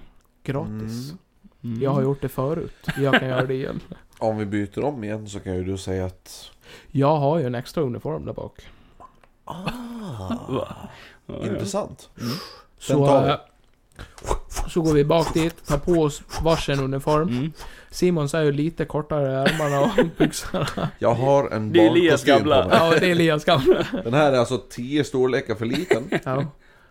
Speaker 1: Gratis.
Speaker 3: Mm.
Speaker 2: Mm.
Speaker 1: Jag har gjort det förut. Jag kan göra det igen.
Speaker 3: Om vi byter om igen så kan ju du säga att...
Speaker 1: Jag har ju en extra uniform där bak.
Speaker 2: Va? Ja, ja.
Speaker 3: Ah, Intressant.
Speaker 1: Så,
Speaker 3: tar vi.
Speaker 1: eh, så går vi bak dit, tar på oss varsin uniform.
Speaker 2: Mm.
Speaker 1: Simons är ju lite kortare i ärmarna och byxorna.
Speaker 3: Jag har en
Speaker 2: Det är Elias
Speaker 3: barnkostym på
Speaker 2: gamla.
Speaker 3: mig.
Speaker 1: Ja, det är Elias gamla.
Speaker 3: Den här är alltså 10 storlekar för liten.
Speaker 1: Ja.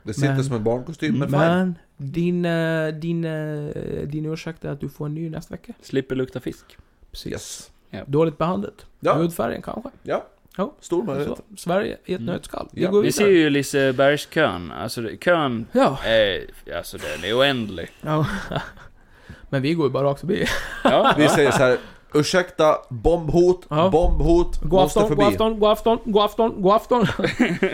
Speaker 3: Det sitter
Speaker 1: Men-
Speaker 3: som en barnkostym, men, fine.
Speaker 1: Men, din, eh, din, eh, din ursäkt är att du får en ny nästa vecka.
Speaker 2: Slipper lukta fisk.
Speaker 1: Precis.
Speaker 3: Yes.
Speaker 1: Dåligt behandlat.
Speaker 3: Ja.
Speaker 1: Hudfärgen kanske.
Speaker 3: Stor
Speaker 1: Så,
Speaker 3: möjlighet.
Speaker 1: Sverige i ett
Speaker 2: Mm.
Speaker 1: nötskal. Vi
Speaker 3: Ja,
Speaker 1: går
Speaker 2: Vi ser
Speaker 1: vidare.
Speaker 2: ju Lisebergskön, alltså det- kön
Speaker 1: Ja.
Speaker 2: är, alltså den är oändlig.
Speaker 1: ja. Men vi går ju bara rakt förbi.
Speaker 2: Ja,
Speaker 3: Vi säger så här. Ursäkta, bombhot,
Speaker 1: Ja.
Speaker 3: bombhot,
Speaker 1: God
Speaker 3: måste
Speaker 1: afton, god
Speaker 3: förbi.
Speaker 1: afton, god afton, god afton, god afton.
Speaker 3: Hallå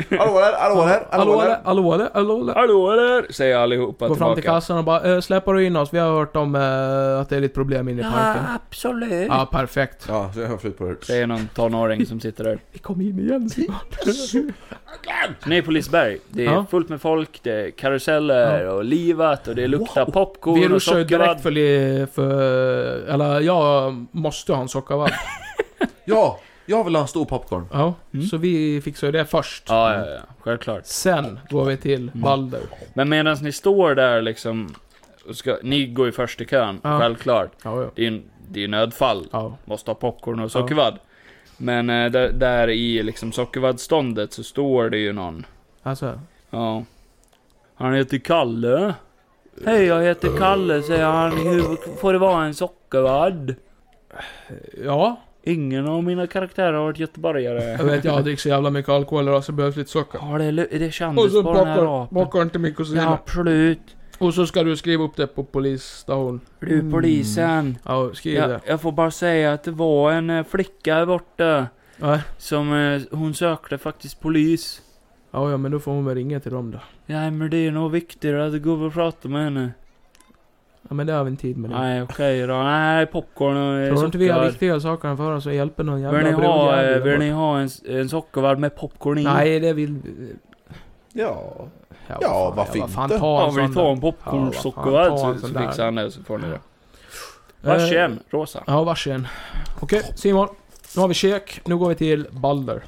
Speaker 3: där, hallå där,
Speaker 1: Hallå
Speaker 3: hallå
Speaker 1: där,
Speaker 3: där.
Speaker 1: hallå där, hallå där.
Speaker 2: hallå där, säger allihopa
Speaker 1: Gå fram
Speaker 2: tillbaka.
Speaker 1: till kassan och bara "Eh, släpper du in oss? Vi har hört om eh, att det är lite problem inne i parken.
Speaker 2: absolut.
Speaker 1: Ja, perfekt.
Speaker 3: Ja, så jag har flytt på det.
Speaker 2: Säger någon tonåring som sitter där.
Speaker 1: Vi kom in igen Simon.
Speaker 2: Så ni är på Liseberg, det är
Speaker 1: Ja.
Speaker 2: fullt med folk, det är karuseller och livat och det luktar popcorn
Speaker 1: Vi
Speaker 2: och
Speaker 1: ruschar ju direkt
Speaker 2: sockervadd.
Speaker 1: för, li- för... Eller jag måste ha en sockervadd.
Speaker 3: Ja, jag vill ha en stor popcorn.
Speaker 1: Ja, Mm. så vi fixar ju det först.
Speaker 2: Ja, ja, ja, självklart.
Speaker 1: Sen går vi till Balder.
Speaker 2: Men medan ni står där liksom, och ska, ni går ju först i kön,
Speaker 1: Ja.
Speaker 2: självklart.
Speaker 1: Ja, ja.
Speaker 2: Det är ju det är ju nödfall.
Speaker 1: ja.
Speaker 2: Måste ha popcorn och sockervadd. Men eh, där, där i liksom sockervaddståndet så står det ju någon.
Speaker 1: Alltså,
Speaker 2: Ja. Han heter Kalle. Hej, jag heter Kalle, säger han. Hur får det vara en sockervadd?
Speaker 1: ja.
Speaker 2: Ingen av mina karaktärer har varit göteborgare.
Speaker 1: Jag vet, jag dricker så jävla mycket alkohol idag så det behövs lite socker.
Speaker 2: Ja, det, är lu- det
Speaker 1: Och
Speaker 2: kändes
Speaker 1: så
Speaker 2: på den här
Speaker 1: popcorn,
Speaker 2: apen.
Speaker 1: popcorn till min kusin.
Speaker 2: Ja, absolut.
Speaker 1: Och så ska du skriva upp det på polisstation.
Speaker 2: Du polisen.
Speaker 1: Ja, skriv
Speaker 2: Jag,
Speaker 1: det.
Speaker 2: jag får bara säga att det var en eh, flicka här borta.
Speaker 1: Ja.
Speaker 2: Som eh, hon sökte faktiskt polis.
Speaker 1: Ja, ja, men då får hon väl ringa till dem då.
Speaker 2: Nej men det är nog viktigare att gå och prata med henne.
Speaker 1: Ja, men det har vi inte tid med nu.
Speaker 2: Nej okej då. Nej popcorn och eh,
Speaker 1: Tror du inte vi har
Speaker 2: sockervadd.
Speaker 1: viktiga saker för oss att hjälpa någon jävla
Speaker 2: Vill ni ha, eh,
Speaker 1: brudjävel där
Speaker 2: vill
Speaker 1: borta?
Speaker 2: ni ha en, s- en sockervadd med popcorn i?
Speaker 1: Nej, det vill vi...
Speaker 3: Ja.
Speaker 1: Ja,
Speaker 3: Ja, varför
Speaker 1: ja, vad fan,
Speaker 3: inte?
Speaker 1: Ta
Speaker 2: Ja,
Speaker 1: en
Speaker 2: vill ni
Speaker 1: sån
Speaker 2: ta
Speaker 1: då.
Speaker 2: en
Speaker 1: Ja,
Speaker 2: popcorn
Speaker 1: vad
Speaker 2: och
Speaker 1: fan,
Speaker 2: sockervadd
Speaker 1: ta en
Speaker 2: så, så
Speaker 1: sån där.
Speaker 2: fixar han det så får ni det.
Speaker 1: Eh,
Speaker 2: Varsin, rosa.
Speaker 1: Ja, varsin. Okej, Simon. Nu har vi kök. Nu går vi till Balder.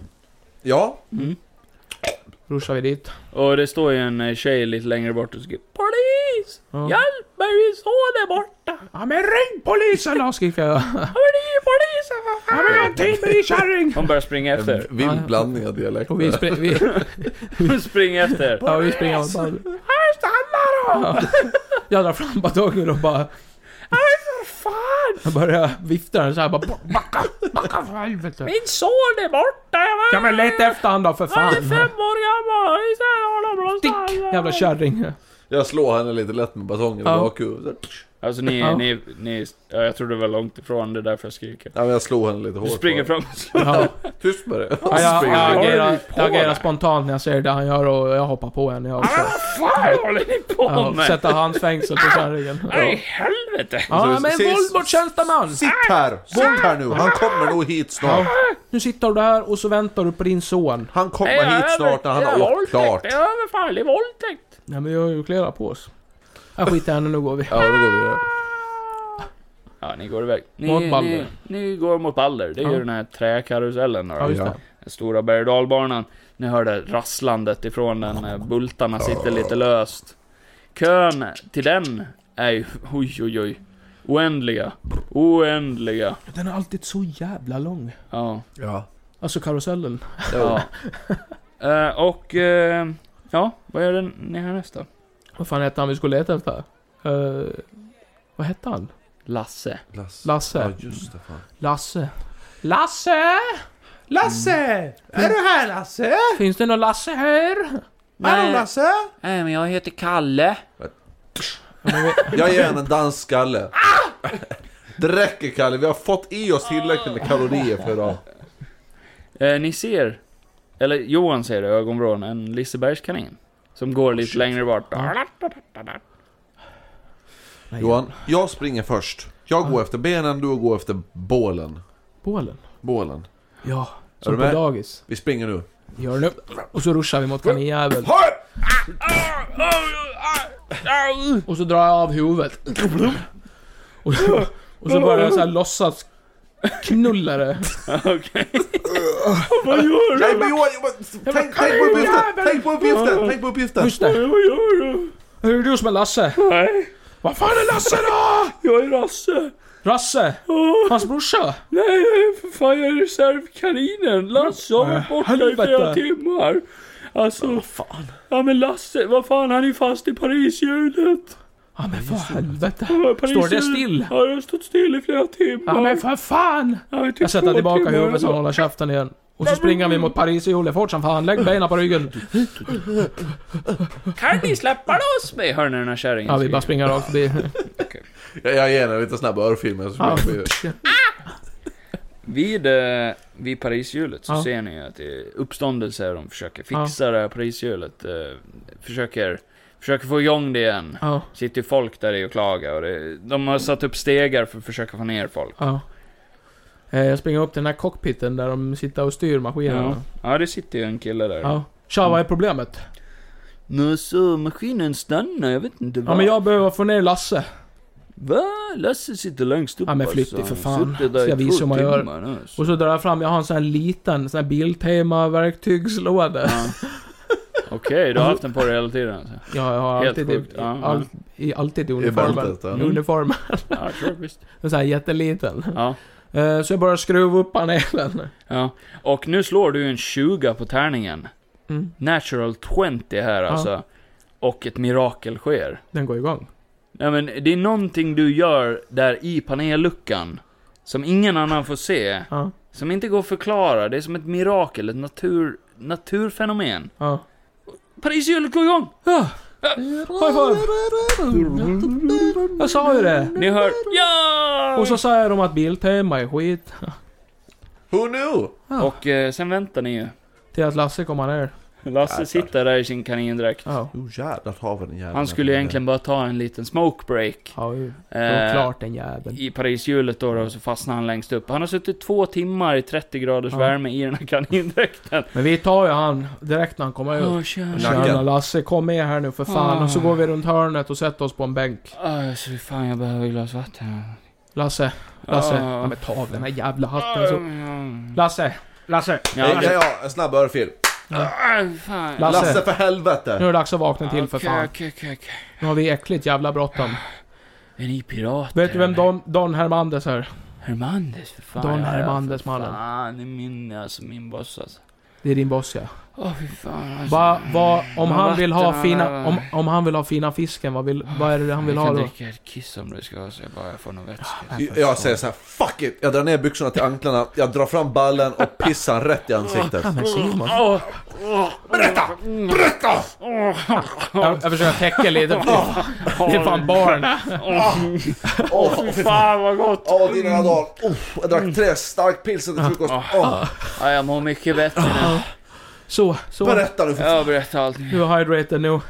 Speaker 3: Ja,
Speaker 2: Mm.
Speaker 1: Ruschar vi dit.
Speaker 2: Och det står ju en eh, tjej lite längre bort och skriker Polis!
Speaker 1: Ja.
Speaker 2: Hjälp mig, min son är borta!
Speaker 1: Ja men ring polisen då skriker jag.
Speaker 2: Ja, men det är ju polisen för fan!
Speaker 1: Ja men jag har tid med din kärring!
Speaker 2: Hon börjar springa efter.
Speaker 3: en vild blandning av dialekter.
Speaker 1: Och vi, spring, vi,
Speaker 2: Hon springer efter.
Speaker 1: ja, vi springer åt Balder. Här stannar de! Jag drar fram batongen och bara... Jag börjar vifta den såhär bara backa, backa för helvete.
Speaker 2: Min son är borta! Jag var
Speaker 1: Ja men leta efter han då för
Speaker 2: han
Speaker 1: fan.
Speaker 2: är fem år gammal! Jag ser honom någonstans.
Speaker 1: Stick jävla kärring.
Speaker 3: Jag slår henne lite lätt med batongen i
Speaker 1: Ja.
Speaker 3: bakhuvudet.
Speaker 2: Alltså ni,
Speaker 1: Ja.
Speaker 2: ni, ni, ja, jag tror det var långt ifrån, det är därför jag skriker.
Speaker 3: Ja, men jag slår henne lite
Speaker 2: Du
Speaker 3: hårt.
Speaker 2: springer
Speaker 3: bara.
Speaker 2: fram och slår.
Speaker 1: Ja.
Speaker 3: Tyst med det.
Speaker 1: Ja, jag,
Speaker 3: Springer.
Speaker 1: jag,
Speaker 2: Vad håller
Speaker 1: agerar,
Speaker 2: ni på
Speaker 1: jag agerar
Speaker 2: med?
Speaker 1: spontant när jag ser det han gör och jag hoppar på henne. Jag också.
Speaker 2: Fan håller ni på
Speaker 1: Ja,
Speaker 2: med?
Speaker 1: sätter handfängsel på kärringen.
Speaker 2: Nej,
Speaker 1: Ja.
Speaker 2: helvete!
Speaker 1: Ja,
Speaker 3: Så-
Speaker 1: men
Speaker 3: ses-
Speaker 1: våld mot tjänsteman!
Speaker 3: Sitt här! Sitt här nu! Han kommer nog hit snart.
Speaker 1: Nu sitter du där och så väntar du på din son.
Speaker 3: Han kommer hit snart när han har åkt klart.
Speaker 2: Det är överfall, det är våldtäkt!
Speaker 1: Nej men jag har ju kläder på oss. Jag skiter i henne, nu går vi.
Speaker 3: Ja, då går vi vidare.
Speaker 2: Ja, ni går iväg. Ni,
Speaker 1: Mot Balder.
Speaker 2: Ni, ni går mot Balder. Det är
Speaker 1: Ja.
Speaker 2: ju den här träkarusellen då.
Speaker 1: Ja just det.
Speaker 2: Den stora berg och dalbanan. Ni hör det rasslandet ifrån den. eh, Bultarna sitter lite löst. Kön till den är ju, oj oj oj. Oändliga. Oändliga.
Speaker 1: Den är alltid så jävla lång.
Speaker 2: Ja.
Speaker 3: Ja.
Speaker 1: Alltså karusellen.
Speaker 2: ja. Eh, och eh, Ja, vad gör den ni härnäst då?
Speaker 1: Vad fan hette han vi skulle leta efter? Eh, vad hette han?
Speaker 2: Lasse.
Speaker 4: Lasse. Ja
Speaker 1: Lasse.
Speaker 4: just det fan.
Speaker 1: Lasse. Lasse! Lasse! Är du här Lasse? Finns det någon Lasse här?
Speaker 7: Nej,
Speaker 4: Lasse!
Speaker 7: nej, men jag heter Kalle.
Speaker 4: Jag ger henne en dansskalle.
Speaker 1: Ah!
Speaker 4: Det räcker Kalle, vi har fått i oss tillräckligt med kalorier för idag.
Speaker 2: Eh, ni ser, eller Johan ser i ögonvrån, en Lisebergskanin. Som
Speaker 7: Oh,
Speaker 2: går lite längre bort.
Speaker 4: Johan, jag springer först. Jag går efter benen, du går efter bålen.
Speaker 1: Bålen?
Speaker 4: Bålen.
Speaker 1: Ja,
Speaker 4: du
Speaker 1: som på
Speaker 4: med?
Speaker 1: dagis.
Speaker 4: Vi springer nu.
Speaker 1: Gör nu. Och så ruschar vi mot kaninjäveln. Och så drar jag av huvudet. Och, och så börjar jag så här låtsas knulla det.
Speaker 2: Okej.
Speaker 4: Nej men Johan, Johan, tänk, tänk på uppgiften! Tänk på uppgiften! Tänk på uppgiften!
Speaker 1: Just det.
Speaker 2: Vad gör du?
Speaker 1: Är det du som är Lasse?
Speaker 2: Nej.
Speaker 1: Vad fan är Lasse då?
Speaker 2: Jag är Lasse.
Speaker 1: Rasse?
Speaker 2: Åh,
Speaker 1: Hans brorsa?
Speaker 2: nej, jag är för fan jag är reservkaninen. Lasse har varit borta i flera
Speaker 1: Äh, helvete.
Speaker 2: timmar. Alltså,
Speaker 1: Fan.
Speaker 2: ja men Lasse, vad fan han är ju fast i Parishjulet.
Speaker 1: Ja men för helvete.
Speaker 2: Ja,
Speaker 1: Står det
Speaker 2: Parishjulet-
Speaker 1: still?
Speaker 2: Ja, det har stått still i flera timmar.
Speaker 1: Ja men för fan!
Speaker 2: Ja, jag
Speaker 1: Jag sätter tillbaka huvudet så
Speaker 2: så
Speaker 1: han håller käften igen. Och så springer vi mot Paris i Olle fort som fan. Lägg benen på ryggen.
Speaker 2: Kan ni släppa loss mig? Hör ni den här kärringen?
Speaker 1: Ja vi bara springer rakt förbi.
Speaker 4: Jag, jag ger henne en liten snabb örfil men så
Speaker 1: Ja.
Speaker 4: springer vi.
Speaker 2: Vid, eh, vid Parishjulet så
Speaker 1: Ja.
Speaker 2: ser ni att det är uppståndelse de försöker fixa det här Parishjulet. Eh, försöker, försöker få igång det igen.
Speaker 1: Ja,
Speaker 2: Sitter ju folk där i och klagar och det, de har satt upp stegar för att försöka få ner folk.
Speaker 1: ja. Eh, Jag springer upp till den här cockpiten där de sitter och styr
Speaker 2: Ja,
Speaker 1: maskinerna.
Speaker 2: ja det sitter ju en kille där.
Speaker 1: Ja. Tja, vad är problemet?
Speaker 6: Nu så maskinen stannar, jag vet inte
Speaker 1: Ja men jag behöver få ner Lasse.
Speaker 6: Va? Lasse sitter längst upp
Speaker 1: Ja, men
Speaker 6: alltså.
Speaker 1: flytt dig för
Speaker 6: Han
Speaker 1: fan.
Speaker 6: sitter där
Speaker 1: Ska jag
Speaker 6: i två
Speaker 1: visa hur man gör?
Speaker 6: timmar nu, alltså.
Speaker 1: Och så drar jag fram, jag har en sån här liten sån här Biltema-verktygslåda.
Speaker 2: Ja. Okej, du har haft den på dig hela tiden alltså.
Speaker 1: Ja, jag har
Speaker 2: Helt
Speaker 1: alltid,
Speaker 2: sjukt.
Speaker 1: i,
Speaker 2: Ja, ja.
Speaker 1: all, i, alltid i
Speaker 4: I
Speaker 1: uniformen.
Speaker 4: bältet.
Speaker 1: I
Speaker 4: ja.
Speaker 1: uniformen.
Speaker 2: Ja, sure, visst.
Speaker 1: En sån här jätteliten.
Speaker 2: Ja,
Speaker 1: Eh, Så jag börjar skruva upp panelen.
Speaker 2: ja. Och nu slår du en 20 på tärningen.
Speaker 1: Mm.
Speaker 2: Natural 20 här alltså. Och ett mirakel sker.
Speaker 1: Den går igång.
Speaker 2: Nej men det är någonting du gör där i panelluckan. Som ingen annan får se.
Speaker 1: Ja,
Speaker 2: Som inte går att förklara. Det är som ett mirakel, ett natur, naturfenomen.
Speaker 1: ja.
Speaker 2: Parishjulet går igång!
Speaker 1: High five! Jag sa ju det!
Speaker 2: Ni hör ja!
Speaker 1: Och så säger de att Biltema är skit.
Speaker 4: Who knew?
Speaker 2: Och eh, sen väntar ni ju.
Speaker 1: Till att Lasse kommer ner.
Speaker 2: Lasse sitter där i sin kanindräkt.
Speaker 1: Ja.
Speaker 4: Jo jävlar har vi den jäveln.
Speaker 2: Han skulle ju egentligen bara ta en liten smoke break.
Speaker 1: Ja, ju. Det var
Speaker 2: Eh,
Speaker 1: klart den jäveln.
Speaker 2: I Parishjulet då, då, och så fastnar han längst upp. Han har suttit två timmar i 30 graders
Speaker 1: Ja.
Speaker 2: värme i den här kanindräkten.
Speaker 1: Men vi tar ju han direkt när han kommer
Speaker 2: Åh,
Speaker 1: ut.
Speaker 2: tjena.
Speaker 1: Tjena Lasse, kom med här nu för fan.
Speaker 2: Ah.
Speaker 1: Och så går vi runt hörnet och sätter oss på en bänk.
Speaker 2: Åh, så fan jag behöver ett glas vatten.
Speaker 1: Lasse, Lasse.
Speaker 2: Ah.
Speaker 1: Ja, men ta av den här jävla hatten så.
Speaker 2: Ja,
Speaker 1: Lasse, Lasse,
Speaker 4: Ja, ja,
Speaker 2: ja.
Speaker 4: ja, en snabb örfil.
Speaker 2: Aj, fan.
Speaker 1: Lasse.
Speaker 4: Lasse för
Speaker 1: nu
Speaker 4: helvete!
Speaker 1: är det dags att vakna till för
Speaker 2: Okej,
Speaker 1: fan.
Speaker 2: okej, okej, okej.
Speaker 1: Nu har vi äckligt jävla bråttom.
Speaker 2: Är ni pirater?
Speaker 1: Vet du vem
Speaker 2: eller?
Speaker 1: Don, Don Hermandes är?
Speaker 2: Hermandes för fan.
Speaker 1: Don
Speaker 2: ja, ja,
Speaker 1: Hermandes,
Speaker 2: för
Speaker 1: mannen.
Speaker 2: Fan, det är min, alltså min boss alltså.
Speaker 1: Det är din boss ja.
Speaker 2: Åh fy fan alltså.
Speaker 1: Va, va, om,
Speaker 2: Vad
Speaker 1: han vill
Speaker 2: vatten
Speaker 1: ha
Speaker 2: han
Speaker 1: fina,
Speaker 2: har.
Speaker 1: om, om han vill ha fina fisken, vad, vill, vad är det han vill
Speaker 2: jag
Speaker 1: ha
Speaker 2: kan
Speaker 1: då?
Speaker 2: dricka ett kiss om du ska ha så jag bara får något vätska.
Speaker 4: Jag säger så här: fuck it! Jag drar ner byxorna till anklarna, jag drar fram ballen och pissar han rätt i ansiktet.
Speaker 1: Men Simon.
Speaker 2: Åh,
Speaker 4: Berätta!
Speaker 1: Jag, jag försöker täcka lite. Det är fan barn.
Speaker 4: Åh,
Speaker 2: Åh fy fan vad gott!
Speaker 4: Åh, dina dagar. Oh, jag drack tre stark pilsner till frukost. Åh,
Speaker 2: Ja, jag mår mycket bättre nu.
Speaker 1: Ah. Så, så.
Speaker 4: berätta nu för
Speaker 2: Jag berättar allt.
Speaker 1: Du är hydrated nu.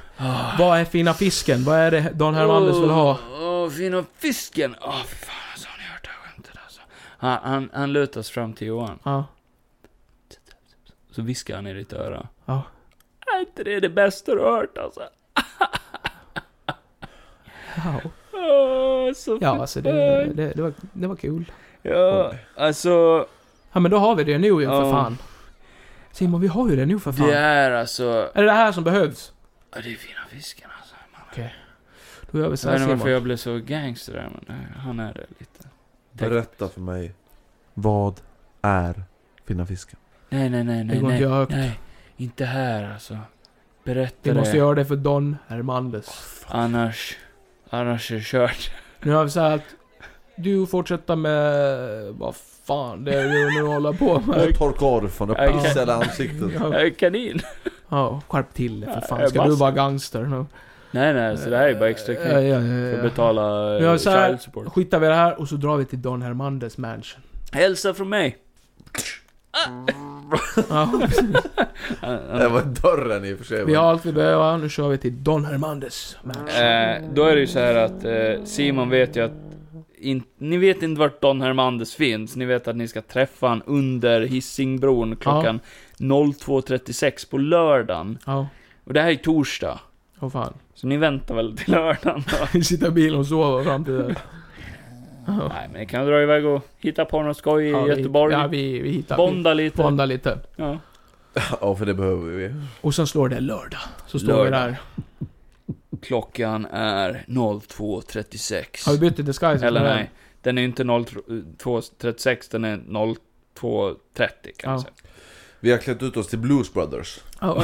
Speaker 1: Vad är fina fisken? Vad är det Don Hermandes vill ha?
Speaker 2: Åh, fina fisken! Åh fy fan alltså, har ni hört det här skämtet alltså? Han, han, han lutas fram till Johan.
Speaker 1: Ja.
Speaker 2: Så viskar han i ditt öra.
Speaker 1: Ja.
Speaker 2: Är inte det det bästa du har hört alltså?
Speaker 1: Ja,
Speaker 2: Åh, så
Speaker 1: Ja, alltså det, det, det, var, det var kul.
Speaker 2: Ja, alltså.
Speaker 1: Ja, men då har vi det nu ju för
Speaker 2: Ja.
Speaker 1: fan. Simon, vi har ju det nu för fan.
Speaker 2: Det är alltså.
Speaker 1: Är det det här som behövs?
Speaker 2: Ja, det är fina fisken alltså.
Speaker 1: Då gör vi så
Speaker 2: Jag
Speaker 1: här
Speaker 2: vet inte varför
Speaker 1: Simon.
Speaker 2: jag blev så gangster där, men han är det lite.
Speaker 4: Berätta för mig. Vad är Finna Fisken?
Speaker 2: Nej, nej, nej, nej,
Speaker 1: går inte
Speaker 2: nej,
Speaker 1: högt.
Speaker 2: nej. Inte här alltså.
Speaker 1: Vi
Speaker 2: Berätta
Speaker 1: måste
Speaker 2: det.
Speaker 1: göra det för Don Hermandes.
Speaker 2: Annars... Annars är det kört.
Speaker 1: Nu har vi sagt du fortsätter med... Vad fan det är du nu håller på med?
Speaker 3: Och torka av från det
Speaker 2: Okej.
Speaker 3: pissade ansiktet.
Speaker 2: Jag är
Speaker 1: Eh,
Speaker 2: kanin.
Speaker 1: Ja, skärp till det för fan.
Speaker 2: Jag
Speaker 1: Ska
Speaker 2: bara-
Speaker 1: du vara gangster nu?
Speaker 2: Nej, nej, så det här är bara extra
Speaker 1: Ja,
Speaker 2: knäck.
Speaker 1: ja,
Speaker 2: För att
Speaker 1: ja, Eh, ja.
Speaker 2: betala
Speaker 1: Nu har
Speaker 2: eh,
Speaker 1: jag så här-
Speaker 2: child support.
Speaker 1: Skitar vi i det här och så drar vi till Don Hermandes mansion.
Speaker 2: Hälsa från mig.
Speaker 1: Ja,
Speaker 8: Det var dörren i och för sig.
Speaker 1: vi har allt vi behöver, nu kör vi till Don Hermandes mansion.
Speaker 2: Eh, då är det ju så här att eh, Simon vet ju att in, ni vet inte vart Don Hermandes finns, ni vet att ni ska träffa han under Hisingbron klockan 02.36 på lördagen.
Speaker 1: Ja,
Speaker 2: Och det här är torsdag,
Speaker 1: åh fan.
Speaker 2: så ni väntar väl till lördagen då?
Speaker 1: Vi sitter i bilen och sover fram till det. Ja.
Speaker 2: Nej men ni kan dra iväg och hitta på något skoj i
Speaker 1: Ja, vi-
Speaker 2: Göteborg,
Speaker 1: Ja, vi, vi hittar... Bonda.
Speaker 2: bonda lite.
Speaker 1: Bonda lite.
Speaker 2: Ja.
Speaker 8: Ja, för det behöver vi.
Speaker 1: Och sen slår det lördag. Så står vi
Speaker 2: Lördag.
Speaker 1: där.
Speaker 2: Klockan är 02.36.
Speaker 1: Har vi bytt till disguise?
Speaker 2: Eller nej, den är inte 02.36, den är 02.30 kan man
Speaker 1: Ja.
Speaker 2: säga.
Speaker 3: Vi har klätt ut oss till Blues Brothers.
Speaker 1: Ja,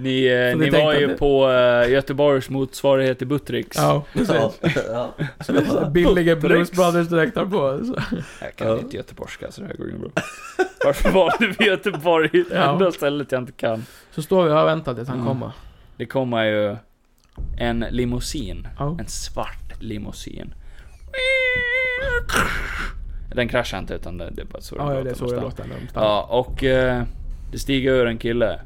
Speaker 2: Ni, eh,
Speaker 1: Så ni
Speaker 2: ni var
Speaker 1: tänkte
Speaker 2: ju
Speaker 1: att det-
Speaker 2: på eh, Göteborgs motsvarighet till Buttricks.
Speaker 1: ja. Så här Billiga Blues
Speaker 2: Bricks.
Speaker 1: Brothers dräkter på. Så.
Speaker 2: Jag kan inte göteborgska så det här går inget bra. Varför valde vi Göteborg? Det
Speaker 1: Ja.
Speaker 2: enda stället jag inte kan.
Speaker 1: så står vi och väntar tills han
Speaker 2: Mm.
Speaker 1: kommer.
Speaker 2: Det kommer ju en limousin.
Speaker 1: Ja.
Speaker 2: En svart limousin. Den kraschar inte utan det, det är bara så
Speaker 1: Ja, ja, det är så det
Speaker 2: någonstans.
Speaker 1: låter. när de stannar.
Speaker 2: Ja, och eh, det stiger ur en kille.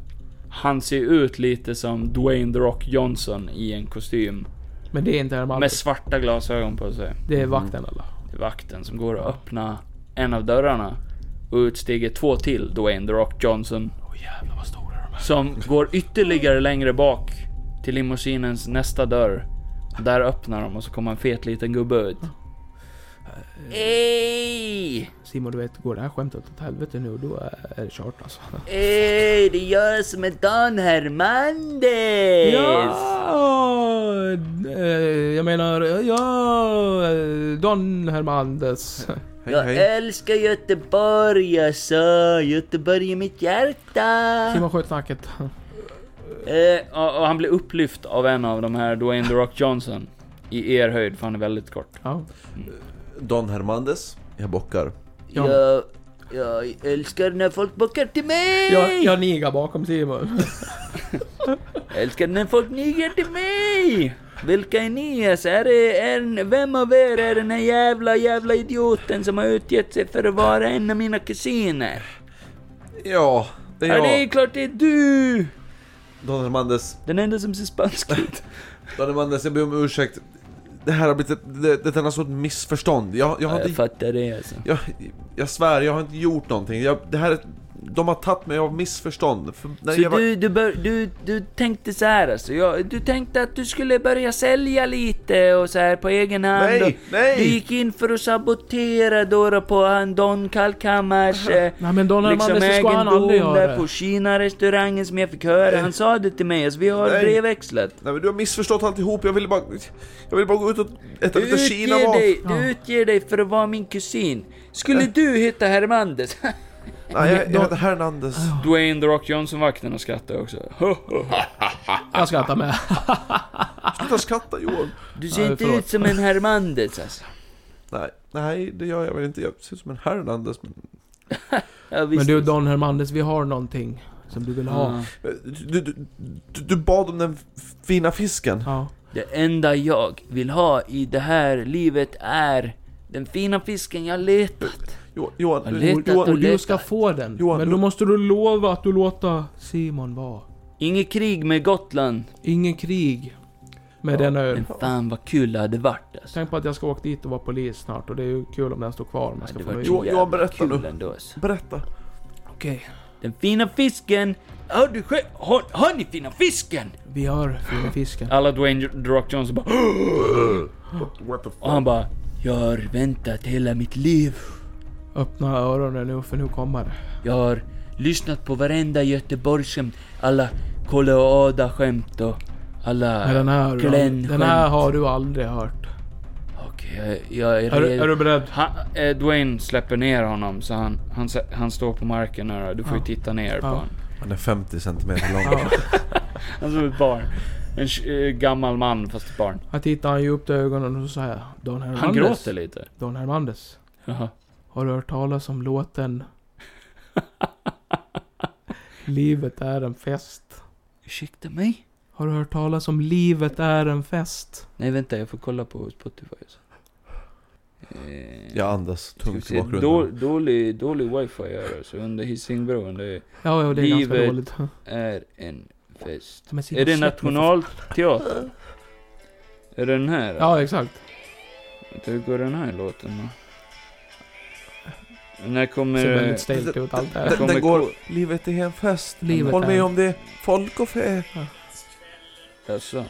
Speaker 2: Han ser ut lite som Dwayne The Rock Johnson i en kostym.
Speaker 1: Men det är inte Herman.
Speaker 2: Med svarta glasögon på sig.
Speaker 1: Det är vakten eller?
Speaker 2: Det är vakten som går och öppnar en av dörrarna. Och utstiger två till, Dwayne The Rock Johnson.
Speaker 1: Åh jävlar vad stora de är.
Speaker 2: Som går ytterligare längre bak till limousinens nästa dörr. Där öppnar de och så kommer en fet liten gubbe ut. Ey!
Speaker 1: Simon du vet, går det här skämtet åt helvete nu då är är det kört alltså.
Speaker 6: Ey, det gör som en Don Hermandes!
Speaker 1: Ja, eh, jag menar, ja, eh, Don Hermandes.
Speaker 3: Hej
Speaker 6: Jag
Speaker 3: hej.
Speaker 6: älskar Göteborg alltså, Göteborg är mitt hjärta!
Speaker 1: Simon sköt snacket.
Speaker 2: Eh, och, och han blir upplyft av en av de här, Dwayne The Rock Johnson. I er höjd, för han är väldigt kort.
Speaker 1: Ja.
Speaker 3: Don Hermandes. Jag bockar.
Speaker 1: Ja.
Speaker 6: Jag, jag älskar när folk bockar till mig!
Speaker 1: Jag, jag nigar bakom Simon.
Speaker 6: Jag älskar när folk niger till mig! Vilka är ni? Alltså, är det en, vem av er är den här jävla, jävla idioten som har utgett sig för att vara en av mina kusiner?
Speaker 3: Ja, det
Speaker 6: Ja, det är
Speaker 3: är jag.
Speaker 6: klart det är du!
Speaker 3: Don Hermandes.
Speaker 6: Den enda som ser spansk ut.
Speaker 3: Don Hermandes, jag ber om ursäkt. Det här har blivit ett, det, det är alltså ett missförstånd. Jag, jag har
Speaker 6: Ja, jag
Speaker 3: inte...
Speaker 6: fattar det alltså.
Speaker 3: Jag, jag svär, jag har inte gjort någonting. Jag, det här är... De har tagit mig av missförstånd. För, när
Speaker 6: Så
Speaker 3: jag var-
Speaker 6: du, du, bör, du, du tänkte så här alltså, jag, du tänkte att du skulle börja sälja lite och så här på egen hand.
Speaker 3: Nej,
Speaker 6: och,
Speaker 3: nej!
Speaker 6: Du gick in för att sabotera då, då på han Don Kalkhammars eh,
Speaker 1: Nej men Don
Speaker 6: liksom
Speaker 1: Hermandes, det ska han
Speaker 6: egendom
Speaker 1: aldrig
Speaker 6: där
Speaker 1: göra.
Speaker 6: på Kina-restaurangen som jag fick höra. Han sa det till mig, alltså, vi har
Speaker 3: Nej.
Speaker 6: brevväxlat.
Speaker 3: Nej men du har missförstått alltihop, jag ville bara... Jag ville bara gå ut och äta
Speaker 6: Du
Speaker 3: lite kinamat.
Speaker 6: utger, dig,
Speaker 1: Ja.
Speaker 6: du utger dig för att vara min kusin. Skulle du heta Hermandes?
Speaker 3: Nej, jag, jag heter Hernandez.
Speaker 2: Dwayne The Rock Johnson-vakten och skrattar också.
Speaker 1: Jag skrattar med.
Speaker 3: Sluta skratta Johan.
Speaker 6: Du ser
Speaker 1: Ja,
Speaker 6: inte
Speaker 1: förlåt.
Speaker 6: ut som en Hermandes alltså.
Speaker 3: Nej, nej det gör jag väl inte. Jag ser ut som en Hernandez. Men...
Speaker 6: Ja,
Speaker 1: Men
Speaker 6: visst.
Speaker 1: du Don Hermandes, vi har någonting som du vill ha.
Speaker 2: Ja.
Speaker 3: Du, du, du, du bad om den fina fisken.
Speaker 1: Ja.
Speaker 6: Det enda jag vill ha i det här livet är den fina fisken jag letat.
Speaker 3: Jo, Johan,
Speaker 6: Jag
Speaker 3: du,
Speaker 6: letar
Speaker 3: Johan,
Speaker 1: Och
Speaker 6: Och
Speaker 1: du
Speaker 6: det-
Speaker 1: ska få den.
Speaker 3: Johan,
Speaker 1: men då
Speaker 3: du-
Speaker 1: måste du lova att du låter Simon vara.
Speaker 6: Inget krig med Gotland.
Speaker 1: Ingen krig med den ön.
Speaker 6: Men fan vad kul det hade varit alltså.
Speaker 1: Tänk på att jag ska åka dit och vara polis snart och det är ju kul om den står kvar. om Man ska
Speaker 6: Det
Speaker 1: få
Speaker 6: var
Speaker 1: nöje.
Speaker 3: Jo, Johan,
Speaker 6: jävla
Speaker 3: berätta
Speaker 6: kul
Speaker 3: nu.
Speaker 6: ändå alltså.
Speaker 3: berätta.
Speaker 1: Okej,
Speaker 6: Den fina fisken. Har du själv, har, har ni fina fisken?
Speaker 1: vi har fina fisken.
Speaker 2: Alla Dwayne The Rock Johnson bara Och han bara
Speaker 6: Jag har väntat hela mitt liv.
Speaker 1: Öppna öronen nu för nu kommer det.
Speaker 6: Jag har lyssnat på varenda Göteborgsskämt. Alla Colorado-skämt och alla
Speaker 1: Nej, den här,
Speaker 6: Glenn-skämt.
Speaker 1: den här har du aldrig hört.
Speaker 6: Okej, jag, jag är
Speaker 1: Är, du-
Speaker 6: redo.
Speaker 1: är du beredd?
Speaker 2: han, eh, Dwayne släpper ner honom så han, han, sä- han står på marken här. Du får ju
Speaker 1: Ja.
Speaker 2: titta ner på
Speaker 1: Ja.
Speaker 2: honom.
Speaker 3: Han är 50 centimeter lång.
Speaker 1: Ja.
Speaker 2: Han såg ett barn. En sh- eh, gammal man fast ett barn.
Speaker 1: Jag tittade han djupt i ögonen och så sa jag Don Hermandes.
Speaker 2: Han gråter lite.
Speaker 1: Don Hermandes.
Speaker 2: Jaha.
Speaker 1: Har du hört talas om låten? Livet är en fest.
Speaker 2: Ursäkta mig?
Speaker 1: Har du hört talas om Livet är en fest?
Speaker 2: Nej vänta, jag får kolla på Spotify. Så. Eh,
Speaker 3: Jag andas
Speaker 2: ska vi
Speaker 3: tungt i
Speaker 2: se.
Speaker 3: bakgrunden.
Speaker 2: Då, dålig, dålig wifi är det, så under Hisingbron. Det
Speaker 1: Ja, ja det är ganska
Speaker 2: Livet-
Speaker 1: dåligt.
Speaker 2: är en fest.
Speaker 1: Men sitt
Speaker 2: Är det
Speaker 1: och släpp mig för-
Speaker 2: nationalteater? Är det den här?
Speaker 1: Ja, exakt.
Speaker 2: Hur går den här låten då? När
Speaker 1: Det
Speaker 2: kommer...
Speaker 1: ser väldigt stelt ut allt det
Speaker 2: Där
Speaker 1: här.
Speaker 2: kommer ko-
Speaker 3: Livet är en fest.
Speaker 1: Livet är-
Speaker 3: det. Folk och fä.
Speaker 2: Alltså,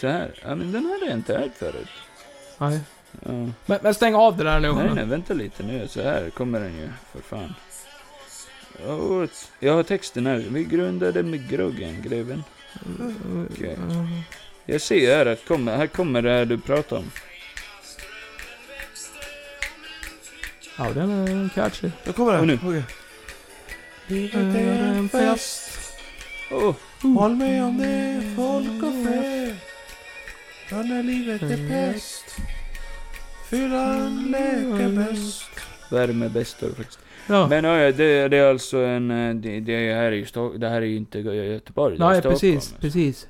Speaker 2: så här. Ja, men den här har jag inte hört förut.
Speaker 1: Nej.
Speaker 2: Ja.
Speaker 1: Men, men stäng av det där nu.
Speaker 2: Nej, nej, vänta lite nu. Så här kommer den ju, för fan. Åh, Jag har texten här. Vi grundade med groggen, greven. Okej. Jag ser här att kommer, här kommer det här du pratar om.
Speaker 1: Ja, den är catchy.
Speaker 3: Nu kommer
Speaker 2: Och nu.
Speaker 3: Okej.
Speaker 1: Livet är en Eh, fest.
Speaker 2: Åh,
Speaker 3: Håll med om det, folk och fä. Ja, när livet är pest. Fyllan läker bäst.
Speaker 2: värme bäst står det faktiskt.
Speaker 1: Ja.
Speaker 2: Men ja, ja, det, det är alltså en... eh, Det, det här är ju Sto- Det här är ju inte Gö- Göteborg. Det är
Speaker 1: Nej,
Speaker 2: Stockholm.
Speaker 1: precis, precis.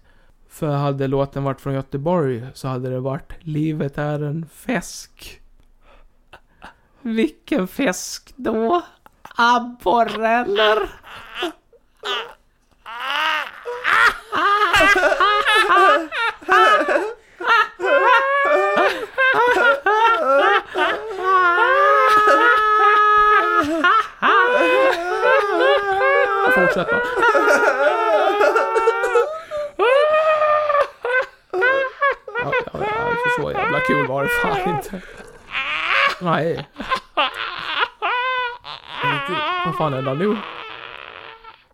Speaker 1: För hade låten varit från Göteborg så hade det varit Livet är en fäsk. Vilken fäsk då? Abborreller? Fortsätt då. Ja, ja, ja, för så jävla kul var det fan inte. Nej. Vad fan är det nu?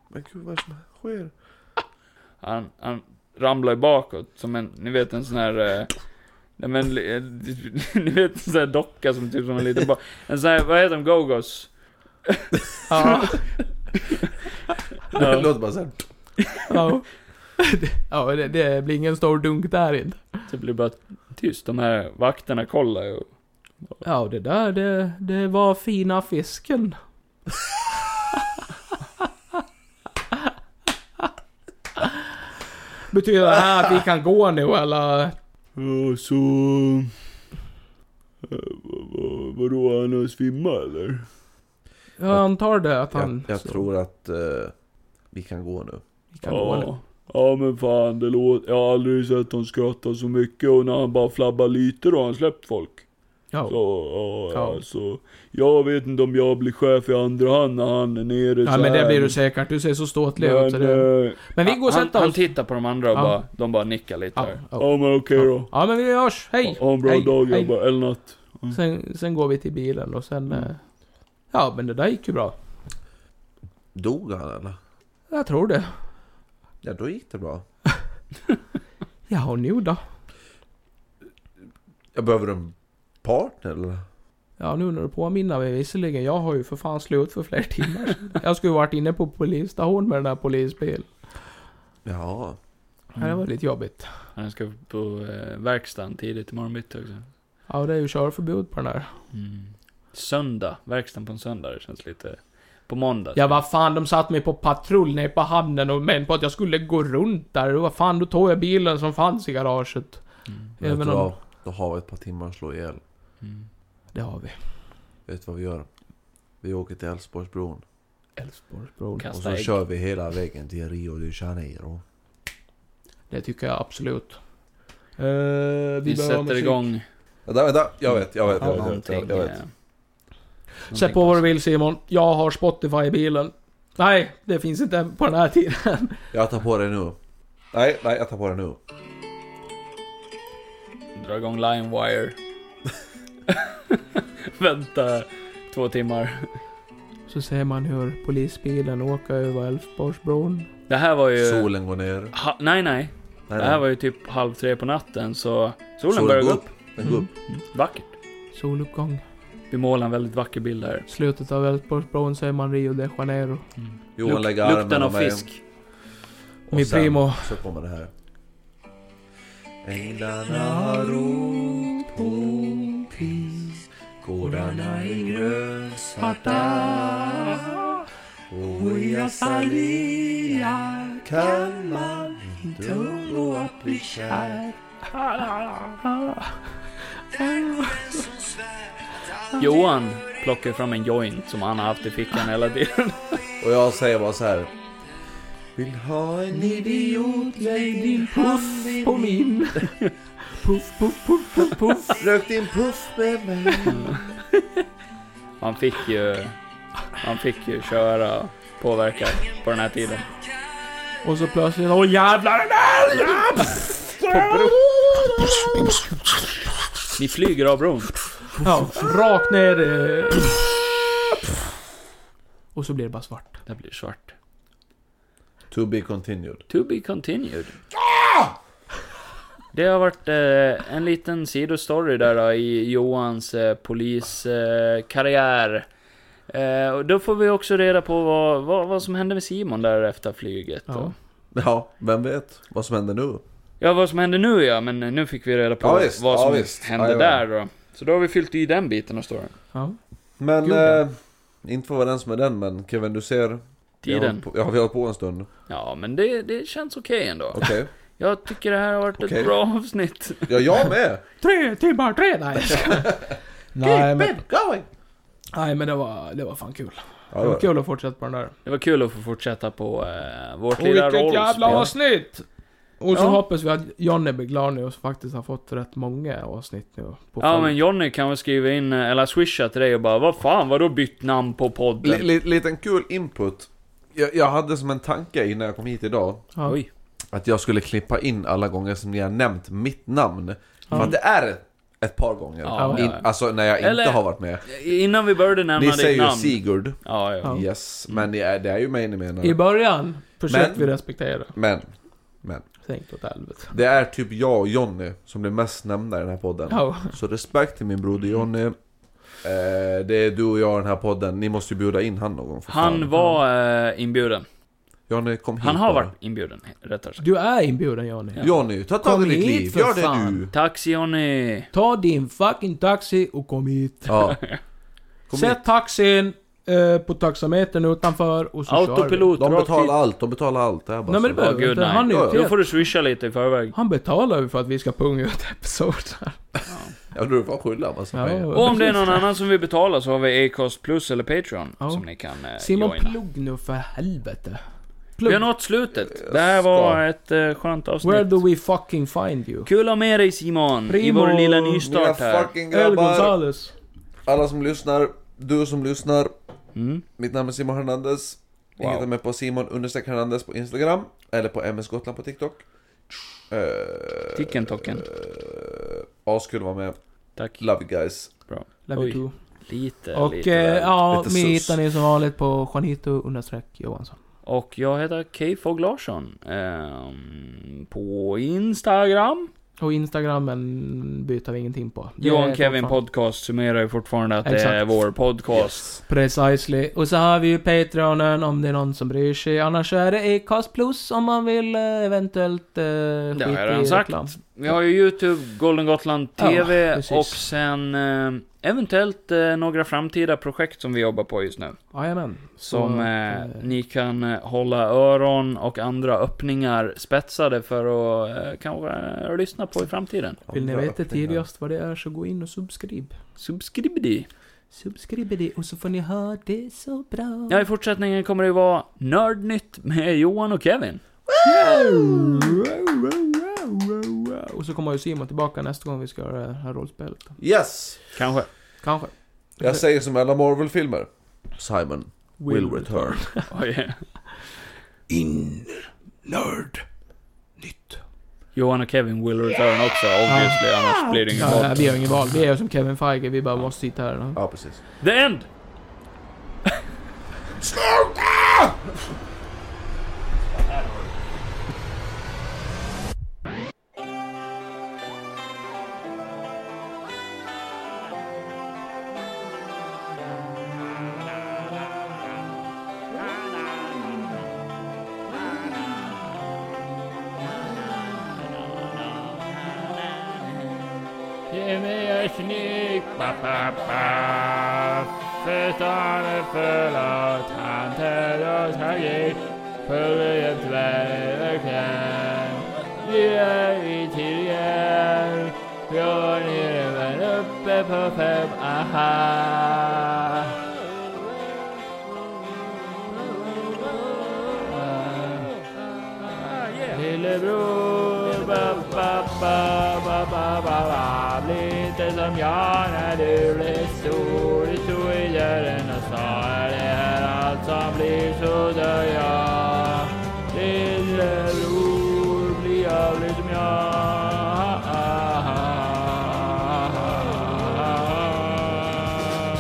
Speaker 3: Men gud vad är det som sker?
Speaker 2: Han, han ramlar ju bakåt som en, ni vet en sån här... eh, Nej men, li- eh, ni vet en sån här docka som typ som en liten ba- En sån här, vad heter de? Go-Go's?
Speaker 1: Ja,
Speaker 3: Det låter bara såhär.
Speaker 1: ja. Ja, det, det blir ingen stor dunk där inte.
Speaker 2: Det Typ blir bara tyst, de här vakterna kollar ju.
Speaker 1: Ja, och det där, det, det var fina fisken. Betyder det här att vi kan gå nu eller?
Speaker 6: Ja, så... eh, vad- vad- Vadå, han har svimmat eller?
Speaker 1: Jag antar det att han...
Speaker 3: Jag, jag tror att eh, vi kan gå nu.
Speaker 1: Vi kan gå nu.
Speaker 6: Ja men fan, det låter... Jag har aldrig sett honom skratta så mycket och när han bara flabbar lite då har han släppt folk.
Speaker 1: Ja.
Speaker 6: Så, ja,
Speaker 1: Ja.
Speaker 6: alltså. Jag vet inte om jag blir chef i andra hand när han är nere
Speaker 1: Ja
Speaker 6: så
Speaker 1: men det
Speaker 6: här.
Speaker 1: blir du säkert, du ser så ståtlig
Speaker 6: Men,
Speaker 1: ut. så det-
Speaker 6: eh,
Speaker 1: Men vi går och
Speaker 2: han,
Speaker 1: sätter
Speaker 2: han
Speaker 1: oss.
Speaker 2: tittar på de andra och
Speaker 1: Ja.
Speaker 2: bara, de bara nickar lite
Speaker 1: Ja,
Speaker 2: här.
Speaker 1: ja.
Speaker 6: ja men okej då.
Speaker 1: ja men vi hörs, hej!
Speaker 6: Ha en bra
Speaker 1: hej,
Speaker 6: dag
Speaker 1: hej.
Speaker 6: grabbar, eller natt.
Speaker 1: Sen, sen går vi till bilen och sen... eh, Ja men det där gick ju bra.
Speaker 3: Dog han eller?
Speaker 1: Jag tror det.
Speaker 3: Ja, då gick det bra.
Speaker 1: Ja och nu då?
Speaker 3: Jag behöver en partner eller?
Speaker 1: Ja nu när du påminner mig visserligen, jag har ju för fan slut för flera timmar sedan. Jag skulle ju varit inne på polisstation med den där polisbilen.
Speaker 3: Ja.
Speaker 1: Ja, det var lite jobbigt.
Speaker 2: Han ska på eh, verkstaden tidigt imorgon bitti också. Mm.
Speaker 1: Ja det är ju körförbud på den där.
Speaker 2: Söndag, verkstaden på en söndag, det känns lite... På måndag.
Speaker 1: Ja vad fan, de satt mig på patrull nere på hamnen och menade på att jag skulle gå runt där. Vad fan, då tog jag bilen som fanns i garaget.
Speaker 3: Men vet
Speaker 1: Även
Speaker 3: du
Speaker 1: om-
Speaker 3: vad? Då har vi ett par timmar att slå ihjäl.
Speaker 2: Mm.
Speaker 1: Det har vi.
Speaker 3: Vet du vad vi gör? Vi åker till Älvsborgsbron.
Speaker 1: Älvsborgsbron.
Speaker 3: Och
Speaker 2: Kasta
Speaker 3: så
Speaker 2: ägg.
Speaker 3: kör vi hela vägen till Rio de Janeiro.
Speaker 1: Det tycker jag absolut. Eh, vi behöver
Speaker 2: Vi sätter
Speaker 1: musik.
Speaker 2: igång.
Speaker 3: Vänta, vänta. Jag vet, jag vet,
Speaker 1: Ja,
Speaker 3: jag vet.
Speaker 2: Någonting.
Speaker 3: Jag vet, jag vet.
Speaker 2: eh,
Speaker 1: Sätt
Speaker 2: någonting
Speaker 1: på vad du vill Simon. Jag har Spotify i bilen. Nej, det finns inte på den här tiden.
Speaker 3: Jag tar på det nu. Nej, nej, jag tar på det nu.
Speaker 2: Dra igång LimeWire. Vänta två timmar.
Speaker 1: Så ser man hur polisbilen åker över Älvsborgsbron.
Speaker 2: Det här var ju...
Speaker 3: Solen går ner. Nej,
Speaker 2: Ha, nej, nej.
Speaker 3: nej.
Speaker 2: Det här var ju typ halv tre på natten så solen
Speaker 3: Solen
Speaker 2: började gå
Speaker 3: går
Speaker 2: upp.
Speaker 3: Den går upp.
Speaker 2: Vackert.
Speaker 1: Soluppgång.
Speaker 2: Vi målar en väldigt vacker bild här.
Speaker 1: Slutet av Älvsborgsbron ser man Rio de Janeiro.
Speaker 2: Luk-
Speaker 3: Johan lägger armen
Speaker 2: Mm. lukten av
Speaker 3: om mig.
Speaker 2: fisk.
Speaker 3: Och
Speaker 1: Min
Speaker 3: sen
Speaker 1: primo.
Speaker 3: Så kommer det här. Änglarna har rop på pris Gårdarna är grönsatta Och i Azalea kan man inte undgå att bli kär
Speaker 2: Johan plockar fram en joint som han har haft i fickan hela tiden.
Speaker 3: Och jag säger bara så här. Vill ha en idiot, lägg din puff
Speaker 1: På min! puff, puff, puff, puff, puff.
Speaker 3: Rök din puff med mig
Speaker 2: Han fick ju... Han fick ju köra påverka på den här tiden.
Speaker 1: Och så plötsligt, åh jävlar en älg!
Speaker 2: Ni flyger av bron.
Speaker 1: Ja, rakt ner. eh. Och så blir det bara svart.
Speaker 2: Det blir svart.
Speaker 3: To be continued
Speaker 2: To be continued.
Speaker 3: Ah!
Speaker 2: Det har varit eh, en liten sidostory där då, i Johans eh, poliskarriär. Eh, karriär. eh, och då får vi också reda på vad, vad, vad som hände med Simon där efter flyget. då.
Speaker 1: Ja.
Speaker 3: Ja, vem vet vad som händer nu?
Speaker 2: Ja, vad som hände nu ja, men eh, nu fick vi reda på
Speaker 3: Ja, visst,
Speaker 2: vad
Speaker 3: ja,
Speaker 2: som
Speaker 3: visst.
Speaker 2: hände
Speaker 3: Ja, ja.
Speaker 2: där då. Så då har vi fyllt i den biten av storyn.
Speaker 1: ja.
Speaker 3: Men,
Speaker 1: Gjorde jag?
Speaker 3: eh, inte för att vara den som är den men Kevin du ser vi har
Speaker 2: Tiden.
Speaker 3: hållit på- Ja, vi har hållit på en stund
Speaker 2: Ja, men det, det känns okej ändå.
Speaker 3: Okej
Speaker 2: Jag tycker det här har varit
Speaker 3: Okej.
Speaker 2: ett bra avsnitt.
Speaker 3: Ja, jag med!
Speaker 1: Tre timmar, tre! Nej, jag skojar. nej, men,
Speaker 3: going!
Speaker 1: nej men det var, det var fan kul. det
Speaker 3: Ja, det
Speaker 1: var
Speaker 3: var det.
Speaker 1: kul att fortsätta på den där.
Speaker 2: Det var kul att få fortsätta på eh, vårt
Speaker 1: Och
Speaker 2: lilla
Speaker 1: vilket jävla
Speaker 2: rollspel.
Speaker 1: avsnitt! Och så
Speaker 2: Ja.
Speaker 1: hoppas vi att Jonny blir glad nu och faktiskt har fått rätt många avsnitt nu. På
Speaker 2: Ja
Speaker 1: följd.
Speaker 2: men Jonny kan väl skriva in, eh, eller swisha till dig och bara Vad fan, vadå bytt namn på podden?
Speaker 3: Li- li- liten kul input jag, jag hade som en tanke innan jag kom hit idag
Speaker 1: ja.
Speaker 2: Oj.
Speaker 3: Att jag skulle klippa in alla gånger som ni har nämnt mitt namn För
Speaker 1: Ja.
Speaker 3: att det är ett par gånger
Speaker 2: Ja,
Speaker 3: in,
Speaker 2: ja.
Speaker 3: Alltså när jag
Speaker 2: Eller-
Speaker 3: inte har varit med
Speaker 2: Innan vi började nämna
Speaker 3: Ni
Speaker 2: ditt
Speaker 3: säger ju
Speaker 2: namn.
Speaker 3: Sigurd
Speaker 2: Ja, ja.
Speaker 1: Ja.
Speaker 3: Yes, men det är, det är ju mig ni menar
Speaker 1: I början försökte
Speaker 3: Men-
Speaker 1: vi respektera.
Speaker 3: Men
Speaker 1: Tänk åt helvete.
Speaker 3: det är typ jag och Jonny som blir mest nämnda i den här podden
Speaker 1: Ja.
Speaker 3: Så respekt till min broder Jonny eh, Det är du och jag i den här podden, ni måste ju bjuda in han någon gång för
Speaker 2: Han
Speaker 3: fan.
Speaker 2: var eh, inbjuden.
Speaker 3: Jonny kom hit
Speaker 2: Han har
Speaker 3: bara.
Speaker 2: varit inbjuden, rättare sagt.
Speaker 1: Du är inbjuden Jonny.
Speaker 3: Jonny, ta tag
Speaker 1: Kom
Speaker 3: i ditt
Speaker 1: hit
Speaker 3: liv,
Speaker 1: för
Speaker 3: gör det
Speaker 1: fan.
Speaker 3: nu!
Speaker 2: Taxi Jonny!
Speaker 1: Ta din fucking taxi och kom hit.
Speaker 3: Ja. Kom hit.
Speaker 1: Sätt taxin eh, på taxametern utanför och så kör vi.
Speaker 2: Autopilot,
Speaker 3: De
Speaker 2: rakt dit.
Speaker 3: betalar allt, de betalar allt. Det är bara
Speaker 1: Nej men
Speaker 3: så.
Speaker 1: det
Speaker 2: Åh
Speaker 1: behöver vi
Speaker 2: gud
Speaker 1: inte. Han, är
Speaker 2: nej.
Speaker 1: ju
Speaker 2: Då
Speaker 1: fet.
Speaker 2: får du swisha lite i förväg.
Speaker 1: han betalar ju för att vi ska punga ut episoder.
Speaker 3: Ja, du får skylla en massa pengar.
Speaker 2: Och om det är någon annan som vill betala så har vi Acast plus eller Patreon
Speaker 1: Ja.
Speaker 2: som ni kan eh,
Speaker 1: Simon,
Speaker 2: joina.
Speaker 1: plugg nu för helvete.
Speaker 2: Vi har
Speaker 1: Plugg.
Speaker 2: nått slutet. Det här var ett eh, skönt
Speaker 1: Where
Speaker 2: avsnitt.
Speaker 1: do we fucking find you?
Speaker 2: Kul att ha med dig Simon i
Speaker 1: Primo.
Speaker 2: vår lilla
Speaker 3: Mina
Speaker 2: nystart här.
Speaker 3: fucking
Speaker 1: El
Speaker 3: grabbar,
Speaker 1: Gonzales.
Speaker 3: alla som lyssnar, du som lyssnar.
Speaker 2: Mm.
Speaker 3: Mitt namn är Simon Hernandez. Ni
Speaker 2: Wow.
Speaker 3: hittar mig på Simon understreck Hernandez på Instagram. Eller på MS Gotland på TikTok. Uh,
Speaker 2: Ticken tocken.
Speaker 3: Askul att vara med.
Speaker 2: Tack.
Speaker 3: Love you guys.
Speaker 1: Love
Speaker 2: Oj.
Speaker 1: you too.
Speaker 2: Lite,
Speaker 1: Och
Speaker 2: lite.
Speaker 1: eh,
Speaker 2: väl.
Speaker 1: ja,
Speaker 3: Lite
Speaker 1: mig
Speaker 3: sus.
Speaker 1: hittar ni som vanligt på Juanito understreck Johansson.
Speaker 2: Och jag heter K. Fogg Larsson. ehm, på Instagram.
Speaker 1: Och Instagrammen byter vi ingenting på. Det är
Speaker 2: Johan Kevin
Speaker 1: fortfarande-
Speaker 2: Podcast summerar ju fortfarande att det är
Speaker 1: Exakt.
Speaker 2: vår podcast.
Speaker 1: Precisely. Och så har vi ju Patreonen om det är någon som bryr sig. Annars är det Acast plus om man vill eh, eventuellt eh,
Speaker 2: Det
Speaker 1: skita
Speaker 2: har jag
Speaker 1: i
Speaker 2: redan sagt.
Speaker 1: reklam.
Speaker 2: Vi har ju Youtube, Golden Gotland
Speaker 1: Ja,
Speaker 2: TV
Speaker 1: precis.
Speaker 2: och sen eh, eventuellt eh, några framtida projekt som vi jobbar på just nu.
Speaker 1: Jajamän.
Speaker 2: Som
Speaker 1: Så,
Speaker 2: eh,
Speaker 1: eh,
Speaker 2: ni kan eh, hålla öron och andra öppningar spetsade för att eh, kanske eh, lyssna på i framtiden.
Speaker 1: Vill ni
Speaker 3: Andra
Speaker 1: veta
Speaker 3: öppningar.
Speaker 1: tidigast vad det är så gå in och subscribe.
Speaker 2: Subscribedi.
Speaker 1: Subscribe det och så får ni ha det så bra.
Speaker 2: Ja, i fortsättningen kommer det ju vara Nördnytt med Johan och Kevin.
Speaker 1: Och så kommer ju Simon tillbaka nästa gång vi ska göra det här rollspelet.
Speaker 3: Yes!
Speaker 2: Kanske.
Speaker 1: Kanske.
Speaker 3: Jag säger som alla Marvel-filmer. Simon will, return.
Speaker 2: Oj.
Speaker 1: In nerd. Nytt.
Speaker 2: Johan och Kevin will return också, obviously, annars blir det inget
Speaker 1: Ja, ja,
Speaker 2: gott.
Speaker 1: vi har ingen val. Vi är ju som Kevin Feige, vi bara måste sitta här.
Speaker 3: ja, precis.
Speaker 2: The end! Ge mig en knick, ba, ba, ba. Förstånd är full av tanter och tragik. Följer dvärgen. Vi är i Tyrien. Från himlen uppe på fem, aha. Lillebror, ba, ba, ba, ba, ba, ba, ba. Bli inte som jag när du blir stor. Du stod i dörren och sa det här allt som blir så dör jag. Lillebror, bli aldrig som jag.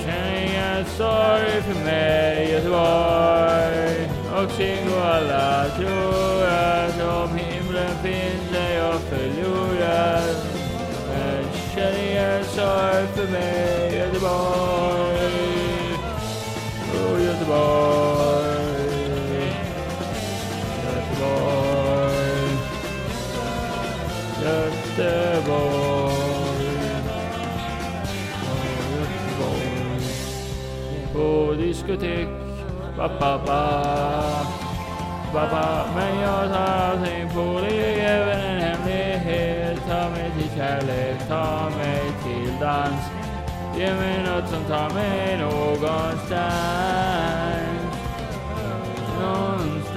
Speaker 2: Känner ingen sorg för mig Göteborg och Kingo alla tror att om himlen finns är jag förlorad. Men känner ingen sorg för mig Göteborg och Göteborg. Göteborg. Göteborg. På diskotek, ba ba ba ba ba Men jag tar allting på dig, även en hemlighet Ta mig till kärlek, ta mig till dans Ge mig något som tar mig någonstans Någonstans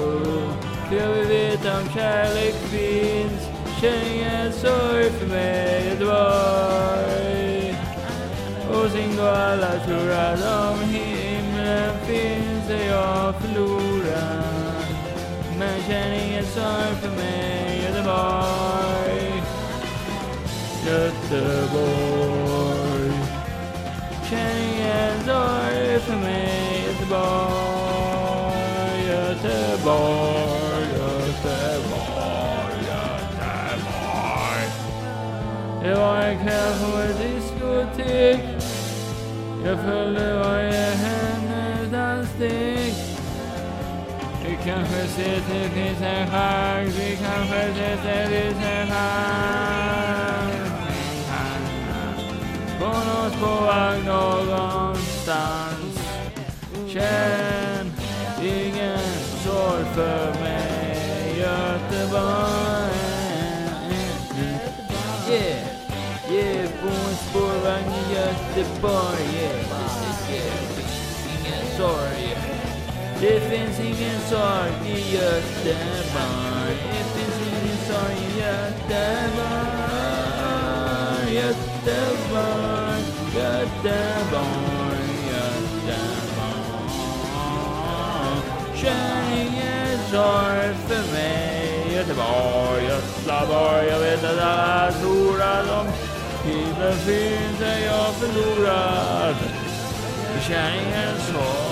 Speaker 2: Oh, jag vill veta om kärlek finns Känn ingen sorg för mig, Göteborg Och sen går alla tror att om himlen finns är jag förlorad Men känn ingen sorg för mig, Göteborg Göteborg Känn ingen sorg för mig, Göteborg Göteborg, Göteborg, Göteborg Det var en kväll på ett diskotek Jag följde varje hennes danssteg Vi kanske ses, det finns en chans Vi kanske ses, det finns en chans På någon spårvagn någonstans Känn ingen sorg för mig Göteborg Yeah, yeah, på en spårvagn i Göteborg yeah. Precis, yeah, det finns ingen sorg yeah. Det finns ingen sorg i Göteborg Det finns ingen sorg i Göteborg Göteborg, Göteborg, Göteborg Känn ingen sorg för mig Göteborg, Göteborg Jag vet att alla tror att om himlen finns är jag förlorad Känn ingen sorg